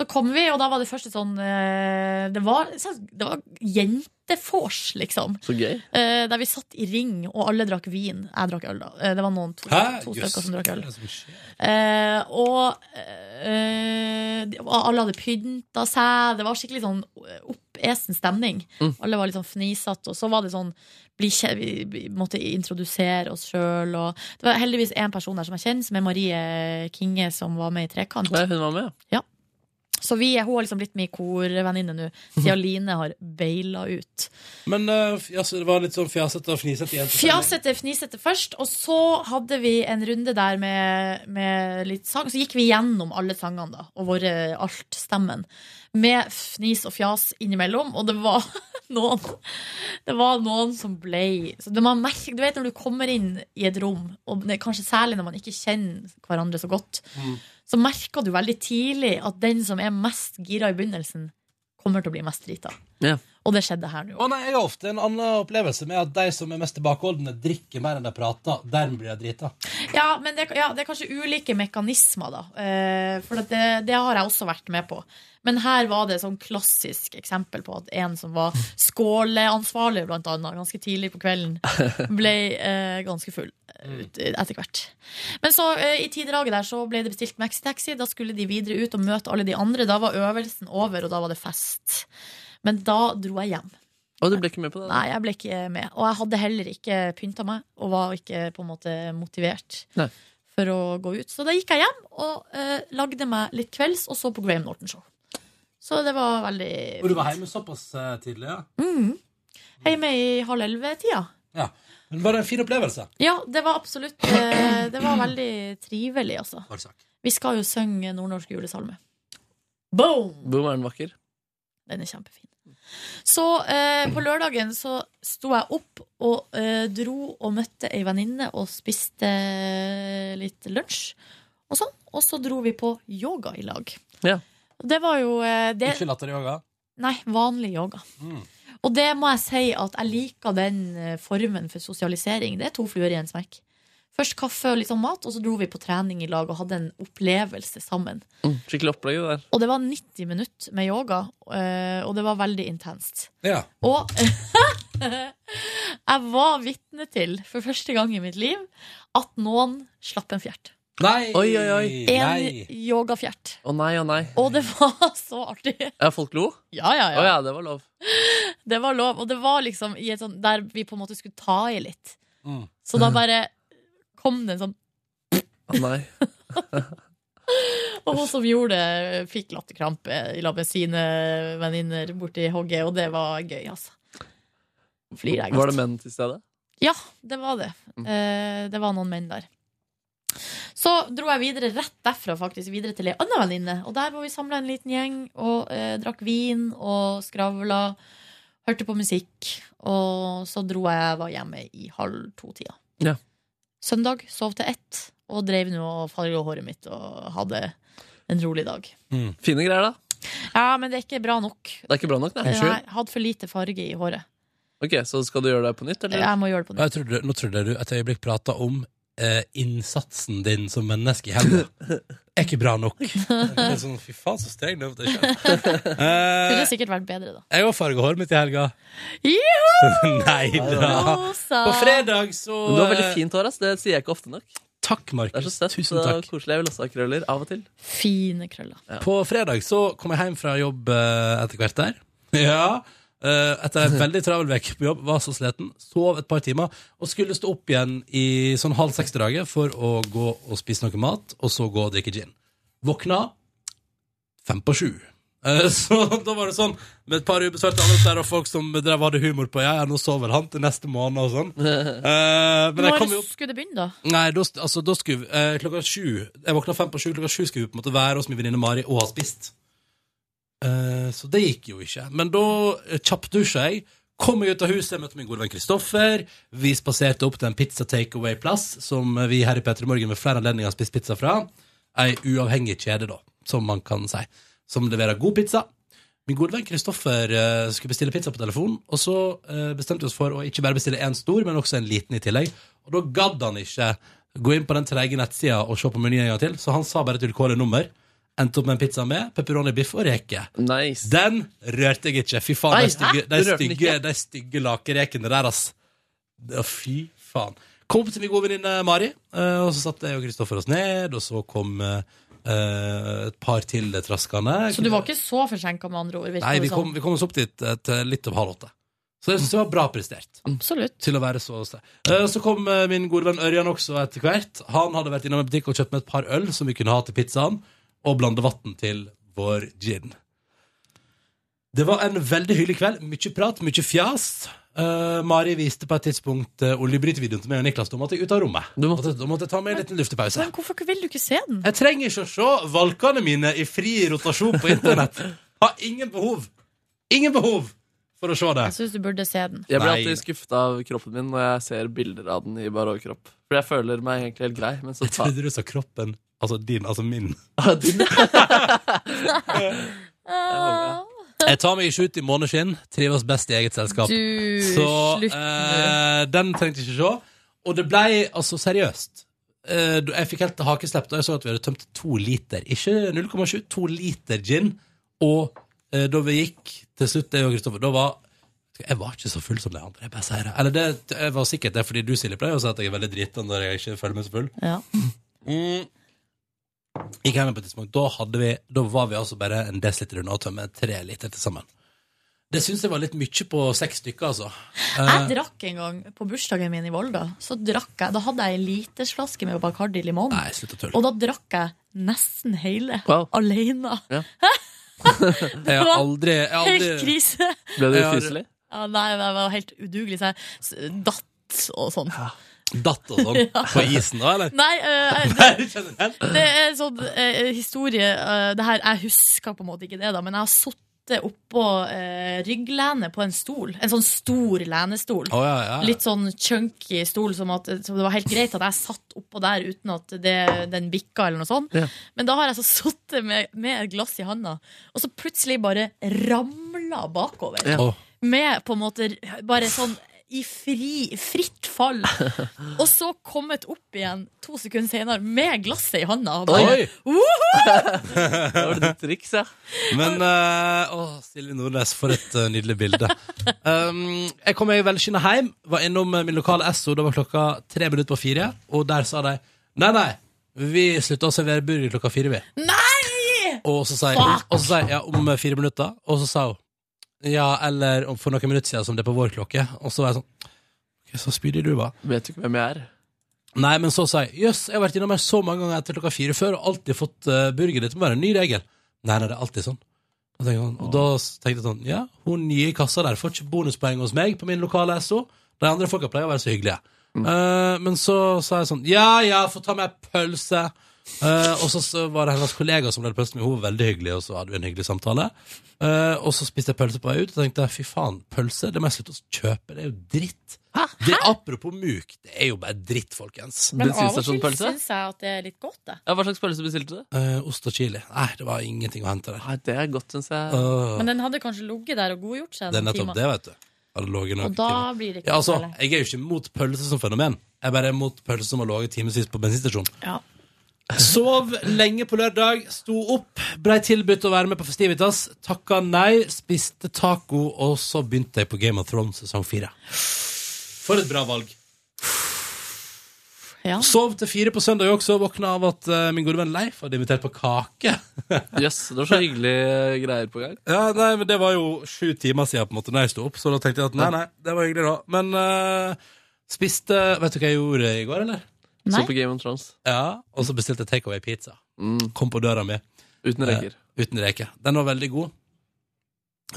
B: Så kom vi, og da var det første sånn eh, Det var, det var jentefors, liksom.
C: Så gøy.
B: Eh, der vi satt i ring, og alle drakk vin. Jeg drakk øl, da. Eh, det var noen to, to stykker som drakk øl.
A: Hva er det som skjer?
B: Eh, og eh, de- alle hadde pynta seg. Det var skikkelig sånn oppesen stemning.
C: Mm.
B: Alle var litt sånn fnisete. Og så var det sånn bli kje- vi, vi måtte introdusere oss sjøl. Og det var heldigvis én person der som jeg kjenner, som er Marie Kinge, som var med i Trekant.
C: Nei, hun var med, ja.
B: Så vi, hun har liksom blitt min korvenninne nå, siden Line har beila ut.
A: Men eh, f- altså, det var litt sånn fjasete og fnisete jenter.
B: Fjasete, fnisete først, og så hadde vi en runde der med, med litt sang. Så gikk vi gjennom alle sangene, da, og våre altstemmen. Med fnis og fjas innimellom, og det var noen Det var noen som ble så det man merker, Du vet når du kommer inn i et rom, og det, er kanskje særlig når man ikke kjenner hverandre så godt, så merker du veldig tidlig at den som er mest gira i begynnelsen, kommer til å bli mest drita.
C: Ja.
B: Og det skjedde her nå.
A: Å nei, Jeg har ofte en annen opplevelse med at de som er mest tilbakeholdne, drikker mer enn de prater. Dermed blir de drita.
B: Ja, men det, ja, det er kanskje ulike mekanismer, da. Eh, for at det, det har jeg også vært med på. Men her var det et sånn klassisk eksempel på at en som var skåleansvarlig, blant annet, ganske tidlig på kvelden, ble eh, ganske full eh, ut- etter hvert. Men så, eh, i tiddraget der, så ble det bestilt maxitaxi. Da skulle de videre ut og møte alle de andre. Da var øvelsen over, og da var det fest. Men da dro jeg hjem.
C: Og du ble ikke med på det?
B: Nei, jeg ble ikke med. Og jeg hadde heller ikke pynta meg, og var ikke på en måte motivert
C: Nei.
B: for å gå ut. Så da gikk jeg hjem og eh, lagde meg litt kvelds, og så på Graham Norton Show. Så det var veldig
A: Og du var hjemme såpass eh, tidlig, ja?
B: Mhm. Hjemme i halv elleve-tida.
A: Men var det en fin opplevelse?
B: Ja, det var absolutt eh, Det var veldig trivelig, altså.
A: Bare sak.
B: Vi skal jo synge nordnorsk julesalme. Boom!
C: Boom, er den vakker?
B: Den er kjempefin. Så eh, på lørdagen så sto jeg opp og eh, dro og møtte ei venninne og spiste litt lunsj. Og sånn. Og så dro vi på yoga i lag.
C: Ja.
B: Og Det var jo eh, det,
A: Ikke latteryoga?
B: Nei, vanlig yoga.
A: Mm.
B: Og det må jeg si at jeg liker den eh, formen for sosialisering. Det er to fluer i en smekk. Først kaffe og litt sånn mat, og så dro vi på trening i lag og hadde en opplevelse sammen.
C: Mm, skikkelig opplegg det der.
B: Og det var 90 minutter med yoga, eh, og det var veldig intenst.
A: Ja.
B: Og jeg var vitne til, for første gang i mitt liv, at noen slapp en fjert.
A: Nei!
C: Oi, oi, oi.
B: En
A: Nei.
B: yogafjert.
C: Å nei, å nei.
B: Og det var så artig.
C: Ja, folk lo?
B: Ja, ja, ja.
C: Å ja, det var lov.
B: Det var lov. Og det var liksom i et sånt, der vi på en måte skulle ta i litt.
A: Mm.
B: Så da bare kom det en sånn
C: Å nei.
B: Og hun som gjorde det, fikk latterkrampe i lag med sine venninner borti hogget, og det var gøy, altså. Flirer jeg godt.
C: Var det menn til stede?
B: Ja, det var det.
C: Mm.
B: Eh, det var noen menn der. Så dro jeg videre rett derfra faktisk videre til ei anna venninne. Og der var vi samla en liten gjeng og eh, drakk vin og skravla. hørte på musikk, og så dro jeg var hjemme i halv to-tida.
C: Ja.
B: Søndag sov til ett, og drev nå og farga håret mitt og hadde en rolig dag.
C: Fine greier, da.
B: Ja, men det er ikke bra nok.
C: Det er ikke bra nok, nei.
B: Nei, hadde for lite farge i håret.
C: Ok, Så skal du gjøre det på nytt, eller?
B: Jeg må gjøre det på nytt.
A: Jeg trodde, nå trodde jeg du et øyeblikk prata om eh, innsatsen din som menneske i helga. Er ikke bra nok. Det er sånn, Fy faen, så streng du er mot deg sjøl.
B: Kunne
A: Eh,
B: sikkert vært bedre, da.
A: jeg har farga håret mitt i helga.
B: Juhu!
A: Nei da.
B: Rosa!
A: På fredag så
C: Men du har veldig
A: eh,
C: fint hår, ass. Det sier jeg ikke ofte nok.
A: Takk,
C: Det er så
A: Markus.
C: søtt eh,
A: Tusen
C: og
A: takk.
C: koselig. Jeg vil også ha krøller av og til.
B: Fine krøller.
A: På fredag så kom jeg hjem fra jobb eh, etter hvert der. Ja. eh, etter en veldig travel vekk på jobb, var så sliten, sov et par timer og skulle stå opp igjen i sånn halv seks-draget for å gå og spise noe mat, og så gå og drikke gin. Våkna fem på sju. Eh, Så da var det sånn, med et par ubesvarte anmeldelser og folk som drev og hadde humor på Ja, ja, nå sover han til neste måned og sånn. Eh, Men jeg
B: Når
A: kom jo opp
B: skulle det begynne, da?
A: Nei, da, st- altså, da skulle vi- eh, klokka sju Jeg våkna fem på sju, klokka sju skulle vi på en måte være hos min venninne Mari og ha spist. Eh, så det gikk jo ikke. Men da eh, kjappdusja jeg, kom meg ut av huset, jeg møtte min gode venn Kristoffer. Vi spaserte opp til en pizza takeaway-plass som eh, vi her i Petter i Morgen ved flere anledninger har spist pizza fra. Ei uavhengig kjede, da, som man kan si. Som leverer god pizza. Min gode venn Kristoffer eh, skulle bestille pizza på telefon, og så eh, bestemte vi oss for å ikke bare bestille én stor, men også en liten i tillegg. Og da gadd han ikke gå inn på den treige nettsida og se på menyen en gang til, så han sa bare et vilkårlig nummer. Endte opp med en pizza med pepperoni, biff og reker.
C: Nice.
A: Den rørte jeg ikke. Fy faen,
C: Nei,
A: de stygge,
C: hæ?
A: de
C: Du rørte den
A: stygge,
C: ikke?
A: de stygge lakerekene der, ass. Ja, fy faen. Kom opp til min gode venninne Mari, eh, og så satte jeg og Kristoffer oss ned, og så kom eh, eh, et par til eh, traskende.
B: Så du var ikke så forsinka, med andre ord? virker
A: Nei,
B: det
A: vi
B: som.
A: kom, vi kom oss opp dit eh, til litt om halv åtte. Så det syns jeg var bra prestert.
B: Absolutt.
A: Til å være så sterk. Eh, Så kom eh, min gode venn Ørjan også etter hvert. Han hadde vært innom en butikk og kjøpt med et par øl som vi kunne ha til pizzaen, og blande vann til vår gin. Det var en veldig hyggelig kveld. Mye prat, mye fjas. Eh, Mari viste på et tidspunkt uh, oljebrytevideoen til meg og Niklas. Da måtte jeg ut av rommet.
C: Du måtte-
A: Måtte- Da måtte jeg ta meg en liten luftepause.
B: Men hvorfor vil du ikke se den?
A: Jeg trenger ikke å se valkene mine i fri rotasjon på internett. Har ingen behov. Ingen behov for å se det.
B: Jeg syns du burde se den.
C: Jeg blir
A: Nei.
C: alltid skuffet av kroppen min når jeg ser bilder av den i bare overkropp. For jeg føler meg egentlig helt grei, men så
A: Jeg trodde du sa kroppen. Altså din, altså min.
C: tar din.
B: Ah,
A: Jeg tar meg ikke ut i måneskinn. Trives best i eget selskap.
B: du,
A: Så
B: slutt nå.
A: eh, den trengte jeg ikke se. Og det blei altså seriøst. Eh, jeg fikk helt hakeslepp da jeg så at vi hadde tømt to liter. Ikke 0,7, to liter gin. Og eh, da vi gikk til slutt, jeg og Kristoffer, da var jeg var ikke så full som de andre. Jeg bare sier det. Eller det, jeg var sikkert det, fordi du Silje, pleier å si at jeg er veldig drita når jeg ikke føler meg så full.
B: Ja.
A: Gikk hjem på et tidspunkt. Da, hadde vi, da var vi altså bare en desiliter unna å tømme tre liter til sammen. Det syns jeg var litt mye på seks stykker, altså.
B: Jeg drakk en gang på bursdagen min i Volda. Så drakk jeg, Da hadde jeg ei litersflaske med Bacardi limon.
A: Nei, slutt å tulle.
B: Og da drakk jeg nesten hele.
C: Wow.
B: Alene.
A: Jeg har
B: var
A: aldri, jeg har
B: Helt
A: aldri
B: krise.
C: Ble du
A: Jeg har-
C: ufyselig?
B: Ja, nei, jeg var helt udugelig, så jeg s- datt og sånn.
A: datt og sånn på isen da, eller?
B: Nei, eh, det,
A: Nei, generelt.
B: det er en sånn eh, historie eh, det her, Jeg husker på en måte ikke det, da, men jeg har sittet oppå eh, rygglene på en stol. En sånn stor lenestol.
A: Å, ja, ja. ja.
B: Litt sånn chunky stol, som at som det var helt greit at jeg satt oppå der uten at det, den bikka, eller noe sånt.
C: Ja.
B: Men da har jeg så sittet med, med et glass i handa, og så plutselig bare ramla bakover.
C: Ja.
A: Å,
B: Med på en måte bare sånn i fri, fritt fall. Og så kommet opp igjen to sekunder senere med glasset i handa. Og bare, uh,
A: Oi!
B: «Woho!»
C: Det var ditt triks, ja.
A: Men eh, Å, Silje Nordnes, for et eh, nydelig bilde. Um, jeg kom meg velskinnet hjem, var innom eh, min lokale Esso, da var klokka tre minutter på fire, og der sa de nei, nei, vi slutta å servere burger klokka fire, vi.
B: Nei!
A: Og så sa jeg,
B: Fuck!
A: og så sa jeg ja, om eh, fire minutter, og så sa hun ja, eller om for noen minutter siden som det er på vår klokke, og så var jeg sånn ok, så spydig du var.
C: Vet du ikke hvem jeg er?
A: Nei, men så sa jeg Jøss, jeg har vært innom her så mange ganger etter klokka fire før og alltid fått eh, burger. Dette må være en ny regel. Nei, nei, det er alltid sånn. Og, tenkte jeg sånn, og da s- tenkte jeg sånn Ja, hun nye i kassa der får ikke bonuspoeng hos meg på min lokale SO. De andre
B: Mm.
A: folka pleier å være så hyggelige. Eh, men så sa jeg sånn Ja, ja, få ta med pølse. Eh, og så- så var det hennes kollega som ble pølse med. Hun var veldig hyggelig, og så hadde vi en hyggelig samtale. Eh, og så spiste jeg pølse på vei ut, og tenkte fy faen, pølse det må jeg slutte å kjøpe. Det er jo dritt.
B: Hæ?
A: Det, apropos muk, det er jo bare dritt, folkens. sånn
B: Men av og til
C: Bensinstasjonspølse?
B: syns jeg at det er litt godt, det.
C: Ja, hva slags pølse bestilte du?
A: Eh, ost og chili. Nei, det var ingenting å hente der.
C: Nei, det er godt, syns jeg.
A: Åh,
B: Men den hadde kanskje ligget der og godgjort seg.
A: det er
B: noen
A: nettopp
B: timer.
A: det, vet du. Hadde ligget noen
B: Og da
A: timer.
B: blir det ikke
A: Ja, altså,
B: noe særlig.
A: jeg er jo ikke mot pølse som fenomen. Jeg bare er mot pølse som har ligget timevis på bensinstasjon.
B: Ja.
A: Sov lenge på lørdag, sto opp, blei tilbudt å være med på Festivitas, takka nei, spiste taco, og så begynte jeg på Game of Thrones sesong fire. For et bra valg.
B: Ja.
A: Sov til fire på søndag også, våkna av at eh, min gode venn Leif hadde invitert på kake.
C: Jøss, det var så hyggelige greier på gang.
A: Ja, nei, men Det var jo sju timer siden på en måte, når jeg sto opp, så da tenkte jeg at nei, nei, det var hyggelig, da. Men eh, spiste Vet du hva jeg gjorde i går, eller?
B: Nei.
C: Så på Game of Thrones. Mm,
A: Ja, Og så bestilte jeg takeaway-pizza. Kom på døra mi
C: Uten reker.
A: eh, uten reke. Den var veldig god.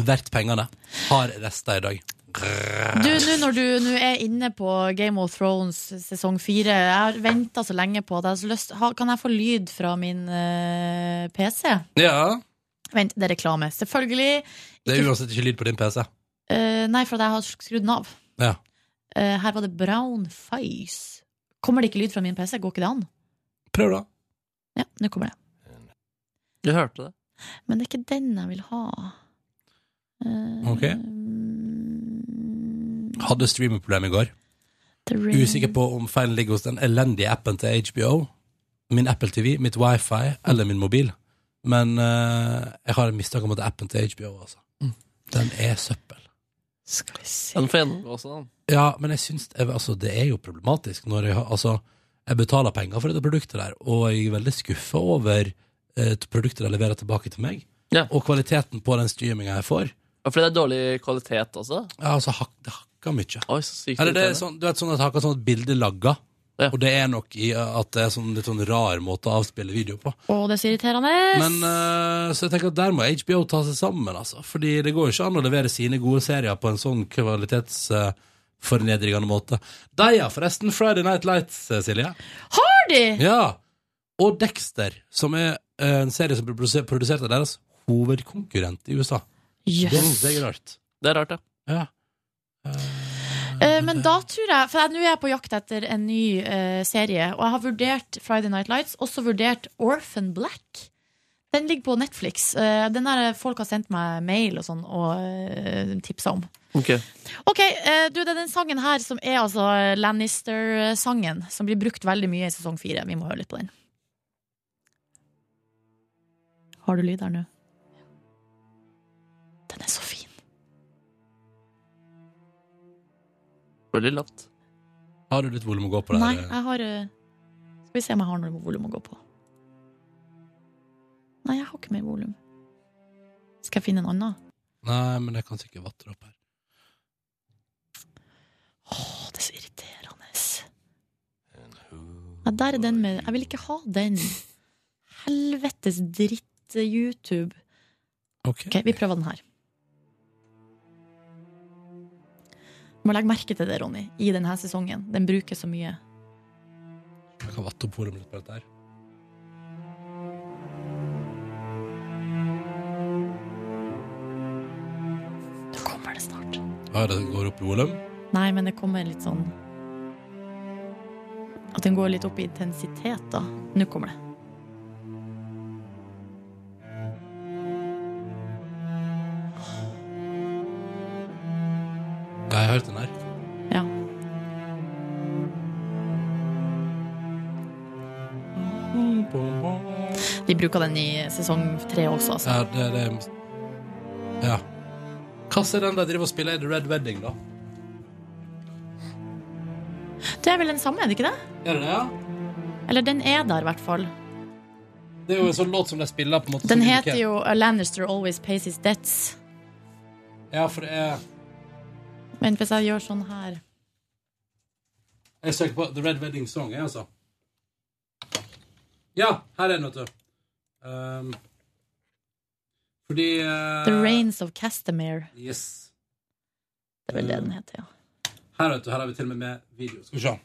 A: Verdt pengene. Har rester i dag.
B: Du, nå når du nå er inne på Game of Thrones sesong fire Jeg har venta så lenge på det. Jeg har så lyst, ha, kan jeg få lyd fra min eh, PC?
A: Ja,
B: Vent, det er reklame. Selvfølgelig.
A: Det er uansett ikke lyd på din PC.
B: Eh, nei, for at jeg har skrudd den av.
A: Ja.
B: Eh, her var det brown face. Kommer det ikke lyd fra min PC? Går ikke det an?
A: Prøv, da.
B: Ja, nå kommer det.
C: Du hørte det.
B: Men det er ikke den jeg vil ha. Eh,
A: Ok.
B: mm,
A: Hadde streamingproblem i går.
B: The Ring.
A: Usikker på om feilen ligger hos den elendige appen til HBO, min Apple TV, mitt wifi eller min mobil. Men eh, jeg har en mistanke om at det er appen til HBO, altså. Den er søppel.
B: Skal vi se.
C: Den får gjennomgå også, den.
A: Ja, men jeg syns jeg- altså, det er jo problematisk når jeg har Altså, jeg betaler penger for dette produktet der, og jeg er veldig skuffa over eh, produktet de leverer tilbake til meg,
C: Ja.
A: og kvaliteten på den streaminga jeg får.
C: Ja, Fordi det er dårlig kvalitet også?
A: Ja, altså, hak, det hakker mye.
C: Oi, så sykt
A: Eller det er
C: irriterende.
A: sånn, du vet sånn at det har akkurat sånn at bildet lagger
C: Ja.
A: Og det er nok i uh, at det er sånn litt sånn rar måte å avspille video på
B: Å, det er så irriterende.
A: Men uh, så jeg tenker at der må HBO ta seg sammen altså. Fordi det går jo ikke an å levere sine gode serier På en sånn kvalitets uh, fornedrigende måte Deia forresten, Friday Night Lights, eh, Silje
B: Har de?
A: Ja, og Dexter Som er eh, en serie som ble produsert, produsert av deres hovedkonkurrent i USA Det
B: Jøss.
A: synes jeg er rart
C: Det er rart, ja.
A: Ja
B: Eh, men da tror jeg For jeg- nå er jeg på jakt etter en ny eh, serie, og jeg har vurdert Friday Night Lights, også vurdert Orphan Black. Den ligger på Netflix. Eh, den har folk har sendt meg mail og sånn og uh, tipsa om.
C: Ok.
B: Ok, eh, du, det er den sangen her som er altså eh, Lannister-sangen, som blir brukt veldig mye i sesong fire. Vi må høre litt på den. Har du lyd her nå? Den er så fin.
C: Veldig lavt.
A: Har du litt volum å gå på der?
B: Nei, jeg har eh, Skal vi se om jeg har noe volum å gå på. Nei, jeg har ikke mer volum. Skal jeg finne en annen?
A: Nei, men jeg kan sikkert vatre opp her
B: Åh, det er så irriterende. Nei, der er den med Jeg vil ikke ha den. Helvetes dritt-YouTube.
A: Ok,
B: Ok, vi prøver den her. Du må legge merke til det, Ronny, i denne sesongen. Den bruker så mye.
A: Jeg kan vatte opp hodet mitt på dette her.
B: Nå kommer det snart.
A: Ja, det går opp i volum.
B: Nei, men det kommer litt sånn At den går litt opp i intensitet, da. Nå kommer det.
A: Ja, jeg har hørt den her.
B: Ja. De bruker den i sesong tre også, altså.
A: Ja, det, det Ja. Hva er den der driver og spiller i The Red Wedding, da?
B: Det er vel den samme, er det ikke det?
A: Er det det, ja?
B: Eller den er der, i hvert fall.
A: Det er jo en sånn låt som de spiller på en måte.
B: Den
A: som
B: heter
A: indikerer-
B: jo A Lannister Always Pays His Debts.
A: Ja, for det er
B: Men hvis jeg gjør sånn her
A: Jeg søker på The Red Wedding Song, jeg, altså. Ja, her er den, vet du. Ehm, fordi eh,
B: The Rains of Castamere.
A: Yes.
B: Det er vel det den heter, ja.
A: Her, vet du, her har vi til og med med video. Skal vi se.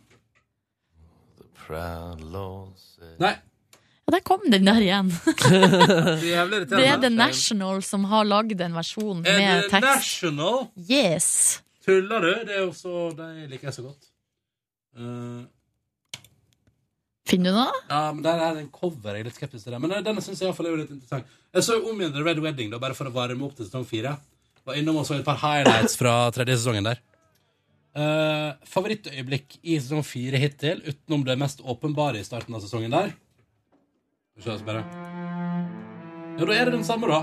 A: Nei.
B: Og der kom den der igjen.
A: Jævlig irriterende.
B: Det er The National som har lagd en versjon
A: Er det
B: med tekst.
A: National?
B: Yes.
A: Tuller du? Det er jo så De liker jeg så godt. Eh,
B: Finner du noe?
A: ja, men der er det en cover. Jeg er litt skeptisk til det. Men eh, denne syns jeg i hvert fall er jo litt interessant. Jeg så jo om igjen The Red Wedding, da, bare for å varme opp til sesong fire. Var innom og så et par highlights fra tredje sesongen der. Eh, favorittøyeblikk i sesong fire hittil, utenom det mest åpenbare i starten av sesongen der. Skal vi se, så bare Jo, da er det den samme, da.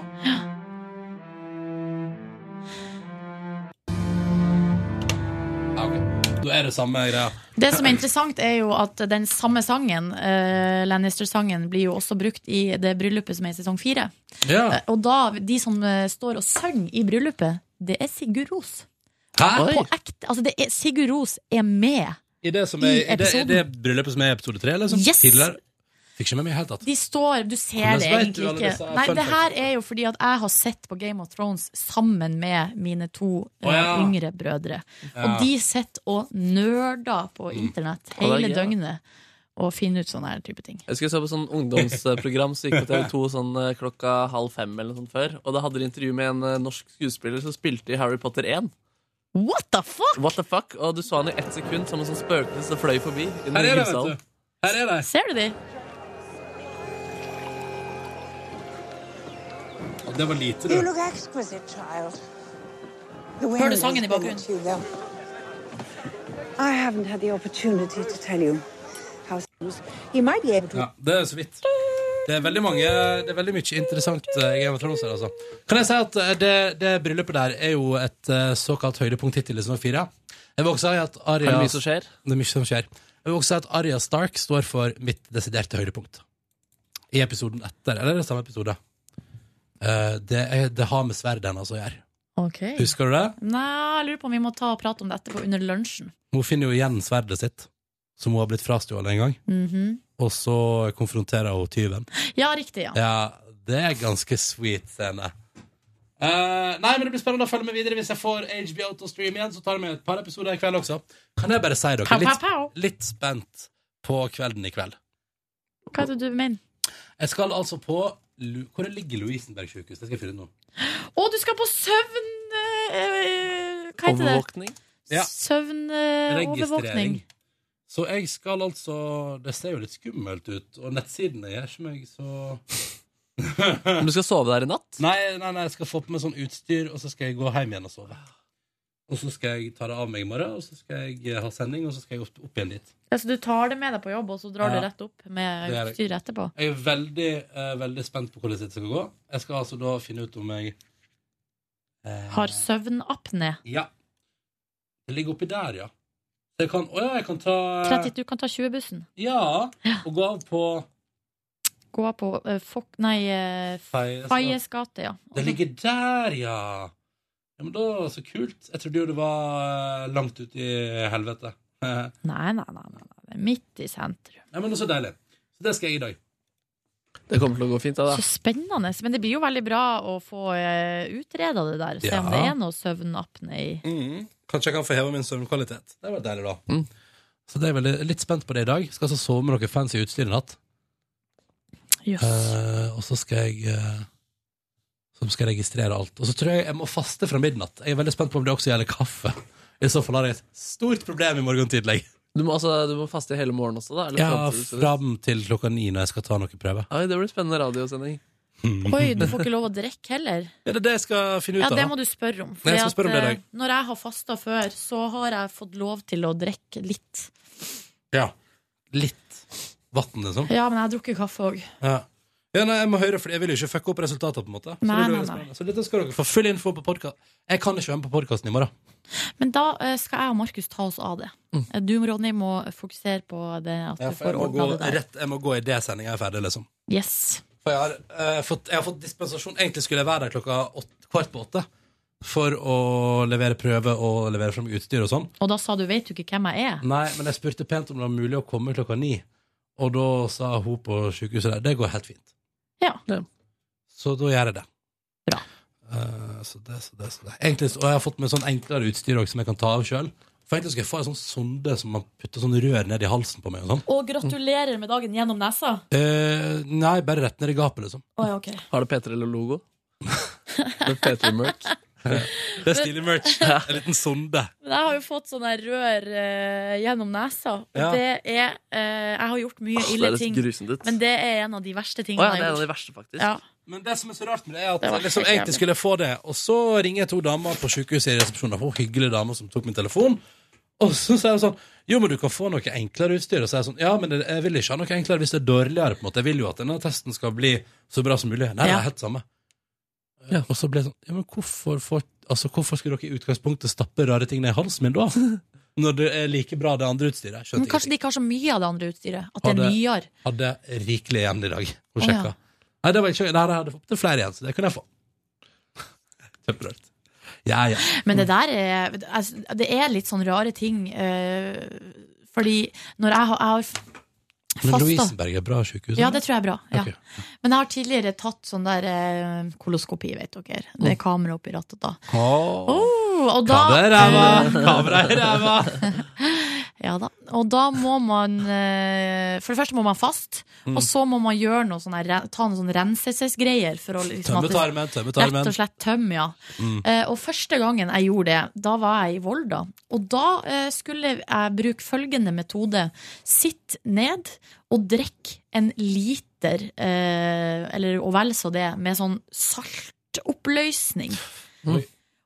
A: Ja, ok. Da er det samme greia.
B: Det som er interessant, er jo at den samme sangen, eh, Lannister-sangen, blir jo også brukt i det bryllupet som er i sesong fire.
A: Ja.
B: Eh, og da, de som eh, står og synger i bryllupet, det er Sigurd Ros.
A: Hæ?
B: På ekte. Altså, det er, Sigurd Ros er med.
A: I det, som
B: I
A: er, i det, i
B: episoden.
A: det bryllupet som er i episode 3? Liksom?
B: Yes!
A: Tidligere? Fikk ikke med meg i det hele tatt.
B: De står, du ser
A: Hvordan vet
B: det
A: du
B: egentlig
A: alle
B: ikke.
A: disse
B: Nei,
A: fun
B: det her
A: facts?
B: er jo fordi at jeg har sett på Game of Thrones sammen med mine to eh,
A: Å, ja.
B: yngre brødre.
A: Ja. Mm.
B: Og de sitter og nerder på internett
C: det er
B: hele
C: gøy, da.
B: døgnet og finner ut sånne her type ting.
C: Jeg husker jeg så på sånn ungdomsprogram som gikk på TV2 sånn eh, klokka halv fem eller noe sånt før. Og da hadde de intervju med en eh, norsk skuespiller som spilte i Harry Potter 1.
B: What the fuck?!
C: What the fuck? Og du så han i ett sekund som en sånn spøkelse som fløy forbi. i den
A: Her er det,
C: hussalen.
A: vet du. Her er det.
B: Ser du de?
A: Og Det var lite, du.
B: Hører du sangen i bakgrunnen?
I: I haven't had the opportunity to tell you how you might be able to.
A: Ja, det er så vidt. Det er veldig mange Det er veldig mye interessant eh, i Game of Thrones her, altså. Kan jeg si at eh, det, det bryllupet der er jo et eh, såkalt høydepunkt hittil i sesong fire. Jeg vil også si at
C: Er
A: Arya
C: det mye som skjer?
A: Det er mye som skjer. Jeg vil også si at Arya Stark står for mitt desiderte høydepunkt. I episoden etter. Eller er det samme episode? Eh, det, er, det har med sverdet hennes å gjøre.
B: Ok.
A: Husker du det?
B: Nei, jeg lurer på om vi må ta og prate om det etterpå, under lunsjen.
A: Hun finner jo igjen sverdet sitt, som hun har blitt frastjålet en gang.
B: Mhm.
A: Og så konfronterer hun tyven.
B: Ja, riktig, ja.
A: Ja, det er ganske sweet scene. Eh, nei, men Det blir spennende å følge med videre. Hvis jeg får HBO til å streame igjen, så tar jeg med et par episoder i kveld også. Kan jeg bare si dere,
B: Pow, pow,
A: litt,
B: pow.
A: litt spent på kvelden i kveld.
B: Hva er det du mener?
A: Jeg skal altså på Lu- Hvor ligger Lovisenberg sykehus? Det skal jeg finne ut nå.
B: Å, du skal på søvn... eh, eh, hva heter det? eh,
C: Overvåkning?
A: Ja.
B: Søvnovervåkning.
A: Registrering. Så jeg skal altså Det ser jo litt skummelt ut, og nettsidene gjør som jeg så
C: Men du skal sove der i natt?
A: Nei, nei, nei, jeg skal få på meg sånn utstyr, og så skal jeg gå hjem igjen og sove. Og så skal jeg ta det av meg i morgen, og så skal jeg eh, ha sending, og så skal jeg opp, opp igjen dit.
B: Altså, du tar det med deg på jobb, og så drar
A: Ja.
B: du rett opp
A: Det
B: med
A: er det.
B: utstyr etterpå?
A: Jeg er veldig, eh, veldig spent på hvordan dette skal gå. Jeg skal altså da finne ut om jeg eh,
B: Har søvnapné.
A: Ja. Det ligger oppi der, ja. Så jeg kan Å ja, jeg kan ta
B: 30 Du kan ta 20-bussen.
A: Ja. Og gå av på
B: Gå på eh, Fok... Nei, eh,
A: Fei-
B: Fayes gate, ja.
A: altså, Det ligger der, ja. Ja, men da, Så kult. Jeg trodde jo det var eh, langt ut i helvete.
B: Nei, nei, nei, nei, nei. det er midt i sentrum.
A: Ja, men så deilig. Så det skal jeg i dag.
C: Det kommer til å gå fint. da,
B: Så spennende. Men det blir jo veldig bra å få uh, utreda det der. Se om
A: Ja.
B: det er noe søvnapné i
A: Kanskje jeg kan få heva min søvnkvalitet. Det var deilig, da.
C: Mm.
A: Så det er veldig, litt spent på det i dag. Skal altså sove med noe fancy utstyr i natt.
B: Jøss.
A: Eh, og så skal jeg eh, Så skal jeg registrere alt. Og så tror jeg jeg må faste fra midnatt. Jeg er veldig spent på om det også gjelder kaffe. I så fall har jeg et stort problem i morgen tidlig.
C: Du må, altså, du må faste hele morgenen også, da? Eller
A: Ja,
C: fram til du skal-
A: fram til klokka ni når jeg skal ta noen prøver.
C: Oi, det blir spennende radiosending.
A: Um.
B: Oi, du får ikke lov å drikke heller.
A: Er det det jeg skal finne ut
B: Ja,
A: av?
B: det må du spørre om.
A: Nei, jeg skal
B: fordi
A: spørre om det i
B: at,
A: dag.
B: eh, når jeg har fasta før, så har jeg fått lov til å drikke litt.
A: Ja. Litt vann, liksom?
B: Ja, men jeg har drukket kaffe òg.
A: Ja. Ja, nei, jeg må høre, for jeg vil jo ikke fucke opp resultatet. på en måte Så,
B: Nei,
A: det blir
B: nei,
A: veldig spennende. så dette skal dere få full info på podkast. Jeg kan ikke være med på podkasten i morgen.
B: Men da eh, skal jeg og Markus ta oss av det.
C: Mm.
B: Eh, Du, Ronny, må fokusere på det at
A: Ja,
B: du
A: for
B: får
A: jeg, må gå
B: ordna det der.
A: rett, jeg må gå i det sendinga er ferdig, liksom.
B: Yes.
A: For jeg har, eh, fått, jeg har fått dispensasjon. Egentlig skulle jeg være der klokka åtte, kvart på åtte for å levere prøve og levere fram utstyr og sånn.
B: Og da sa du 'vet du ikke hvem jeg
C: Mm.
B: er'?
A: Nei, men jeg spurte pent om det var mulig å komme klokka ni, og da sa hun på sykehuset der det går helt fint.
B: Ja.
A: Så da gjør jeg det.
B: Bra.
A: Eh, så det, så det, så det. Egentlig, så- og jeg har fått med sånn enklere utstyr også, som jeg kan ta av sjøl. For egentlig skal jeg få en sånn sonde som man putter sånn rør ned i halsen på meg og sånn.
K: Og gratulerer med dagen gjennom nesa.
A: Eh, nei, bare rett ned i gapet, liksom.
K: Å, ja, ok.
C: Har det P3 eller logo? Med P3 Merch.
A: Det er stilig merch. En liten sonde.
K: Men jeg har jo fått
B: sånn
K: sånne rør eh, gjennom nesa. Og
A: Ja.
K: det er eh, Jeg har gjort mye
C: Åh, det
K: ille
C: er
K: ting,
C: litt grusomt ut.
K: men det er en av de verste
C: Å
K: tingene
C: ja, det er
K: jeg
C: en av
K: har
C: de
K: gjort.
C: verste, faktisk.
K: Ja.
A: Men det som er så rart med det, er
K: Det
A: at
K: var
A: jeg liksom,
K: helt
A: egentlig skulle jeg få det, og så ringer jeg to damer på sykehuset i resepsjonen. For hyggelig dame som tok min telefon. Og så sier hun sånn Jo, men du kan få noe enklere utstyr. Og så er jeg sånn Ja, men det- jeg vil ikke ha noe enklere hvis det er dårligere, på en måte. Jeg vil jo at denne testen skal bli så bra som mulig. Nei,
K: Ja.
A: det er helt samme. Og så ble jeg sånn Ja, men hvorfor, får- altså, hvorfor skulle dere i utgangspunktet stappe rare ting ned i halsen min da? Når det er like bra det andre utstyret. Skjønte
B: Men
A: jeg
B: kanskje de ikke har så mye av det andre utstyret? At
A: Har
B: det er
A: det-
B: nyere?
A: hadde rikelig igjen i dag. Hun
B: Å,
A: sjekka.
B: ja.
A: Nei, det var ikke, nei, jeg hadde fått til flere igjen, så det kunne jeg få. Kjemperart. Ja, ja.
B: Men det der er altså, Det er litt sånn rare ting. eh, fordi når jeg har, jeg har
A: Men
B: fasta
A: Lovisenberg er bra sykehus.
B: Ja, det tror jeg er bra. Ja.
A: Ok.
B: Men jeg har tidligere tatt sånn der eh, koloskopi, vet dere. Det er kamera oppi rattet da.
A: Åh.
B: Oh, og da
A: Kamera i ræva! Kamera i ræva!
B: Ja da. Og da må man eh, For det første må man fast,
A: Mm.
B: og så må man gjøre noe sånn her, ren- ta noen sånne renselsesgreier. For å liksom
A: Tømme
B: at det-
A: tarmen, tømme
B: Rett
A: tarmen.
B: og slett tømme, ja. Eh, og første gangen jeg gjorde det, da var jeg i Volda. Og da eh, skulle jeg bruke følgende metode. Sitt ned og drikk en liter, eh, eller og vel så det, med sånn saltoppløsning.
A: Oi.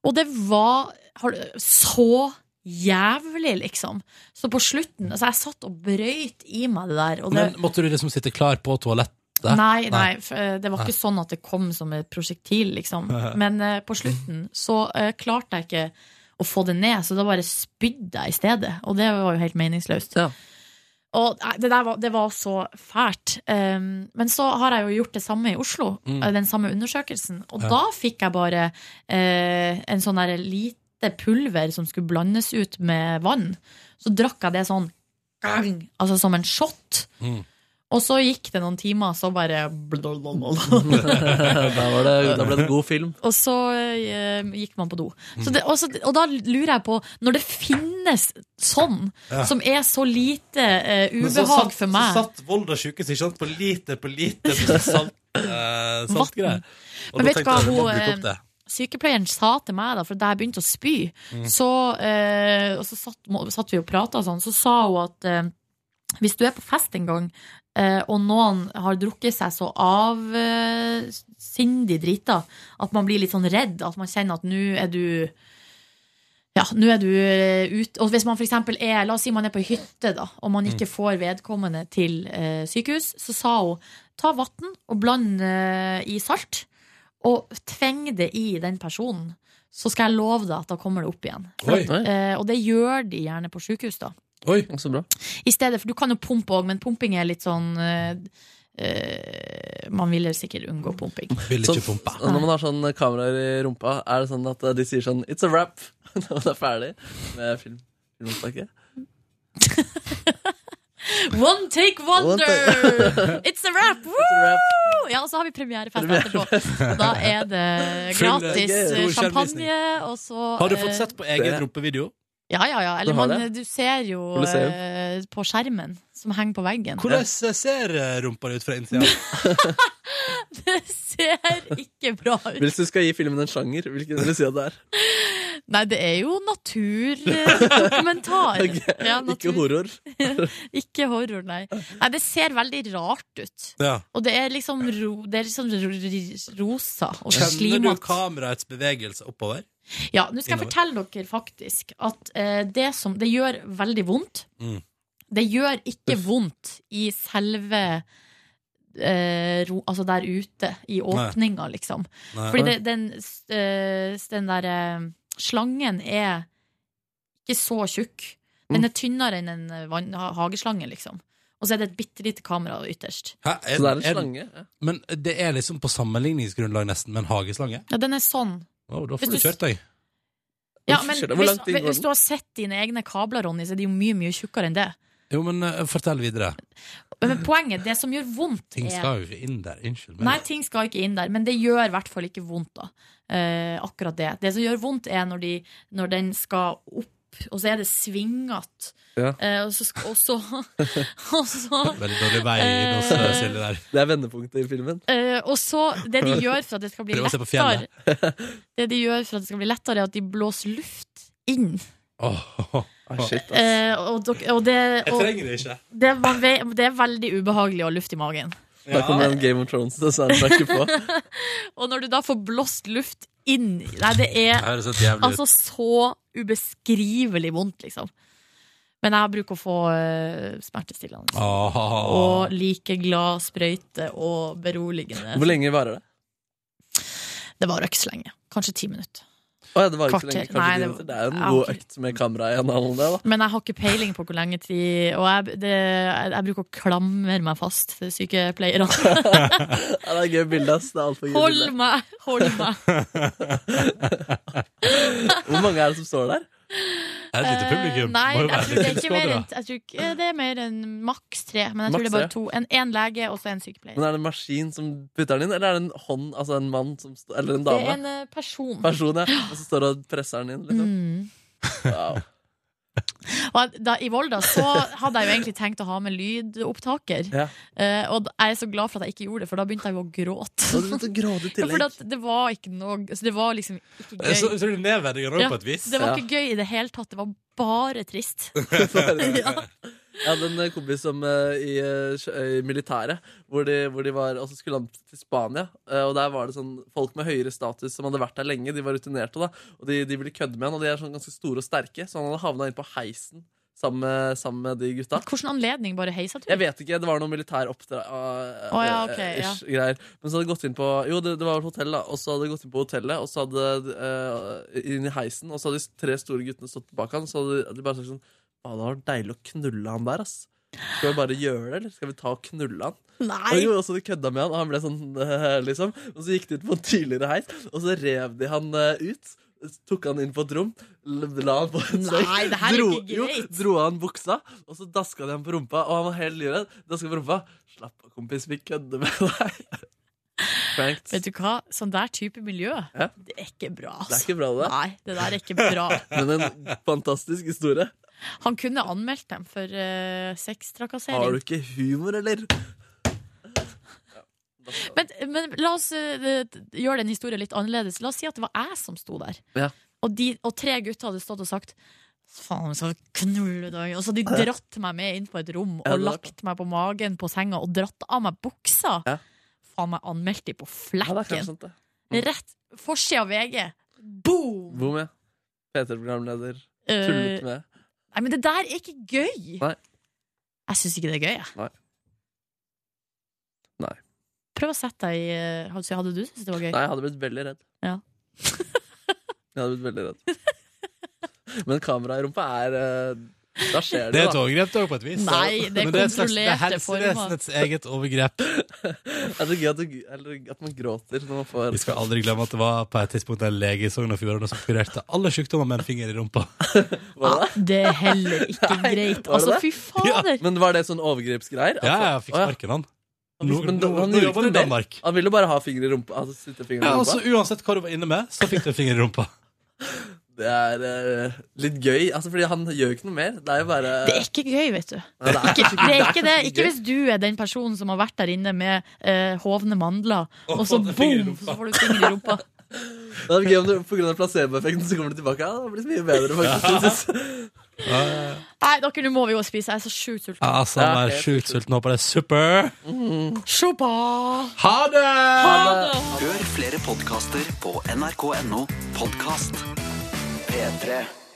B: Og det var har, du- så jævlig, liksom. Så på slutten Altså, jeg satt og brøyt i meg det der. Og det,
A: Men måtte du liksom sitte klar på toalettet?
B: Nei, nei,
A: Nei.
B: f- eh, det var ikke sånn at det kom som et prosjektil, liksom. Men eh, på slutten så eh, klarte jeg ikke å få det ned, så da bare spydde jeg i stedet. Og det var jo helt meningsløst.
C: Ja.
B: Og nei, det der var, det var så fælt. Um, men så har jeg jo gjort det samme i Oslo,
A: Mm.
B: eh, den samme undersøkelsen. Og
A: Ja.
B: da fikk jeg bare eh, en sånn der lite pulver som skulle blandes ut med vann. Så drakk jeg det sånn, gang, altså som en shot.
A: Mm.
B: Og så gikk det noen timer, så bare
C: da, var det, da ble det god film.
B: Og så eh, gikk man på do. Så det, og, så, og da lurer jeg på, når det finnes sånn,
A: Ja.
B: som er så lite eh,
A: Men så
B: ubehag
A: satt-
B: for meg
A: Så satt Volda sykehus ikke sant? på liter på liter på sånn salt, eh, saltgreier. Og
B: Men
A: da
B: vet du
A: tenkte jeg,
B: hva
A: vi må
B: hun, eh,
A: bruke opp det.
B: sykepleieren sa til meg, da, for da jeg begynte å spy, så, eh, og så satt, må- satt vi og prata og sånn, så sa hun at eh, hvis du er på fest en gang, eh, og noen har drukket seg så avsindig eh, drita at man blir litt sånn redd, at man kjenner at nå er du ja, nå er du eh, ut Og hvis man for eksempel er La oss si man er på ei hytte, da, og man ikke får vedkommende til eh, sykehus, så sa hun ta vann og bland eh, i salt, og tveng det i den personen. Så skal jeg love deg at da kommer det opp igjen.
A: Oi,
C: Oi,
B: Eh, og det gjør de gjerne på sykehus, da.
A: oi.
C: Mm, så bra.
B: I stedet, for du kan jo pumpe òg, men pumping er litt sånn eh, eh, Man ville sikkert unngå pumping.
A: Vil
C: Sånn-
A: ikke pumpe.
C: Og Når man har sånn kameraer i rumpa, er det sånn at de sier sånn It's a wrap når man er ferdig med film. filmopptaket?
B: One take wonder!
C: One
B: It's a wrap! Woo!
C: It's a wrap.
B: Ja, og så har vi premierefest etterpå.
C: Premierefest.
B: Og da er det gratis
C: Full,
A: eh,
B: eh,
A: stor
B: champagne, og så
A: Har du
B: eh,
A: fått sett på egen
C: det-
A: rumpevideo?
B: Ja, ja, ja. Eller
C: Du har
B: man,
C: det?
B: du ser jo
C: Colosseum.
B: eh, på skjermen som henger på veggen.
A: Hvordan ser eh, rumpa ut fra innsida?
B: Det ser ikke bra ut.
C: Hvis du skal gi filmen en sjanger, hvilken vil du si at det er?
B: Nei, det er jo naturdokumentar.
C: Ok, Ikke horror.
B: Ikke horror, nei. nei. Det ser veldig rart ut.
A: Ja.
B: Og det er liksom, ro, det er liksom ro- ro- rosa og
A: Kjenner du
B: slimete.
A: kameraets bevegelse oppover?
B: Ja, nå skal jeg
A: innover?
B: fortelle dere faktisk at eh, det som Det gjør veldig vondt.
A: Mm.
B: Det gjør ikke vondt i selve eh, ro, Altså der ute, i åpninga, liksom.
A: Nei.
B: Fordi det, den, s- eh, s- den der eh, slangen er ikke så tjukk. Den er tynnere enn en eh, vann- ha- hageslange, liksom. Og så er det et bitte lite kamera ytterst.
A: Hæ?
C: Så det er en slange. ja.
A: Men det er liksom på sammenligningsgrunnlag nesten med en hageslange?
B: Ja, den er sånn.
A: Wow, da
B: Hvis
A: får du
B: du-
A: kjørt deg.
B: Ja,
C: Hvorfor
B: men
C: skjer det? Hvor
B: hvis,
C: langt inn går
B: hvis
C: den?
B: du har sett dine egne kabler, Ronny, så er de jo mye, mye tjukkere enn det.
A: Jo, men eh, fortell videre.
B: Men poenget, det som gjør vondt,
A: Ting
B: er
A: skal jo ikke inn der. Unnskyld
B: Nei,
A: meg.
B: ting skal ikke inn der, men det gjør i hvert fall ikke vondt, da. Eh, akkurat det. Det som gjør vondt, er når, de, når den skal opp opp, og så er det svingete.
C: Ja.
B: Eh, og så sk- og så- og så-
A: Veldig dårlig vei inn hos
B: Eh,
A: eh, Silje der.
C: Det er vendepunktet i filmen.
B: eh, og så Det de gjør for at det skal bli
A: Prøv å se på
B: lettere, Det de gjør for at det skal bli lettere, er at de blåser luft inn.
C: Ah, shit, ass.
B: Eh, og, dok- og det
C: Jeg
B: og,
C: trenger det ikke.
B: Det, man ve- det er veldig ubehagelig å ha luft i magen.
C: Der kommer en Game of Thrones-soundtrack på.
B: og når du da får blåst luft inn Nei, det er
C: Det høres helt jævlig ut.
B: eh, altså så ubeskrivelig vondt, liksom. Men jeg bruker å få eh, smertestillende.
A: Ah.
B: Og like glad sprøyte og beroligende.
C: Hvor lenge varer det?
B: Det varer ikke så lenge. Kanskje ti minutter.
C: Å, ja, det varer ikke så
B: Kvarter.
C: lenge. Kanskje
B: Nei,
C: ti
B: det-
C: minutter. det er
B: jeg
C: en
B: har
C: god
B: ikke-
C: økt med kamera i analen, det, da.
B: Men jeg har ikke peiling på hvor lenge tid Og jeg, det, jeg, jeg bruker å klamre meg fast til sykepleierne.
C: Ja, det er gøy bilde, ass. Det er altfor gøy
B: Hold
C: bilde.
B: meg! Hold meg!
C: Hvor mange er det som står der?
A: Et lite publikum.
B: Eh, Nei,
C: Må jo
B: jeg
C: være
B: tror det
C: litt
B: er ikke mer enn
C: tilskuere.
B: Jeg tror ikke eh, det er mer enn maks tre. Men jeg tror
C: Maks
B: det er bare
C: tre.
B: to. En, en lege og så en sykepleier.
C: Men Er det en maskin som putter den inn, eller er det en hånd, altså en mann som står Eller en
B: Det er
C: dame?
B: en eh, person.
C: Person, ja. Og så står det og presser den inn, liksom.
B: Mm.
C: Wow.
B: Og da, I Volda så hadde jeg jo egentlig tenkt å ha med lydopptaker.
C: Ja.
B: Eh, og da- jeg er så glad for at jeg ikke gjorde det, for da begynte jeg jo å gråte.
C: Og du begynte å gråte i
B: Ja, for
C: tillegg.
B: at det var ikke noe altså Det var liksom ikke
A: Det er Eh, så
B: gøy.
A: utrolig nedverdigende også,
B: Ja,
A: på et vis.
B: det var ikke gøy i det hele tatt. Det var bare trist.
C: Jeg hadde en eh, kompis som eh, i, eh, sjø- i militæret, hvor de, hvor de var, og så skulle han til Spania. eh, Og der var det sånn folk med høyere status som hadde vært der lenge, de var rutinerte, da. Og de, de ville kødde med han, og de er sånn ganske store og sterke, så han hadde havna inn på heisen sammen med, sammen med de gutta.
B: Hvilken anledning bare heisa
C: Jeg vet ikke, det var noe militær oppdrag
B: Å, ja, ok,
C: eh,
B: ja.
C: ish, greier. Men så hadde jeg gått inn på Jo, det, det var et hotell, da. Og så hadde jeg gått inn på hotellet, og så hadde eh, inn i heisen, og så hadde de tre store guttene stått bak han, så hadde de bare sagt sånn Faen, det var deilig å knulle han der, ass. Skal vi bare gjøre det, eller skal vi ta og knulle han?
B: Nei.
C: Og jo, og så de kødda med han, og han ble sånn, eh, liksom. Og så gikk de ut på en tidligere heis, og så rev de han eh, ut. Tok han inn på et rom, l- la han på en støy,
B: Nei, det her er
C: dro,
B: ikke
C: jo,
B: greit.
C: dro av han buksa, og så daska de han på rumpa, og han var helt livredd. Daska på rumpa. Slapp av, kompis, vi kødder med deg. Prankt.
B: Vet du hva? Sånn der type miljø,
C: Ja.
B: det er ikke bra.
C: Det er
B: Altså.
C: ikke bra, det.
B: Nei, det der er ikke bra.
C: Men en fantastisk historie.
B: Han kunne anmeldt dem for eh, sextrakassering.
C: Har du ikke humor, eller?
B: Men, men la oss eh, gjøre den historien litt annerledes. La oss si at det var jeg som sto der.
C: Ja.
B: Og, de, og tre gutter hadde stått og sagt Faen, så knulle deg. Og så hadde de dratt meg med inn på et rom og
C: Ja, det er
B: lagt meg på magen på senga og dratt av meg buksa. Faen meg anmeldt de på
C: kanskje
B: flekken.
C: sant, det. sånn.
B: Rett forsida av VG. Boom!
C: Bom, ja. P3-programleder.
B: Eh,
C: Tullet med.
B: Nei, men det der er ikke gøy!
C: Nei.
B: Jeg syns ikke det er gøy, jeg.
C: Nei. Nei.
B: Prøv å sette deg i eh, Hadde hadde du syntes det var gøy?
C: Nei, jeg hadde blitt veldig redd.
B: Ja.
C: Jeg hadde blitt veldig redd. Men kamera i rumpa er eh, Da skjer
A: Det
C: det,
A: er et overgrep det er jo på et vis.
B: Nei, det er
A: Men et slags- det er
B: kontrollerte former.
A: helsevesenets eget overgrep.
C: Er det gøy at, du, eller at man gråter når man får
A: Vi skal aldri glemme at det var på et tidspunkt en lege i Sogn og Fjordane som kurerte alle sykdommer med en finger i rumpa.
C: Var det?
B: Ah, Det er heller ikke greit.
C: var det
B: Altså,
C: det?
B: fy fader!
C: Men var det sånn overgrepsgreier?
A: Ja,
C: Altså,
A: jeg fikk
C: å, ja.
A: sparken han.
C: Han
A: Nå-
C: visste- men
A: nå-
C: han
A: nå jobber
C: gjorde ikke
A: han i
C: det.
A: Danmark.
C: Han ville bare ha finger i rumpa. Altså, sitte finger i
A: Ja,
C: rumpa.
A: altså, uansett hva du var inne med, så fikk du en finger i rumpa.
C: Det er eh, litt gøy, altså, fordi han gjør jo ikke noe mer. Det er jo bare
B: Det er ikke gøy, vet du.
C: Nei, det er
B: Ikke,
C: ikke-
B: det er ikke det.
C: ikke
B: Ikke
C: gøy.
B: hvis du er den personen som har vært der inne med eh, hovne mandler, og
C: Og
B: så
C: fått en finger i
B: boom,
C: rumpa.
B: så får du finger i rumpa.
C: Det er gøy om du, på grunn av placeboeffekten så kommer du tilbake. Ja, det har blitt mye bedre, faktisk.
B: Nei, dere, nå må vi jo spise. Jeg er så sjukt sulten.
A: Ja, altså, han var
C: Ja, helt
A: sjukt sulten. Håper det er super.
B: Shoppa!
A: Ha det!
D: Hør flere podkaster på nrk.no podkast. P3.